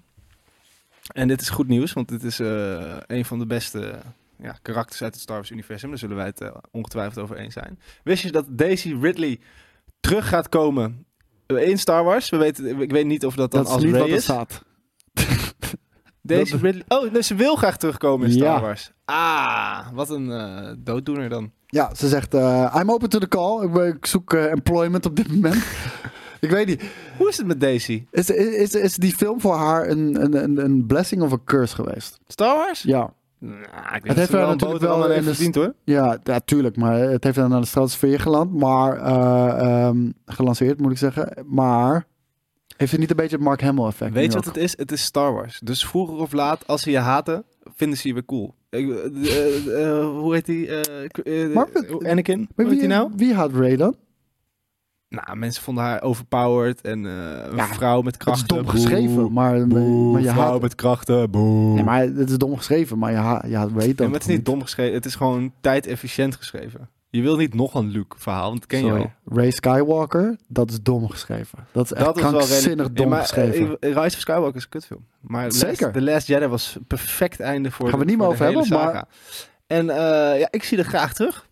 En dit is goed nieuws, want dit is eh, een van de beste
ja, karakters uit het Star Wars-universum. Daar zullen wij het eh, ongetwijfeld over eens zijn. Wist je dat Daisy Ridley terug gaat komen Eh, in Star Wars? We weten, ik weet niet of dat dan
Dat is
als
niet
Rey
wat er
is.
staat.
Daisy Ridley... Oh, nee, ze wil graag terugkomen in Star
Ja.
Wars. Ah, wat een eh, dooddoener dan.
Ja, ze zegt, eh, I'm open to the call. Ik, ben- ik zoek eh, employment op dit moment. ik weet niet.
Hoe is het met Daisy?
Is, is, is die film voor haar een, een, een, een blessing of een curse geweest?
Star Wars?
Ja.
Nou, ik denk
heeft
dat ze
haar
wel een
natuurlijk
boterham
wel
aan
in
heeft
de
verdiend hoor.
Ja, ja, tuurlijk. Maar het heeft dan aan de stratosfeer geland. Maar, eh, ehm, gelanceerd moet ik zeggen. Maar heeft het niet een beetje het Mark Hamill effect?
Weet
nu
je wat
ook?
het is? Het is Star Wars. Dus vroeger of laat, als ze je haten, vinden ze je weer cool. Ik, eh, eh, eh, hoe heet die? eh, k- eh,
Maar wat-
Anakin?
Maar
Hoe heet
wie,
die nou?
wie had Ray dan?
Nou, mensen vonden haar overpowered en eh, een
Ja,
vrouw met
Het is
krachten.
dom
Boe,
geschreven. Maar, eh,
boe,
maar je
vrouw
haat...
met krachten, boe.
Nee, maar het is dom geschreven. Maar je haat, je haat Ray dan.
Nee, maar het is niet
toch
dom geschreven. Het is gewoon tijdefficiënt geschreven. Je wil niet nog een Luke verhaal, want dat ken je
Sorry.
al.
Ray Skywalker, dat is dom geschreven. Dat is echt
Dat is wel
krankzinnig
redelijk-
dom
Ja, maar, eh,
geschreven.
Rise of Skywalker is een kutfilm. Maar Last-
Zeker.
The Last Jedi was een perfect einde voor
Gaan we
de-
niet meer
voor de
over
hele
hebben,
saga. En eh, ja, ik zie er graag terug.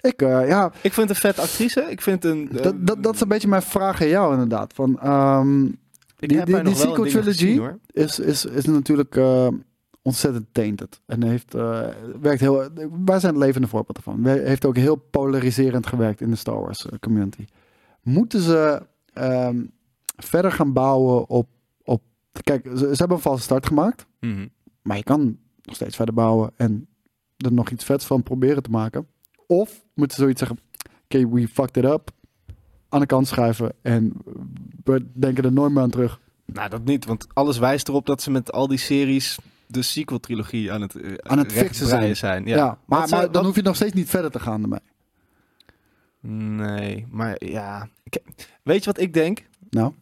ik, eh, ja,
Ik vind het een vet actrice. Ik vind een... eh,
dat, dat, dat is een beetje mijn vraag aan jou inderdaad. Van, ehm,
ik
die-
heb
die-
haar nog
die
wel in
sequel
dingen
trilogy?
gezien, hoor.
is, is, is natuurlijk eh, ontzettend tainted. En heeft, eh, werkt heel, wij zijn het levende voorbeeld ervan. We- Heeft ook heel polariserend gewerkt in de Star Wars eh, community. Moeten ze ehm, verder gaan bouwen op... op kijk, ze, ze hebben een valse start gemaakt.
Mhm.
Maar je kan nog steeds verder bouwen en er nog iets vets van proberen te maken. Of moeten ze zoiets zeggen, oké, we fucked it up. Aan de kant schuiven en we denken er nooit meer aan terug.
Nou, dat niet, want alles wijst erop dat ze met al die series de sequel-trilogie aan het, eh,
Aan het
recht
fixen zijn.
breien zijn.
Ja,
Ja.
maar,
Dat zou-
maar dan
dat-
hoef je nog steeds niet verder te gaan ermee.
Nee, maar ja. Ik- Weet je wat ik denk?
Nou,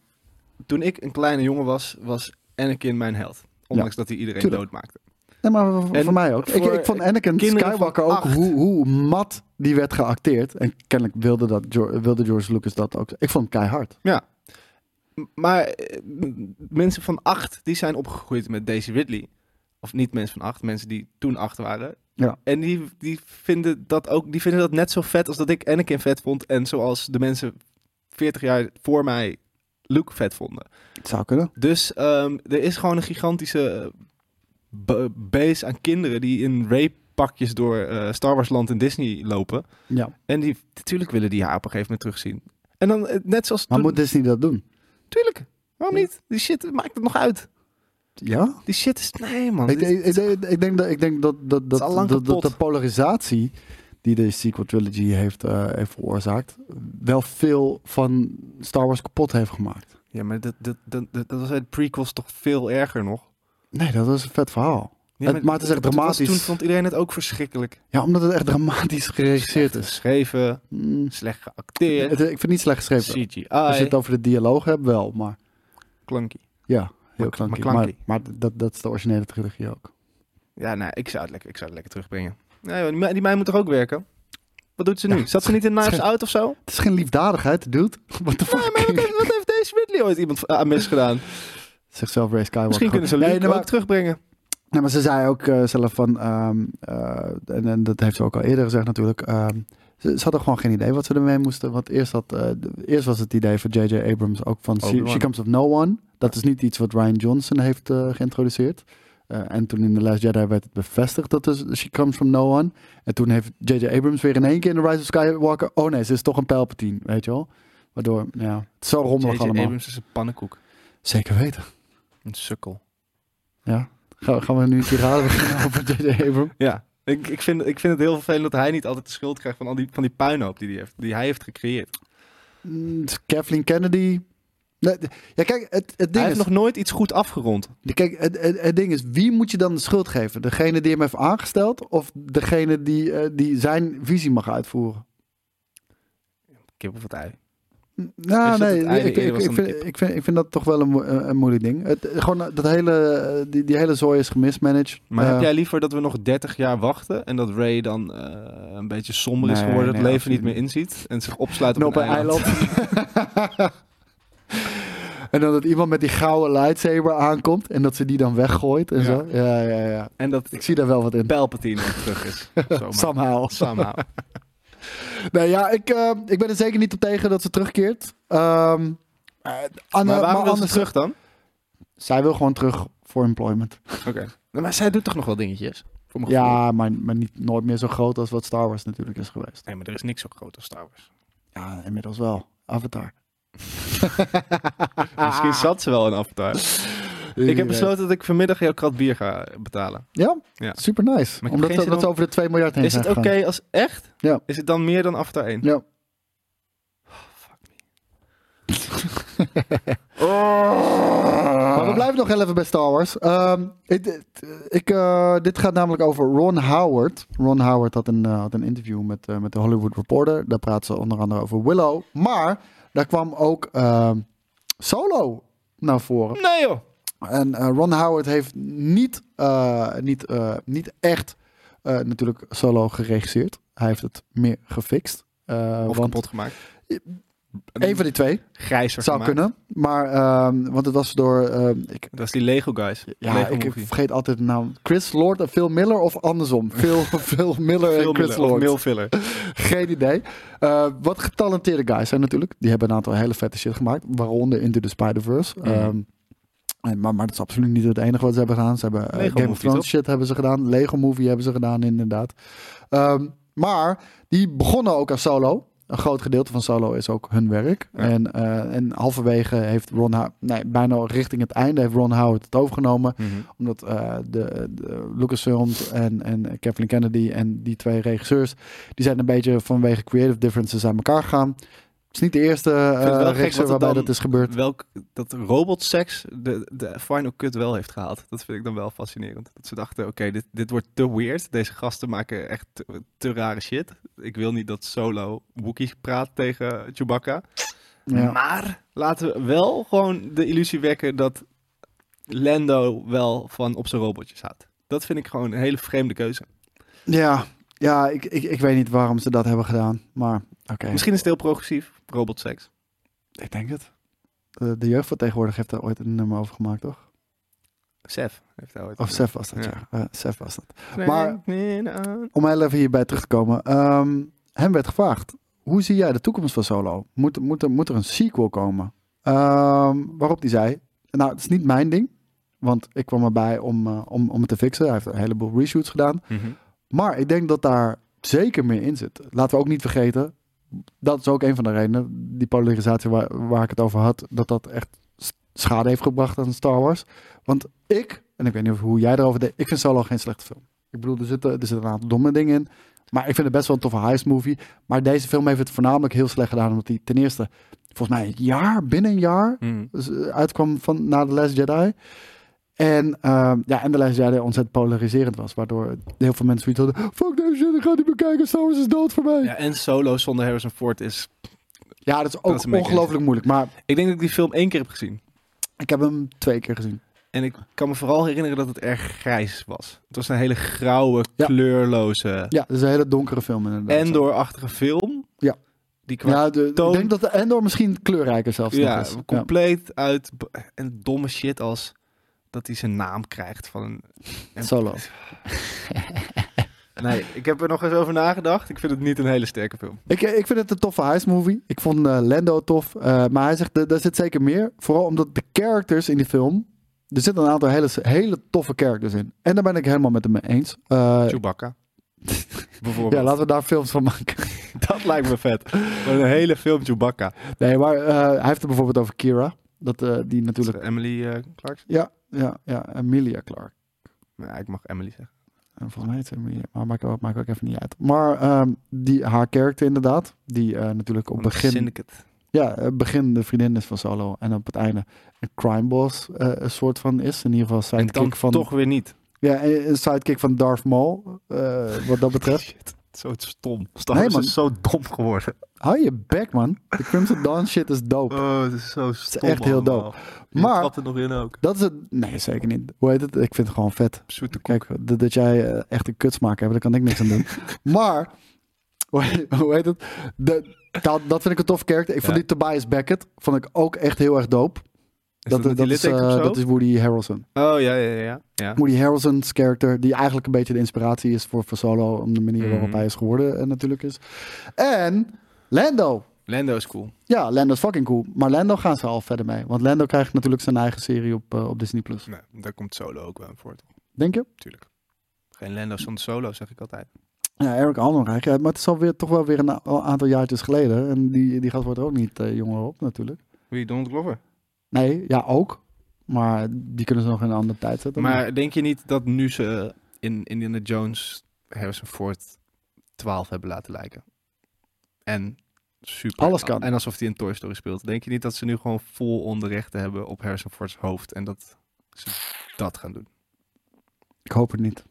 Toen ik een kleine jongen was, was Anakin mijn held. Ondanks dat hij iedereen
tuurlijk.
doodmaakte.
nee, maar voor,
En
voor mij ook. Ik,
voor
ik vond Anakin
kinderen van
Skywalker ook
acht.
hoe, hoe mat die werd geacteerd. En kennelijk wilde, dat, Geor- wilde George Lucas dat ook. Ik vond hem keihard.
Ja. M- Maar eh, m- mensen van acht, die zijn opgegroeid met Daisy Ridley. Of niet mensen van acht, mensen die toen acht waren.
Ja.
En die, die, vinden dat ook, die vinden dat net zo vet als dat ik Anakin vet vond. En zoals de mensen 40 jaar voor mij Luke vet vonden.
Het zou kunnen.
Dus ehm, er is gewoon een gigantische eh, ba- base aan kinderen die in Ray-pakjes door eh, Star Wars Land en Disney lopen.
Ja.
En die, natuurlijk willen die haar op een gegeven moment terugzien. En dan eh, net zoals
Maar
toen-
moet Disney dat doen?
Tuurlijk. Waarom niet? Die shit maakt het nog uit.
Ja?
Die shit is... Nee, man.
Ik,
Dit-
denk- ik, denk- ik denk dat, ik denk dat, dat, dat,
is al lang
dat, dat
kapot.
de polarisatie die de sequel trilogy heeft, eh, heeft veroorzaakt, wel veel van Star Wars kapot heeft gemaakt.
Ja, maar dat, dat, dat, dat, dat was uit prequels toch veel erger nog.
Nee, dat is een vet verhaal.
Ja,
Het- maar het is echt
dat was
dramatisch.
Toen vond iedereen het ook verschrikkelijk.
Ja, omdat het echt dramatisch geregisseerd
Slecht
is.
geschreven,
Mm,
slecht
het-
geacteerd,
ik vind het niet slecht geschreven.
CGI,
Als je het over de dialoog hebt, wel, maar
clunky.
ja, heel
Maar-
klankie.
maar
Maar,
klankie.
maar dat, dat is de originele trilogie ook.
Ja, nee, ik zou het lekker, ik zou het lekker terugbrengen. Nee, joh, die, me- die meid moet toch ook werken? Wat doet ze nu?
Ja.
Zat ze niet in Knives
Ze-
Out of zo? Nee,
Het is geen liefdadigheid, dude. What the fuck?
maar wat heeft, wat heeft deze Ridley ooit iemand eh, aan misgedaan?
Zichzelf Ray Skywalker.
Misschien kunnen ze
Nee,
Luke
nee, maar-
ook terugbrengen.
Nee, maar ze zei ook eh, zelf van, ehm, eh, en, en dat heeft ze ook al eerder gezegd natuurlijk, ehm, ze, ze hadden gewoon geen idee wat ze ermee moesten. Want eerst, had, eh, de- eerst was het idee van J.J. Abrams ook van She,
Obi-Wan.
She Comes of No One. Dat is niet iets wat Ryan Johnson heeft eh, geïntroduceerd. Eh, en toen in The Last Jedi werd het bevestigd dat dus She Comes from No One. En toen heeft J.J. Abrams weer in één keer in The Rise of Skywalker, oh nee, ze is toch een Palpatine, weet je wel. Waardoor, ja, het is zo rommelig
J.J.
allemaal.
Abrams is een pannenkoek.
Zeker weten.
Een sukkel.
Ja, Gaan we- gaan we nu een keer raden beginnen over J.J. Abrams?
Ja, ik, ik, vind, ik vind het heel vervelend dat hij niet altijd de schuld krijgt van, al die, van die puinhoop die, die, heeft, die hij heeft gecreëerd.
Mm, Kathleen Kennedy. Nee, de- ja, kijk, het, het
Hij
ding
heeft
is...
nog nooit iets goed afgerond.
de- Kijk, het, het, het ding is, wie moet je dan de schuld geven? Degene die hem heeft aangesteld of degene die, eh, die zijn visie mag uitvoeren?
Kip of het ei.
Mm, Nou,
Is dat
nee,
het eigen
ik, ik,
eerder was
ik,
dan
vind,
het
ik, vind, ik vind dat toch wel een, mo- eh, een, een moeilijk ding. Het, gewoon eh, dat hele, eh, die, die hele zooi is gemismanaged.
Maar
Eh,
heb jij liever dat we nog 30 jaar wachten en dat Ray dan eh, een beetje somber is
Nee,
geworden, het
nee, Nou,
leven niet
absoluut
meer inziet en zich opsluit
en
op,
op een eiland. En dan dat iemand met die gouden lightsaber aankomt en dat ze die dan weggooit en
Ja.
zo. Ja, ja, ja.
En dat
Ik zie daar wel wat in.
Palpatine weer terug is. Zomaar.
Somehow.
Somehow.
Nee, ja, ik, eh, ik ben er zeker niet op tegen dat ze terugkeert. Ehm, eh, Anne-
Maar waarom
maar
wil ze
anders
terug dan?
Zij wil gewoon terug voor employment.
Oké. Nou, Maar zij doet toch nog wel dingetjes? Voor mijn gevoel.
Ja, maar, maar niet, nooit meer zo groot als wat Star Wars natuurlijk is geweest.
Nee, maar er is niks zo groot als Star Wars.
Ja, inmiddels wel. Avatar.
Misschien zat ze wel in Avatar. Ik heb besloten dat ik vanmiddag jouw krat bier ga betalen.
Ja,
Ja.
super nice.
heb
Omdat
geen
we,
zin
dat we
om-
over de 2 miljard heen
Is
zijn
het oké
gegaan.
als echt?
Ja.
Is het dan meer dan Avatar 1?
Ja. Maar we blijven nog heel even bij Star Wars. Ehm, ik, dit- ik, eh, dit gaat namelijk over Ron Howard. Ron Howard had een, eh, had een interview met, eh, met de Hollywood Reporter. Daar praat ze onder andere over Willow. Maar daar kwam ook ehm, Solo naar voren.
Nee joh.
En eh, Ron Howard heeft niet, eh, niet, eh, niet echt eh, natuurlijk solo geregisseerd. Hij heeft het meer gefixt. Eh,
Of
want
kapot gemaakt.
Een van die twee
Grijzer
zou
gemaakt.
kunnen. Maar, ehm, want het was door, ehm, ik,
Dat is die Lego guys.
ja, ik,
Lego
ik
movie.
vergeet altijd de naam. Chris Lord en Phil Miller of andersom. Phil, Phil Miller en
Veel
Chris
Miller, of
Lord.
Milfiller.
Geen idee. Eh, wat getalenteerde guys zijn natuurlijk. Die hebben een aantal hele vette shit gemaakt. Waaronder Into the Spider-Verse.
Mhm.
Ehm, en- maar, maar dat is absoluut niet het enige wat ze hebben gedaan. Ze hebben eh,
Lego
Game of
Movie,
Thrones
toch?
shit hebben ze gedaan. Lego Movie hebben ze gedaan, inderdaad. Ehm, maar die begonnen ook als solo. Een groot gedeelte van solo is ook hun werk. En, eh, en halverwege heeft Ron Howard... Nee, bijna richting het einde heeft Ron Howard het overgenomen
Mhm.
omdat eh, de, de Lucasfilms en, en Kathleen Kennedy en die twee regisseurs, die zijn een beetje vanwege creative differences aan elkaar gegaan. Het is niet de eerste
vind het
eh
wel gek
regisseur
wat het
waarbij
dan-
dat is gebeurd.
Welk, dat robotseks de, de final cut wel heeft gehaald. Dat vind ik dan wel fascinerend. Dat ze dachten, oké, dit, dit wordt te weird. Deze gasten maken echt te, te rare shit. Ik wil niet dat Solo Wookiee praat tegen Chewbacca.
Ja.
Maar laten we wel gewoon de illusie wekken dat Lando wel van op zijn robotjes houdt. Dat vind ik gewoon een hele vreemde keuze.
Ja, ja ik, ik, ik weet niet waarom ze dat hebben gedaan, maar oké.
Misschien is het heel progressief, robotseks.
Ik denk het. Eh, De, de jeugd van tegenwoordig heeft daar ooit een nummer over gemaakt, toch?
Seth heeft daar ooit.
Of Sef was dat, ja.
Ja.
Eh, Sef was dat. maar-
maar...
Om heel even hierbij terug te komen. ehm, hem werd gevraagd, hoe zie jij de toekomst van Solo? Moet, moet, er, moet er een sequel komen? Ehm, waarop hij zei, nou, het is niet mijn ding. Want ik kwam erbij om, eh, om, om het te fixen. Hij heeft een heleboel reshoots gedaan. Maar ik denk dat daar zeker meer in zit. Laten we ook niet vergeten, dat is ook een van de redenen, die polarisatie waar, waar ik het over had, dat dat echt s- schade heeft gebracht aan Star Wars. Want ik, en ik weet niet of- hoe jij daarover denkt, ik vind Solo geen slechte film. Ik bedoel, er zitten, er zitten een aantal domme dingen in, maar ik vind het best wel een toffe heist movie. Maar deze film heeft het voornamelijk heel slecht gedaan, omdat hij ten eerste, volgens mij een jaar, binnen een jaar,
Hmm.
dus, eh, uitkwam van na The Last Jedi. En, ehm, ja, en The Last Jedi ontzettend polariserend was. Waardoor heel veel mensen zoiets hadden... Fuck deze shit, ik ga het niet meer kijken. Star Wars is dood voor mij. Ja,
Ja, en Solo zonder Harrison Ford is...
dat is
Dat
ook
is een beetje
ongelooflijk moeilijk. Maar
Ik denk dat ik die film één keer heb gezien.
ik heb hem twee keer gezien.
En ik kan me vooral herinneren dat het erg grijs was. Het was een hele grauwe,
Ja.
kleurloze,
Ja, het is een hele donkere film inderdaad.
Endor-achtige film.
Ja.
Die kwam
Ja, de,
toon-
ik denk dat de Endor misschien kleurrijker zelfs nog
ja,
is. Ja.
compleet uit... En domme shit als dat hij zijn naam krijgt van een... en-
Solo.
Nee, ik heb er nog eens over nagedacht. Ik vind het niet een hele sterke film.
Ik, eh, ik vind het een toffe heistmovie. Ik vond eh, Lando tof. eh, maar hij zegt, er- daar zit zeker meer. Vooral omdat de characters in die film... Er zitten een aantal hele, hele toffe characters in. En daar ben ik helemaal met hem mee eens. Eh,
Chewbacca. Bijvoorbeeld.
ja, laten we daar films van maken.
Dat lijkt me vet. Een hele film Chewbacca.
Nee, maar eh, hij heeft het bijvoorbeeld over Kira. Dat eh, die natuurlijk...
Emily eh Clarkson?
Ja, ja, ja, Emilia Clark.
Ja, ik mag Emily zeggen.
En volgens mij heet ze Emilia, maar maakt, ook- maakt ook even niet uit. Maar ehm, die, haar karakter inderdaad, die eh, natuurlijk op
Van de
begin...
Syndicate.
Ja, eh, begin de vriendin is van Solo. En op het einde een crime boss eh, een soort van is. In ieder geval
En dan
sidekick van...
toch weer niet.
Ja, een een sidekick van Darth Maul, eh, wat dat betreft.
Shit, zo stom. Star
Nee,
Wars
man.
is zo dom geworden.
Hou je bek, man. De Crimson Dawn shit is dope.
Oh, het is zo stom.
echt heel allemaal. Maar- trapt
er nog in ook.
Dat is het... Nee, zeker niet. Hoe heet het? Ik vind het gewoon vet.
Zoete koek.
Kijk, dat, dat jij eh, echt een kutsmaak hebt, daar kan ik niks aan doen. maar, hoe heet- hoe heet het? De, dat, dat vind ik een tof kerk. Ik vond
Ja.
die Tobias Beckett, vond ik ook echt heel erg dope.
dat met die
is,
litteken
eh,
of zo?
dat is Woody Harrelson.
Oh, ja, ja, ja. ja.
Woody Harrelson's character, die eigenlijk een beetje de inspiratie is voor, voor Solo, om de manier waarop
Mhm.
hij is geworden eh, natuurlijk is. En Lando.
Lando is cool.
Ja, Lando is fucking cool. Maar Lando gaan ze al verder mee. Want Lando krijgt natuurlijk zijn eigen serie op, eh, op Disney+. Plus.
Nee, daar komt solo ook wel aan voor, toch?
Denk je?
Tuurlijk. Geen Lando zonder solo, zeg ik altijd.
Ja, Eric Almond eigenlijk. Maar het is alweer, toch wel weer een a- aantal jaartjes geleden. En die, die gast wordt er ook niet eh, jonger op natuurlijk.
Wie, Donald Glover?
Nee, ja ook. Maar die kunnen ze nog in een andere tijd zetten.
Maar denk je niet dat nu ze eh, in Indiana Jones Harrison Ford 12 hebben laten lijken? En super.
Alles kan.
En alsof hij in Toy Story speelt. Denk je niet dat ze nu gewoon vol onderrechten hebben op Harrison Ford's hoofd en dat ze dat gaan doen?
ik hoop het niet.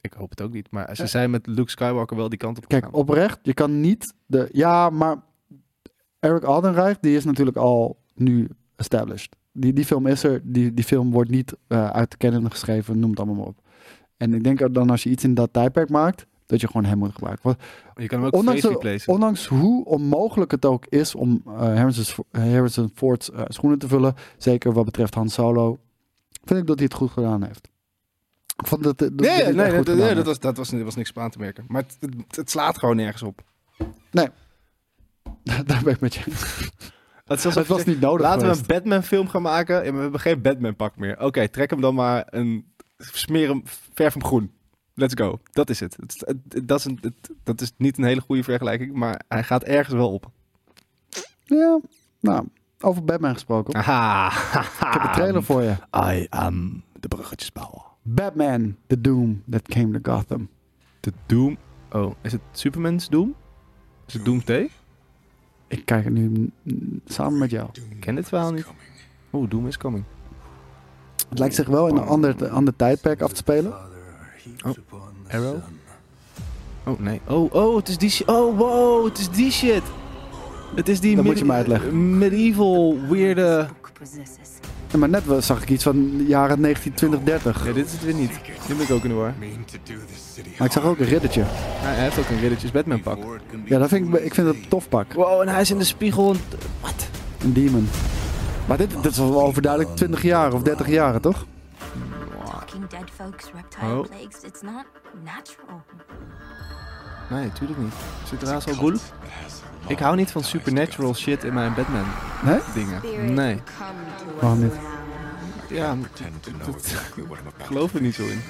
Ik hoop het ook niet, maar ze zijn met Luke Skywalker wel die kant op
Kijk,
gegaan.
oprecht, je kan niet de... Ja, maar Eric Aldenreich, die is natuurlijk al nu established. Die, die film is er, die, die film wordt niet eh, uit de canon geschreven, noem het allemaal maar op. En ik denk dat dan als je iets in dat tijdperk maakt, dat je gewoon hem moet gebruiken. Want
Je kan hem ook
ondanks,
face
de-
replacen.
ondanks hoe onmogelijk het ook is om eh, Harrison's- Harrison Ford's eh, schoenen te vullen, zeker wat betreft Han Solo, vind ik dat hij het goed gedaan heeft. Ik vond dat, dat- dat hij
Nee,
het
nee,
echt goed
dat, nee,
gedaan
dat
heeft.
was, dat, was, dat was niks op aan te merken. Maar het, het- het slaat gewoon nergens op.
Daar ben ik met je. eens. Het was niet nodig
Laten
geweest.
we een Batman-film gaan maken. Ja, maar we hebben geen Batman-pak meer. Oké, trek hem dan maar een. Smeer hem, verf hem groen. Let's go. Dat is het. Het- het- het- Dat is, een- het- dat is niet een hele goede vergelijking, maar hij gaat ergens wel op.
Ja, nou, over Batman gesproken.
Aha.
ik heb een trailer voor je.
I am de bruggetjesbouwer.
Batman, The Doom That Came to Gotham.
De Doom. Oh, is het Superman's Doom? Is het Doom T?
Ik kijk het nu mm, samen met jou.
Ik ken dit verhaal niet. Oeh, Doom is coming.
Het lijkt zich wel in een ander, ander tijdperk af te spelen.
Arrow? Oh, nee. Oh, oh, het is die shi- Oh, wow, het is die shit. Het is die
Dat moet
medi-
je me uitleggen.
medieval, weirde...
possesses.
Ja, maar net wel zag ik iets van jaren 1920.
Ja, dit is het weer niet. Dit ben ik ook in de war.
Maar ik zag ook een riddertje.
Hij heeft ook een riddertjes Batman pak.
Ja, dat vind ik, ik vind dat een tof pak.
Wow, en hij is in de spiegel. en- Wat?
Een demon. Maar dit, dit is wel overduidelijk 20 jaar of 30 jaar, toch?
Talking dead folks, reptile
Oh.
plagues. It's not natural.
Nee, tuurlijk niet. Zit er al cool? Ik hou niet van supernatural shit in mijn Batman
Nee?
dingen. Nee.
Waarom niet?
Ja, dat geloof ik niet zo in.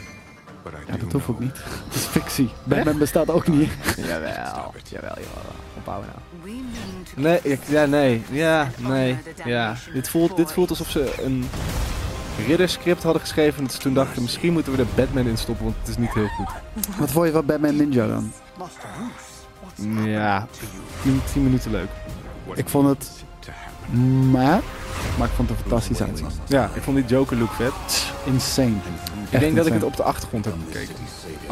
Ja, dat hoeft ook niet. Het is fictie. Batman bestaat ook niet.
Jawel, jawel, jawel. Opbouwen nou. Nee, ik- ja, nee. Ja, nee. Ja. Dit voelt, dit voelt alsof ze een ridderscript hadden geschreven. Dat ze toen dachten, misschien moeten we er Batman in stoppen, want het is niet heel goed.
Wat vond je van Batman Ninja dan?
Ja, 10, 10 minuten leuk.
Ik vond het... Maar, maar ik vond het er fantastisch uitzien.
Ja, ik vond die Joker look vet.
Insane.
ik denk dat ik het op de achtergrond heb gekeken.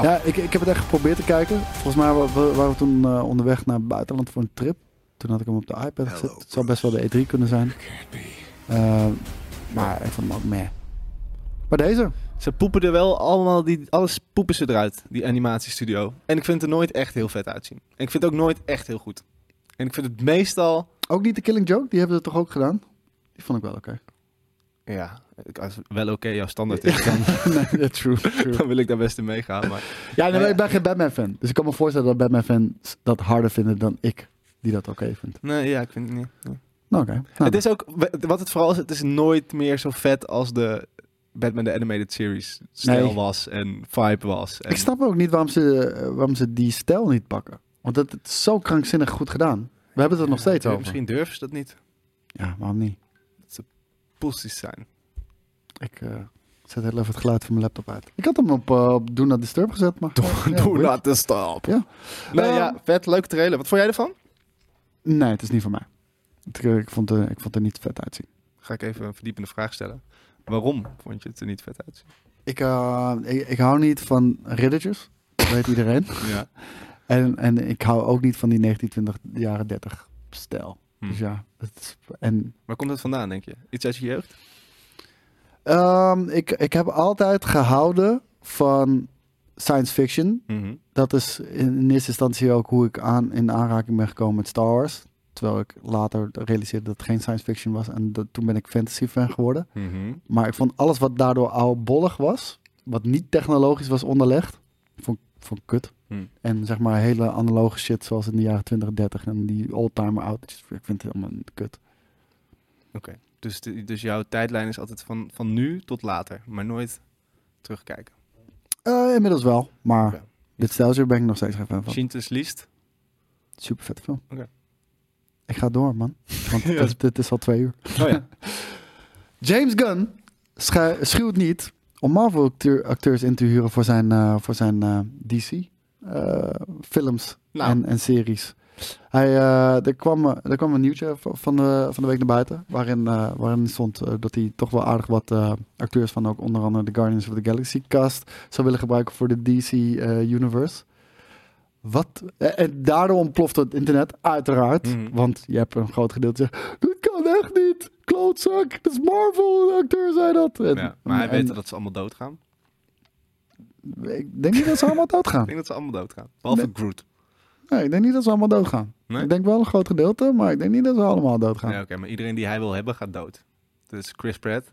Ja, ik, ik heb het echt geprobeerd te kijken. Volgens mij wa- wa- waren we toen eh, onderweg naar het buitenland voor een trip. Toen had ik hem op de iPad gezet. Het zou best wel de E3 kunnen zijn. Eh, maar ik vond hem ook meh. Maar deze?
Ze poepen er wel allemaal, die, alles poepen ze eruit, die animatiestudio. En ik vind het er nooit echt heel vet uitzien. En ik vind het ook nooit echt heel goed. En ik vind het meestal...
Ook niet de Killing Joke? Die hebben ze toch ook gedaan? Die vond ik wel oké.
Ja, ik- als wel oké jouw standaard is, dan,
nee, true. true.
dan wil ik daar best in meegaan. Maar
Ja, nee, maar ik ben geen Batman-fan. Dus ik kan me voorstellen dat Batman-fans dat harder vinden dan ik. Die dat oké vindt.
nee, ja, ik vind het niet. nee.
Nou, oké. Nou,
Het is ook, wat het vooral is, het is nooit meer zo vet als de Batman The Animated Series stijl
Nee.
was en vibe was. En
Ik snap ook niet waarom ze, eh, waarom ze die stijl niet pakken. Want dat het is zo krankzinnig goed gedaan. We hebben het er nog steeds over.
Misschien durven ze dat niet.
Ja, waarom niet?
Poesties zijn.
Ik eh, zet heel even het geluid van mijn laptop uit. Ik had hem op, eh, op Do Not Disturb gezet, maar... Ja,
Doe
weird.
dat de stap.
Ja.
Nee,
Ehm,
ja, vet, leuke trailer. Wat vond jij ervan?
Nee, het is niet voor mij. Ik, eh, ik, vond, eh, ik vond het er niet vet uitzien.
Ga ik even een verdiepende vraag stellen. Waarom vond je het er niet vet uit?
Ik, eh, ik, ik hou niet van riddertjes. Dat weet iedereen.
Ja.
En, en ik hou ook niet van die 1920 jaren 30 stijl.
Hm.
Dus ja, het is, en
Waar komt dat vandaan, denk je? Iets uit je jeugd?
Ehm, ik, ik heb altijd gehouden van science fiction. Dat is in, in eerste instantie ook hoe ik aan, in aanraking ben gekomen met Star Wars. Terwijl ik later realiseerde dat het geen science fiction was. En dat, toen ben ik fantasy fan geworden. Maar ik vond alles wat daardoor oudbollig was, wat niet technologisch was onderlegd, vond, vond ik kut.
Hmm.
En zeg maar hele analoge shit zoals in de jaren 20, 30 en die oldtimer autootjes. Ik vind het helemaal kut.
Dus, de- dus jouw tijdlijn is altijd van, van nu tot later, maar nooit terugkijken.
Eh, inmiddels wel, maar
Oké.
dit stijltje ben ik nog steeds geen fan van.
Shintes liest.
Super vet film.
Oké.
Ik ga door, man. Want
Ja.
dit, dit is al twee uur.
Oh ja.
James Gunn schu- schuwt niet om Marvel-acteurs in te huren voor zijn, eh, voor zijn DC-films
Nou.
en, en series. Hij, eh, er, kwam, eh, er kwam een nieuwtje van van de, van de week naar buiten. Waarin, eh, waarin stond eh, dat hij toch wel aardig wat eh, acteurs van ook onder andere de Guardians of the Galaxy cast zou willen gebruiken voor de DC-universe. wat? eh, En daardoor ontplofte het internet, uiteraard.
Mhm.
Want je hebt een groot gedeelte zegt, dat kan echt niet. Klootzak, dat is Marvel, een acteur zei dat. En-
Ja, maar hij
en-
weet dat ze allemaal doodgaan.
Ik denk niet dat ze allemaal doodgaan.
Ik denk dat ze allemaal doodgaan. Behalve
Nee.
Groot.
Nee, ik denk niet dat ze allemaal doodgaan.
Nee?
Ik denk wel een groot gedeelte, maar ik denk niet dat ze allemaal doodgaan.
Ja, oké, maar iedereen die hij wil hebben gaat dood. Dus Chris Pratt,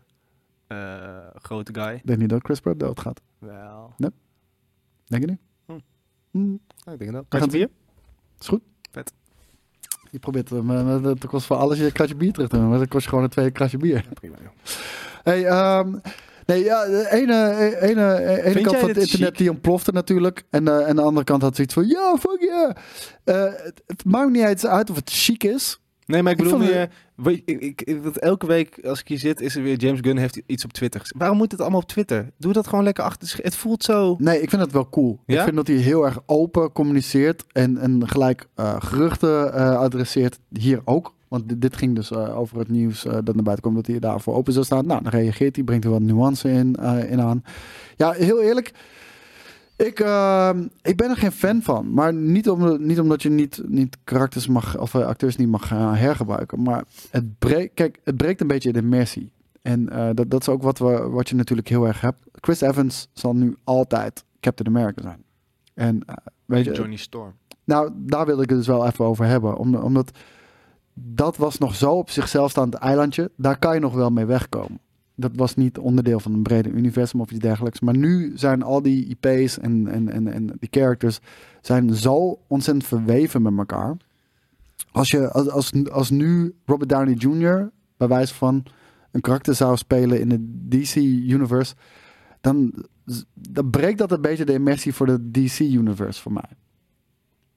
eh, grote guy.
Ik denk niet dat Chris Pratt doodgaat.
Wel,
Denk je niet?
Hm.
Hm,
nou, ik denk dat.
Gaat-
Gaat bier?
is goed.
Vet.
Je probeert hem, eh, dat kost voor alles je kratje bier terug te doen. Maar dat kost je gewoon een tweede kratje bier.
Prima, joh.
Hey, ehm, nee, ja, de ene, e- ene, e- ene
Vind
kant
jij
van het
dit
internet
chic?
die ontplofte natuurlijk. En, eh, en de andere kant had zoiets van, ja, fuck yeah. Eh, het, het maakt niet eens uit of het chic is.
Nee, maar ik
Ik
bedoel
vond
meer... weet je, ik, ik, want elke week als ik hier zit, is er weer James Gunn heeft iets op Twitter. Waarom moet het allemaal op Twitter? Doe dat gewoon lekker achter. de sche- Het voelt zo...
Nee, ik vind het wel cool.
Ja?
Ik vind dat hij heel erg open communiceert en, en gelijk eh, geruchten eh, adresseert. Hier ook. Want dit, dit ging dus eh, over het nieuws eh, dat naar buiten komt dat hij daarvoor open zou staan. Nou, dan reageert hij, brengt er wat nuance in, eh, in aan. Ja, heel eerlijk. Ik, eh, ik ben er geen fan van. Maar niet, om, niet omdat je niet, niet karakters mag, of eh, acteurs niet mag eh, hergebruiken. Maar het, breekt, kijk, het breekt een beetje de immersie. En eh, dat, dat is ook wat, we, wat je natuurlijk heel erg hebt. Chris Evans zal nu altijd Captain America zijn. En eh, weet je,
Johnny Storm.
nou, daar wilde ik het dus wel even over hebben. Om- omdat dat was nog zo op zichzelf staand eilandje. Daar kan je nog wel mee wegkomen. Dat was niet onderdeel van een brede universum of iets dergelijks. Maar nu zijn al die IP's en, en, en, en die characters zijn zo ontzettend verweven met elkaar. Als, je, als, als, als nu Robert Downey Jr. bij wijze van een karakter zou spelen in het DC-universe... Dan, dan breekt dat een beetje de immersie voor de DC-universe voor mij.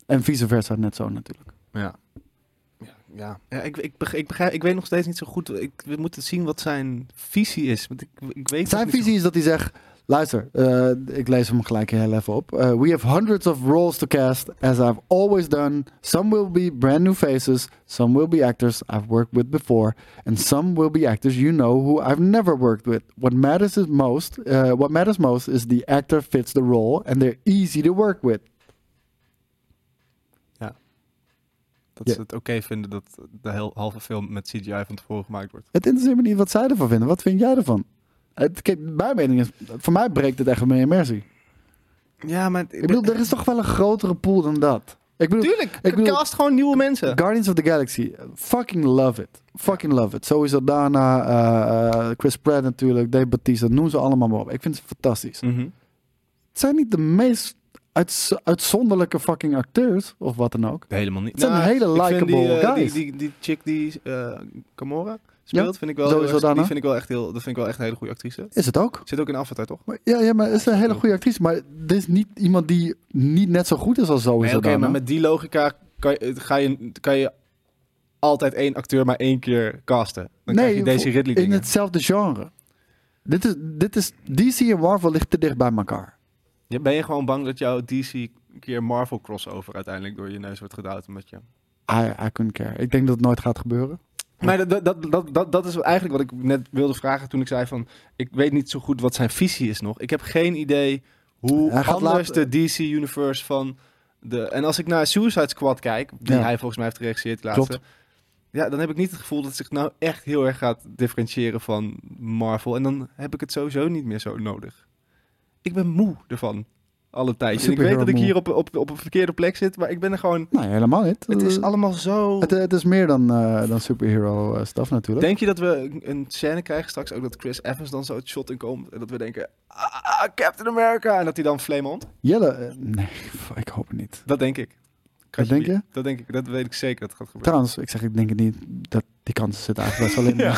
En vice versa, net zo natuurlijk.
Ja. Ja, ja. ja ik, ik, beg- ik, begrijp, ik weet nog steeds niet zo goed. Ik, we moeten zien wat zijn visie is. Want ik, ik weet
Zijn
nog niet zo
visie is dat hij zegt: luister, eh, ik lees hem gelijk heel even op. Eh, we have hundreds of roles to cast, as I've always done. Some will be brand new faces, some will be actors I've worked with before, and some will be actors you know who I've never worked with. What matters is most, eh, what matters most is the actor fits the role and they're easy to work with.
Dat
Ja.
ze het oké vinden dat de heel, halve film met CGI van tevoren gemaakt wordt.
Het interesseert me niet wat zij ervan vinden. Wat vind jij ervan? Het, kijk, mijn mening is, voor mij breekt het echt mijn immersie.
Ja, maar...
Ik bedoel, er is toch wel een grotere pool dan dat. Ik bedoel,
Tuurlijk,
ik bedoel-
cast gewoon nieuwe mensen.
Guardians of the Galaxy, fucking love it. Fucking love it. Sowieso daarna, eh, eh, Chris Pratt natuurlijk, Dave Bautista, noem ze allemaal maar op. Ik vind ze fantastisch.
Mhm.
Het zijn niet de meest uitz- uitzonderlijke fucking acteurs, of wat dan ook.
Helemaal niet. Nou,
Het zijn hele
ik vind die,
likable
eh,
guys.
Die, die, die chick die eh Gamora speelt, vind ik wel
Zoe
heel erg-
Saldana.
die vind ik wel echt heel, dat vind ik wel echt een hele goede actrice.
Is het ook.
Zit ook in Avatar, toch?
Maar, ja, ja, maar het is een hele goede actrice. Maar dit is niet iemand die niet net zo goed is als Zoe
Nee, Oké,
Saldana.
maar met die logica kan je, ga je, kan je altijd één acteur maar één keer casten. Dan krijg je deze
voor-
Ridley
in
dingen.
hetzelfde genre. Dit is, dit is, DC en Marvel ligt te dicht bij elkaar.
Ja, Ben je gewoon bang dat jouw DC keer Marvel crossover uiteindelijk door je neus wordt gedouwd? Omdat je...
I, I couldn't care. Ik denk dat het nooit gaat gebeuren.
Maar dat- dat, dat, dat, dat, dat is eigenlijk wat ik net wilde vragen toen ik zei van... Ik weet niet zo goed wat zijn visie is nog. Ik heb geen idee hoe
Hij gaat
anders
later-
de DC-universe van... De, en als ik naar Suicide Squad kijk, die
Ja.
hij volgens mij heeft geregisseerd de laatste... Ja, dan heb ik niet het gevoel dat het zich nou echt heel erg gaat differentiëren van Marvel. En dan heb ik het sowieso niet meer zo nodig. Ik ben moe ervan. alle tijd. En ik weet dat ik
Superhero
hier op, op, op een verkeerde plek zit, maar ik ben er gewoon...
Nee, helemaal niet.
Het is
Eh,
allemaal zo...
het, het is meer dan, eh, dan superhero eh, stuff natuurlijk.
Denk je dat we een- een scène krijgen straks ook dat Chris Evans dan zo het shot in komt en dat we denken, ah, ah, Captain America, en dat hij dan flame ont?
Jelle, eh, nee, f- ik hoop het niet.
Dat denk ik.
Dat denk je?
Dat denk ik, dat weet ik zeker dat het gaat gebeuren.
Trouwens, ik zeg, ik denk het niet. Dat, die kans zit eigenlijk best wel in.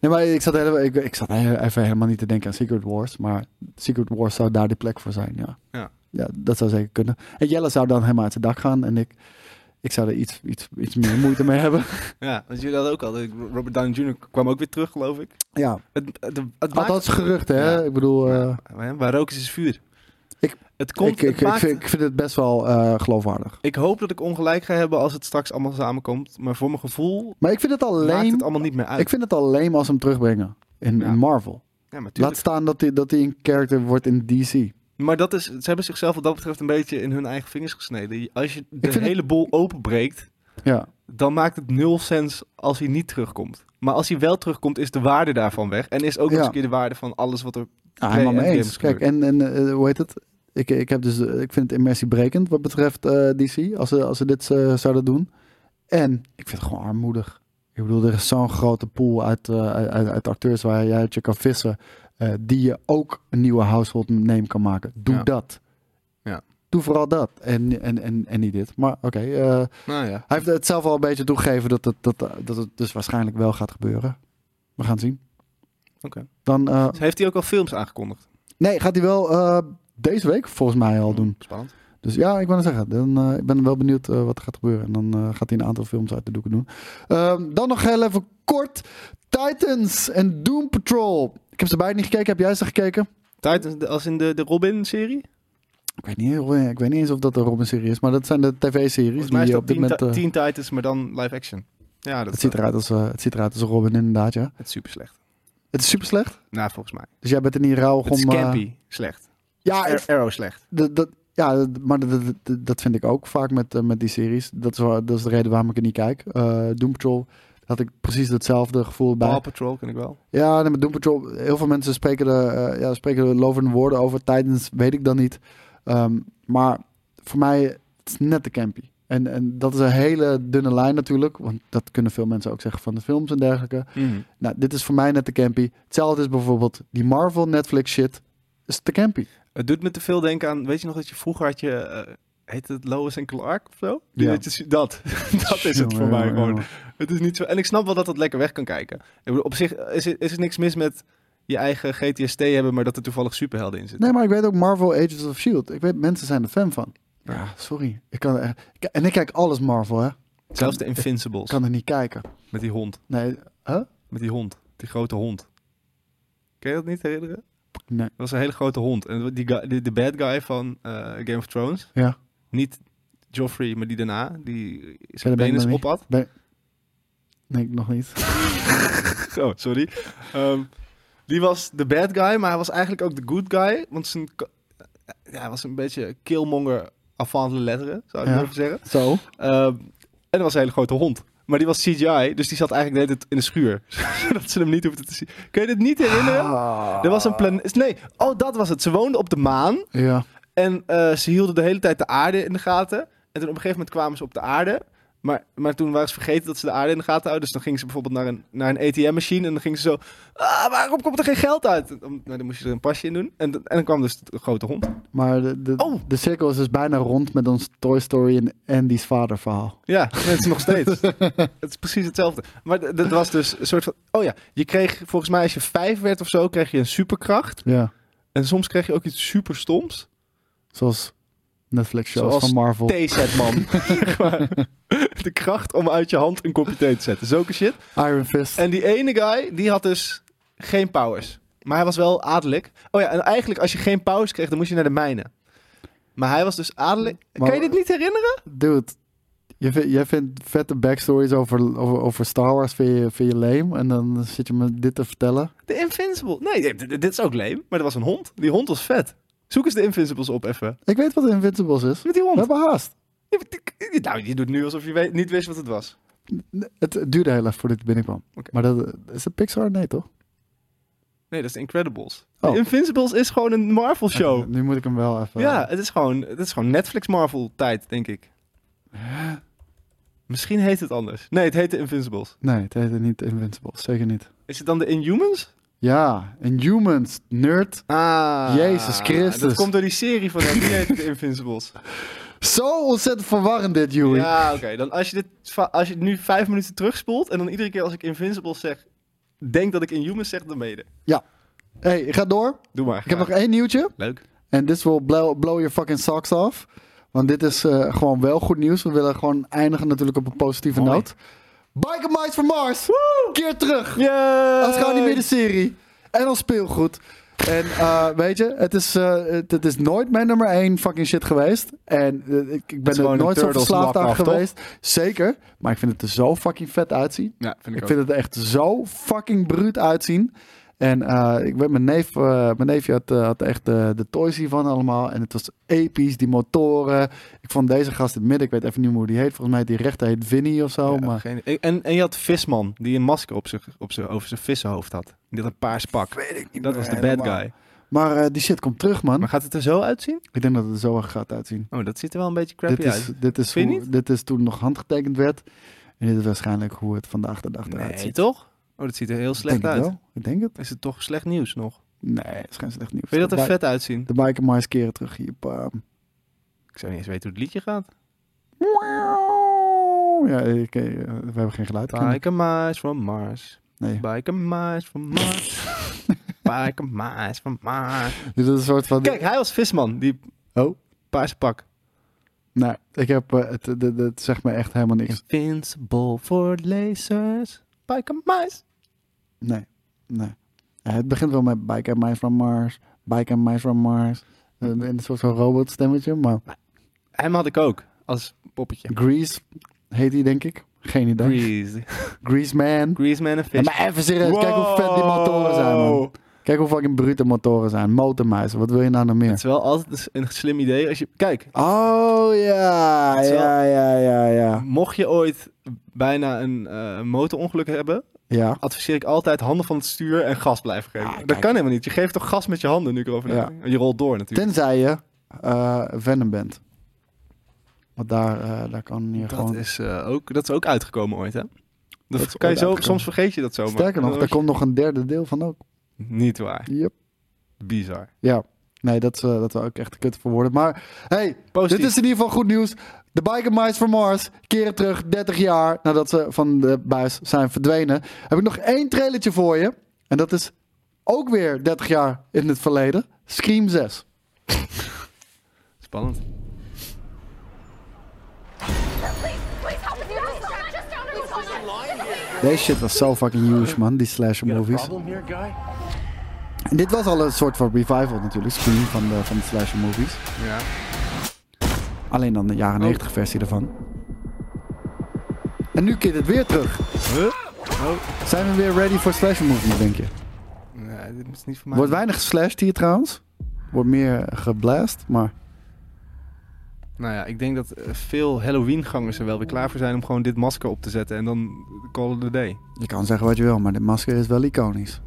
Nee, maar ik zat, hele- ik, ik zat he- even helemaal niet te denken aan Secret Wars. Maar Secret Wars zou daar de plek voor zijn, ja.
Ja.
dat zou zeker kunnen. En Jelle zou dan helemaal uit zijn dak gaan. En ik, ik zou er iets, iets, iets meer moeite mee hebben.
Ja, want jullie hadden ook al, dat Robert Downey Jr. kwam ook weer terug, geloof ik.
Ja,
Het, het, het maakt-
althans geruchten, hè.
Ja.
Ik bedoel, eh,
Ja, Waar rook is, is vuur.
Ik-
het komt,
ik, ik,
het maakt-
ik, vind, ik vind het best wel eh, geloofwaardig.
ik hoop dat ik ongelijk ga hebben als het straks allemaal samenkomt, maar voor mijn gevoel
Maar ik vind het al
maakt het
lame,
allemaal niet meer uit.
ik vind het al lame als ze hem terugbrengen in,
Ja.
in Marvel.
ja, maar tuurlijk.
Laat staan dat hij dat hij een character wordt in DC.
Maar dat is, ze hebben zichzelf wat dat betreft een beetje in hun eigen vingers gesneden. Als je de
vind het-
hele boel openbreekt,
Ja.
dan maakt het nul sens als hij niet terugkomt. Maar als hij wel terugkomt, is de waarde daarvan weg. En is ook
Ja.
nog eens een keer de waarde van alles wat er...
Ja, Ah, helemaal
Nee,
mee
Endgame
eens.
is
Kijk, en, en eh, hoe heet het? Ik, ik, heb dus, eh, ik vind het immersiebrekend wat betreft eh, DC, als ze, als ze dit eh, zouden doen. En ik vind het gewoon armoedig. Ik bedoel, er is zo'n grote pool uit, eh, uit, uit acteurs waar je uit je kan vissen, eh, die je ook een nieuwe household name kan maken. Doe
Ja.
dat.
Ja.
Doe vooral dat. En, en, en, en niet dit. Maar oké, eh,
Nou ja.
hij heeft het zelf al een beetje toegegeven dat het, dat, dat het dus waarschijnlijk wel gaat gebeuren. We gaan het zien.
Oké.
Dan, eh,
Heeft hij ook al films aangekondigd?
Nee, gaat hij wel eh, deze week volgens mij al doen.
Hmm, Spannend.
Dus ja, ik wil het zeggen. Dan, eh, ik ben wel benieuwd eh, wat er gaat gebeuren. En dan eh, gaat hij een aantal films uit de doeken doen. Ehm, dan nog heel even kort. Titans en Doom Patrol. Ik heb ze beide niet gekeken. Heb jij ze gekeken?
Titans, de- als in de, de Robin-serie?
Ik weet niet, heel- eh, ik weet niet eens of dat een Robin-serie is. Maar dat zijn de tv-series
Volgens mij
die
is
je
dat
op dit
teen,
moment...
Ti-
eh,
Teen Titans, maar dan live action. Ja, dat,
het, ziet eruit als, eh, het ziet eruit als een Robin inderdaad, ja.
Het is super slecht.
Het is super slecht.
Nou, volgens mij.
Dus jij bent er niet rauw om...
Het is
eh,
campy slecht.
ja,
Ar- Arrow slecht.
Dat, dat, ja, dat- maar dat, dat- dat, dat vind ik ook vaak met, eh, met die series. Dat is, waar- dat is de reden waarom ik er niet kijk. Eh, Doom Patrol had ik precies hetzelfde gevoel bij.
Paw Patrol ken ik wel.
Ja, nee, maar Doom Patrol, heel veel mensen spreken er, eh, ja, spreken er lovende woorden over. Tijdens weet ik dan niet. Ehm, maar voor mij, het is net de campy. En, en dat is een hele dunne lijn natuurlijk. Want dat kunnen veel mensen ook zeggen van de films en dergelijke.
Mhm.
Nou, dit is voor mij net de campy. Hetzelfde is bijvoorbeeld die Marvel Netflix shit. is te campy.
Het doet me te veel denken aan, weet je nog dat je vroeger had je, eh heet het Lois en Clark of zo? Die
Ja.
Dat, je su- dat. dat is het voor
Jongen,
mij
jongen,
gewoon.
jongen.
Het is niet zo, en ik snap wel dat dat lekker weg kan kijken. Ik bedoel, op zich eh, is, er- is er niks mis met je eigen GTST hebben, maar dat er toevallig superhelden in zitten.
Nee, maar ik weet ook Marvel Agents of S.H.I.E.L.D. E Ik weet, mensen zijn er fan van. Ja, sorry. Ik kan er, ik- en ik kijk alles Marvel, hè. Ik
Zelfs de Invincibles,
kan er niet kijken.
met die hond.
Nee, hè?
Met die hond, die grote hond. Ken je dat niet herinneren?
Nee.
Dat was een hele grote hond. En die guy- de, de bad guy van eh, Game of Thrones,
Ja.
niet Joffrey, maar die daarna, die
Ja,
zijn
dat ben ik
penis
nog
op
niet.
had.
Nee, nog niet.
Oh, sorry. Ehm, die was de bad guy, maar hij was eigenlijk ook de good guy. Want zijn, ko- ja, hij was een beetje killmonger avant de letteren, zou ik
Ja.
durven zeggen.
Zo.
Ehm, en dat was een hele grote hond. Maar die was CGI, dus die zat eigenlijk de hele tijd in de schuur. Zodat ze hem niet hoefden te zien. Kun je dit niet herinneren? Er was een planeet... Nee, oh, dat was het. Ze woonden op de maan.
Ja.
En eh, ze hielden de hele tijd de aarde in de gaten. En toen op een gegeven moment kwamen ze op de aarde. Maar, maar toen waren ze vergeten dat ze de aarde in de gaten houden. Dus dan gingen ze bijvoorbeeld naar een, naar een ATM-machine. En dan gingen ze zo... Ah, waarom komt er geen geld uit? En dan- nou, dan moest je er een pasje in doen. En, dan- en dan kwam dus de grote hond.
Maar de, de,
Oh.
de cirkel is dus bijna rond met ons Toy Story en Andy's vader verhaal.
Ja, het is nog steeds. het is precies hetzelfde. Maar d- dat was dus een soort van... Oh ja, je kreeg volgens mij als je vijf werd of zo... kreeg je een superkracht.
Ja.
En soms kreeg je ook iets superstoms.
Zoals Netflix shows
Zoals
van Marvel.
Theezet, man. Zeg maar. de kracht om uit je hand een kopje thee te zetten. Zulke shit.
Iron Fist.
En die ene guy, die had dus geen powers. Maar hij was wel adellijk. Oh ja, en eigenlijk als je geen powers kreeg, dan moest je naar de mijnen. Maar hij was dus adellijk.
Maar-
kan je dit niet herinneren?
Dude, je vind- jij vindt vette backstories over, over, over Star Wars vind je, vind je lame. En dan zit je me dit te vertellen.
De Invincible. Nee, dit, dit is ook leem. Maar er was een hond. Die hond was vet. Zoek eens de Invincibles op even.
Ik weet wat Invincibles is.
Met die
We
hond.
hebben haast.
Nou, je doet nu alsof je weet- niet wist wat het was.
Nee, Het duurde heel even voordat het binnenkwam.
Oké.
Maar dat, is het Pixar? Nee, toch?
Nee, dat is de Incredibles.
Oh.
De Invincibles is gewoon een Marvel-show.
Nu moet ik hem wel even...
Ja, het is gewoon, het is gewoon Netflix-Marvel-tijd, denk ik. Misschien heet het anders. Nee, het heet de Invincibles.
Nee, het heette niet Invincible. Zeker niet.
Is het dan de Inhumans?
Ja, Inhumans, nerd.
Ah,
Jezus Christus.
Dat komt door die serie van hem, die heet de Invincibles.
Zo ontzettend verwarrend dit, Joey.
Ja, oké. Dan als je, dit, va- als je het nu vijf minuten terugspoelt en dan iedere keer als ik Invincibles zeg, denk dat ik Inhumans zeg, dan ben je er.
hey, ik ga door.
Doe maar.
Ik heb nog één nieuwtje.
Leuk.
En this will blow, blow your fucking socks off. Want dit is eh, gewoon wel goed nieuws. We willen gewoon eindigen natuurlijk op een positieve
Mooi.
noot. Biker Mice van Mars! Keer terug!
Yeah.
Als gewoon die middenserie. En als speelgoed. En eh, weet je, het is, eh, het, het is nooit mijn nummer één fucking shit geweest. En eh, ik, ik ben
gewoon
er
een
nooit zo
Turtles
verslaafd aan
knock-off, toch?
geweest. Zeker. Maar ik vind het er zo fucking vet uitzien.
Ja, vind ik,
Ik
ook.
vind het er echt zo fucking bruut uitzien. En eh, ik weet, mijn neef, eh, mijn neefje had, eh, had echt eh, de toys hiervan allemaal. En het was episch, die motoren. Ik vond deze gast in het midden, ik weet even niet meer hoe die heet. Volgens mij heet die rechter heet Vinny of zo.
Ja,
maar
geen- en, en je had Visman, die een masker op zijn, op zijn, over zijn vissenhoofd had. Die had een paars pak. dat was de bad
helemaal.
guy.
maar eh, die shit komt terug, man.
Maar gaat het er zo uitzien?
Ik denk dat het er zo erg gaat uitzien.
Oh, dat ziet er wel een beetje crappy
Dit is,
uit.
dit, is
Vind je
hoe, dit is toen nog handgetekend werd. En dit is waarschijnlijk hoe het vandaag de dag eruit
Nee,
ziet.
toch? Oh, dat ziet er heel
Ik denk
slecht
het
uit.
wel. Ik denk het.
Is het toch slecht nieuws nog?
Nee, het is geen slecht nieuws.
Vind je dat er
de,
vet uitzien?
bi- de Biker Mice keren terug hier. Bam.
Ik zou niet eens weten hoe het liedje gaat.
Ja, ik, eh, we hebben geen geluid.
Biker Mice from Mars.
Nee.
Biker Mice from Mars. Biker Mice from Mars.
Dit is een soort van...
Kijk, hij was visman, die
Oh.
paarse pak.
Nou, ik heb... eh, het, het, het- het zegt me echt helemaal niks.
Invincible for lasers. Biker Mice.
Nee, nee. Ja, het begint wel met Bike and Mice from Mars. Bike and Mice from Mars. Eh,
Mhm.
In een soort van robotstemmetje. Maar
Hem had ik ook, als poppetje.
Grease heet die, denk ik. Geen idee. Grease,
Grease.
Man.
Grease Man en
Ja,
Fish.
maar even serieus, kijk hoe vet die motoren zijn, man. Kijk hoe fucking brute motoren zijn. Motormuizen, wat wil je nou nog
Het is
meer?
wel altijd een slim idee als je... Kijk,
Oh ja,
Het is wel-
ja, ja, ja, ja.
mocht je ooit bijna een eh, motorongeluk hebben...
Ja,
adviseer ik altijd handen van het stuur en gas blijven geven.
Ah,
dat
kijk.
kan helemaal niet. Je geeft toch gas met je handen nu ik erover
Ja.
nadenk? Je rolt door natuurlijk.
tenzij je eh, Venom bent. Want daar, eh, daar kan je
dat,
gewoon...
is, eh, ook, dat is ook uitgekomen ooit, hè? Dat, kan je
is ooit
zo,
uitgekomen.
soms vergeet je dat zomaar.
Sterker nog,
Dan
daar
word
komt nog een derde deel van ook.
je- Niet waar.
Yep.
Bizar.
Ja, nee, dat, is, eh, dat zou ook echt kut voor worden. Maar hey,
Positief.
dit is in ieder geval goed nieuws. De Biker Mice van Mars keren terug 30 jaar nadat ze van de buis zijn verdwenen. Heb ik nog één trailertje voor je. En dat is ook weer 30 jaar in het verleden. Scream 6.
Spannend.
Deze shit was zo fucking huge, man. Die slasher movies. En dit was al een soort van revival natuurlijk. Scream van de, van de slasher movies.
Ja. Oh.
Alleen dan de jaren 90 versie ervan. En nu keert het weer terug.
Huh? Oh.
Zijn we weer ready voor slasher movies, denk je?
Nee, dit is niet voor mij.
Wordt weinig geslashed hier trouwens. Wordt meer geblast, maar...
Nou ja, ik denk dat eh, veel Halloween-gangers er wel weer klaar voor zijn om gewoon dit masker op te zetten en dan call it a day.
Je kan zeggen wat je wil, maar dit masker is wel iconisch.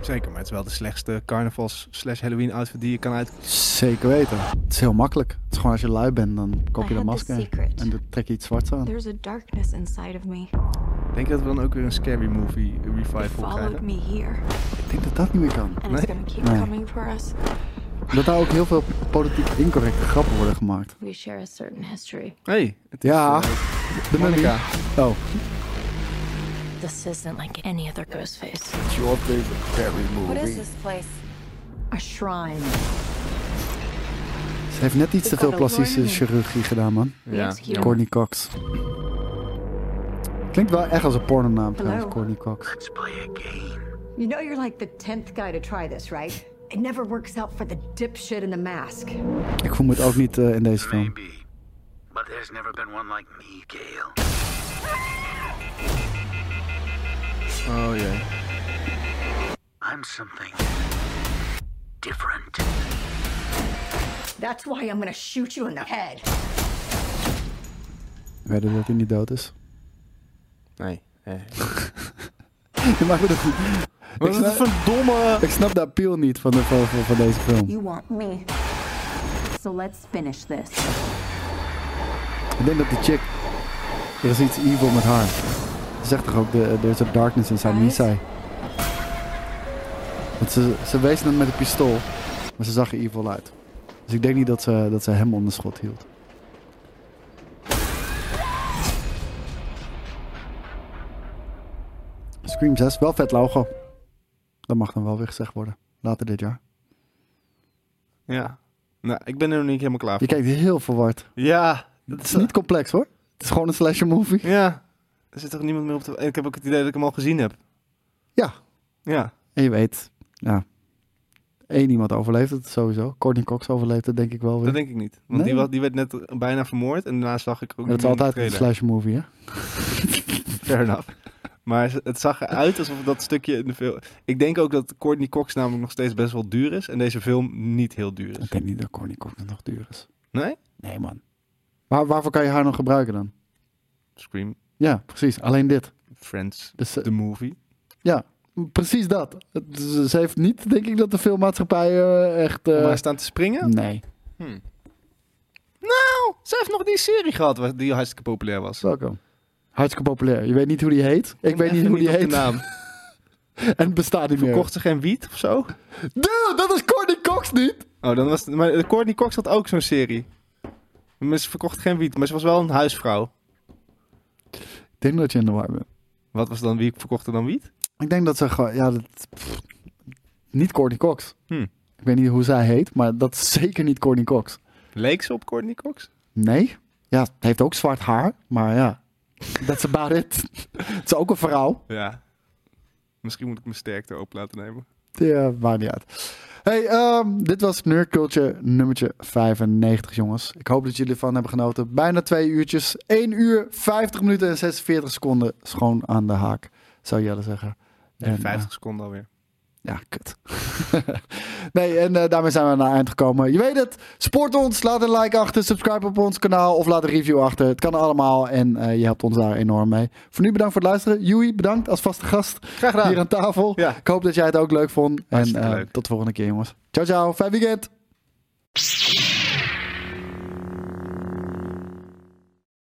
Zeker, maar het is wel de slechtste carnavals-slash-Halloween-outfit die je kan uit...
Zeker weten. Het is heel makkelijk. Het is gewoon als je lui bent, dan koop je
I
dat
had the
masker.
secret.
En dan trek je iets zwarts aan.
There's a darkness inside of me.
Denk je dat we dan ook weer een Scary Movie
It
revival
followed
krijgen?
me here,
Ik denk dat dat niet meer kan.
and it's gonna keep
Nee.
coming for us.
Dat daar ook heel veel politiek incorrecte grappen worden gemaakt.
We share a certain history.
hey, het is...
Ja,
eh,
de mummy.
Monica.
Oh.
This isn't like any other ghost face.
What is this place?
A shrine.
Ze heeft net iets te veel plastische chirurgie gedaan, man.
Ja,
Obscure.
Courtney Cox. Klinkt wel echt als een pornonaam trouwens, Courtney Cox.
You know you're like the 10th guy to try this, right? It never works out for the dipshit in the mask.
Ik voel me het ook niet eh, in deze film.
Maybe. But there's never been one like me, Gail.
Oh jee.
I'm something different.
That's why I'm gonna shoot you in the head.
Wedden dat hij niet dood is.
Nee.
Je maakt me de-
Wat is
snap-
dat voor domme...
Ik snap de appeal niet van, de, van, van, van deze film.
You want me. So let's finish this.
Ik denk dat die chick... Er is iets evil met haar. Ze zegt toch ook, de- there's a darkness inside Nisai. Want ze, ze wees hem met een pistool, maar ze zag er evil uit. Dus ik denk niet dat ze, dat ze hem onder schot hield. Scream 6, wel vet logo. Dat mag dan wel weer gezegd worden. Later dit jaar.
Ja. Nou, ik ben er nog niet helemaal klaar
Je
voor.
kijkt heel verward.
Ja. eh,
Het is niet complex hoor. Het is gewoon een slasher movie.
Ja. Er zit toch niemand meer op te... en Ik heb ook het idee dat ik hem al gezien heb.
Ja,
Ja.
En je weet, ja. Eén iemand overleeft het sowieso. Courtney Cox overleeft het denk ik wel weer.
Dat denk ik niet. Want
Nee?
die, was, die werd net bijna vermoord. En daarna zag ik ook...
dat
niet
is
meer
altijd
in de
een
trailer.
slash movie, hè?
Fair enough. Maar ze- het zag eruit alsof dat stukje in de film... Ik denk ook dat Courtney Cox namelijk nog steeds best wel duur is. En deze film niet heel duur is.
Ik denk niet dat Courtney Cox nog duur is.
Nee?
Nee, man. Waar, waarvoor kan je haar nog gebruiken dan?
Scream,
Ja, precies. Alleen dit.
Friends,
Dus, eh,
The Movie.
ja, precies dat. Het- Ze ze heeft niet, denk ik, dat de filmmaatschappij eh, echt... eh,
Om haar staan te springen?
nee.
Nou, ze heeft nog die serie gehad waar- die hartstikke populair was.
Welkom. Hartstikke populair. Je weet niet hoe die heet. Ik weet niet
Even
hoe die
op de
heet.
naam.
En het bestaat niet meer.
Kocht ze geen wiet of zo?
Dude, dat is Courtney Cox niet!
Oh, dan was het, maar eh, Courtney Cox had ook zo'n serie. Maar ze verkocht geen wiet, maar ze was wel een huisvrouw.
Ik denk dat je in de war bent.
Wat was dan wie verkocht er dan wiet?
Ik denk dat ze gewoon, ja, dat, pff, niet Courtney Cox.
Hmm.
Ik weet niet hoe zij heet, maar dat is zeker niet Courtney Cox.
Leek ze op Courtney Cox?
Nee, ja, ze heeft ook zwart haar, maar ja, that's about it. Het is ook een vrouw.
Ja. Misschien moet ik mijn sterkte op laten nemen.
Ja, maakt niet uit. Hey, ehm, dit was Nerd Culture nummertje 95, jongens. Ik hoop dat jullie ervan hebben genoten. Bijna twee uurtjes. 1 uur, 50 minuten en 46 seconden schoon aan de haak, zou Jelle zeggen.
En
eh,
50 seconden alweer.
Ja, kut. nee, en eh, daarmee zijn we aan het eind gekomen. Je weet het. Sport ons. Laat een like achter. Subscribe op ons kanaal. Of laat een review achter. Het kan allemaal. En eh, je helpt ons daar enorm mee. Voor nu bedankt voor het luisteren. Joey, bedankt als vaste gast.
Graag gedaan.
Hier aan tafel.
Ja.
Ik hoop dat jij het ook leuk vond. En
Hartstikke
eh,
leuk.
tot de volgende keer, jongens. Ciao, ciao. Fijn weekend.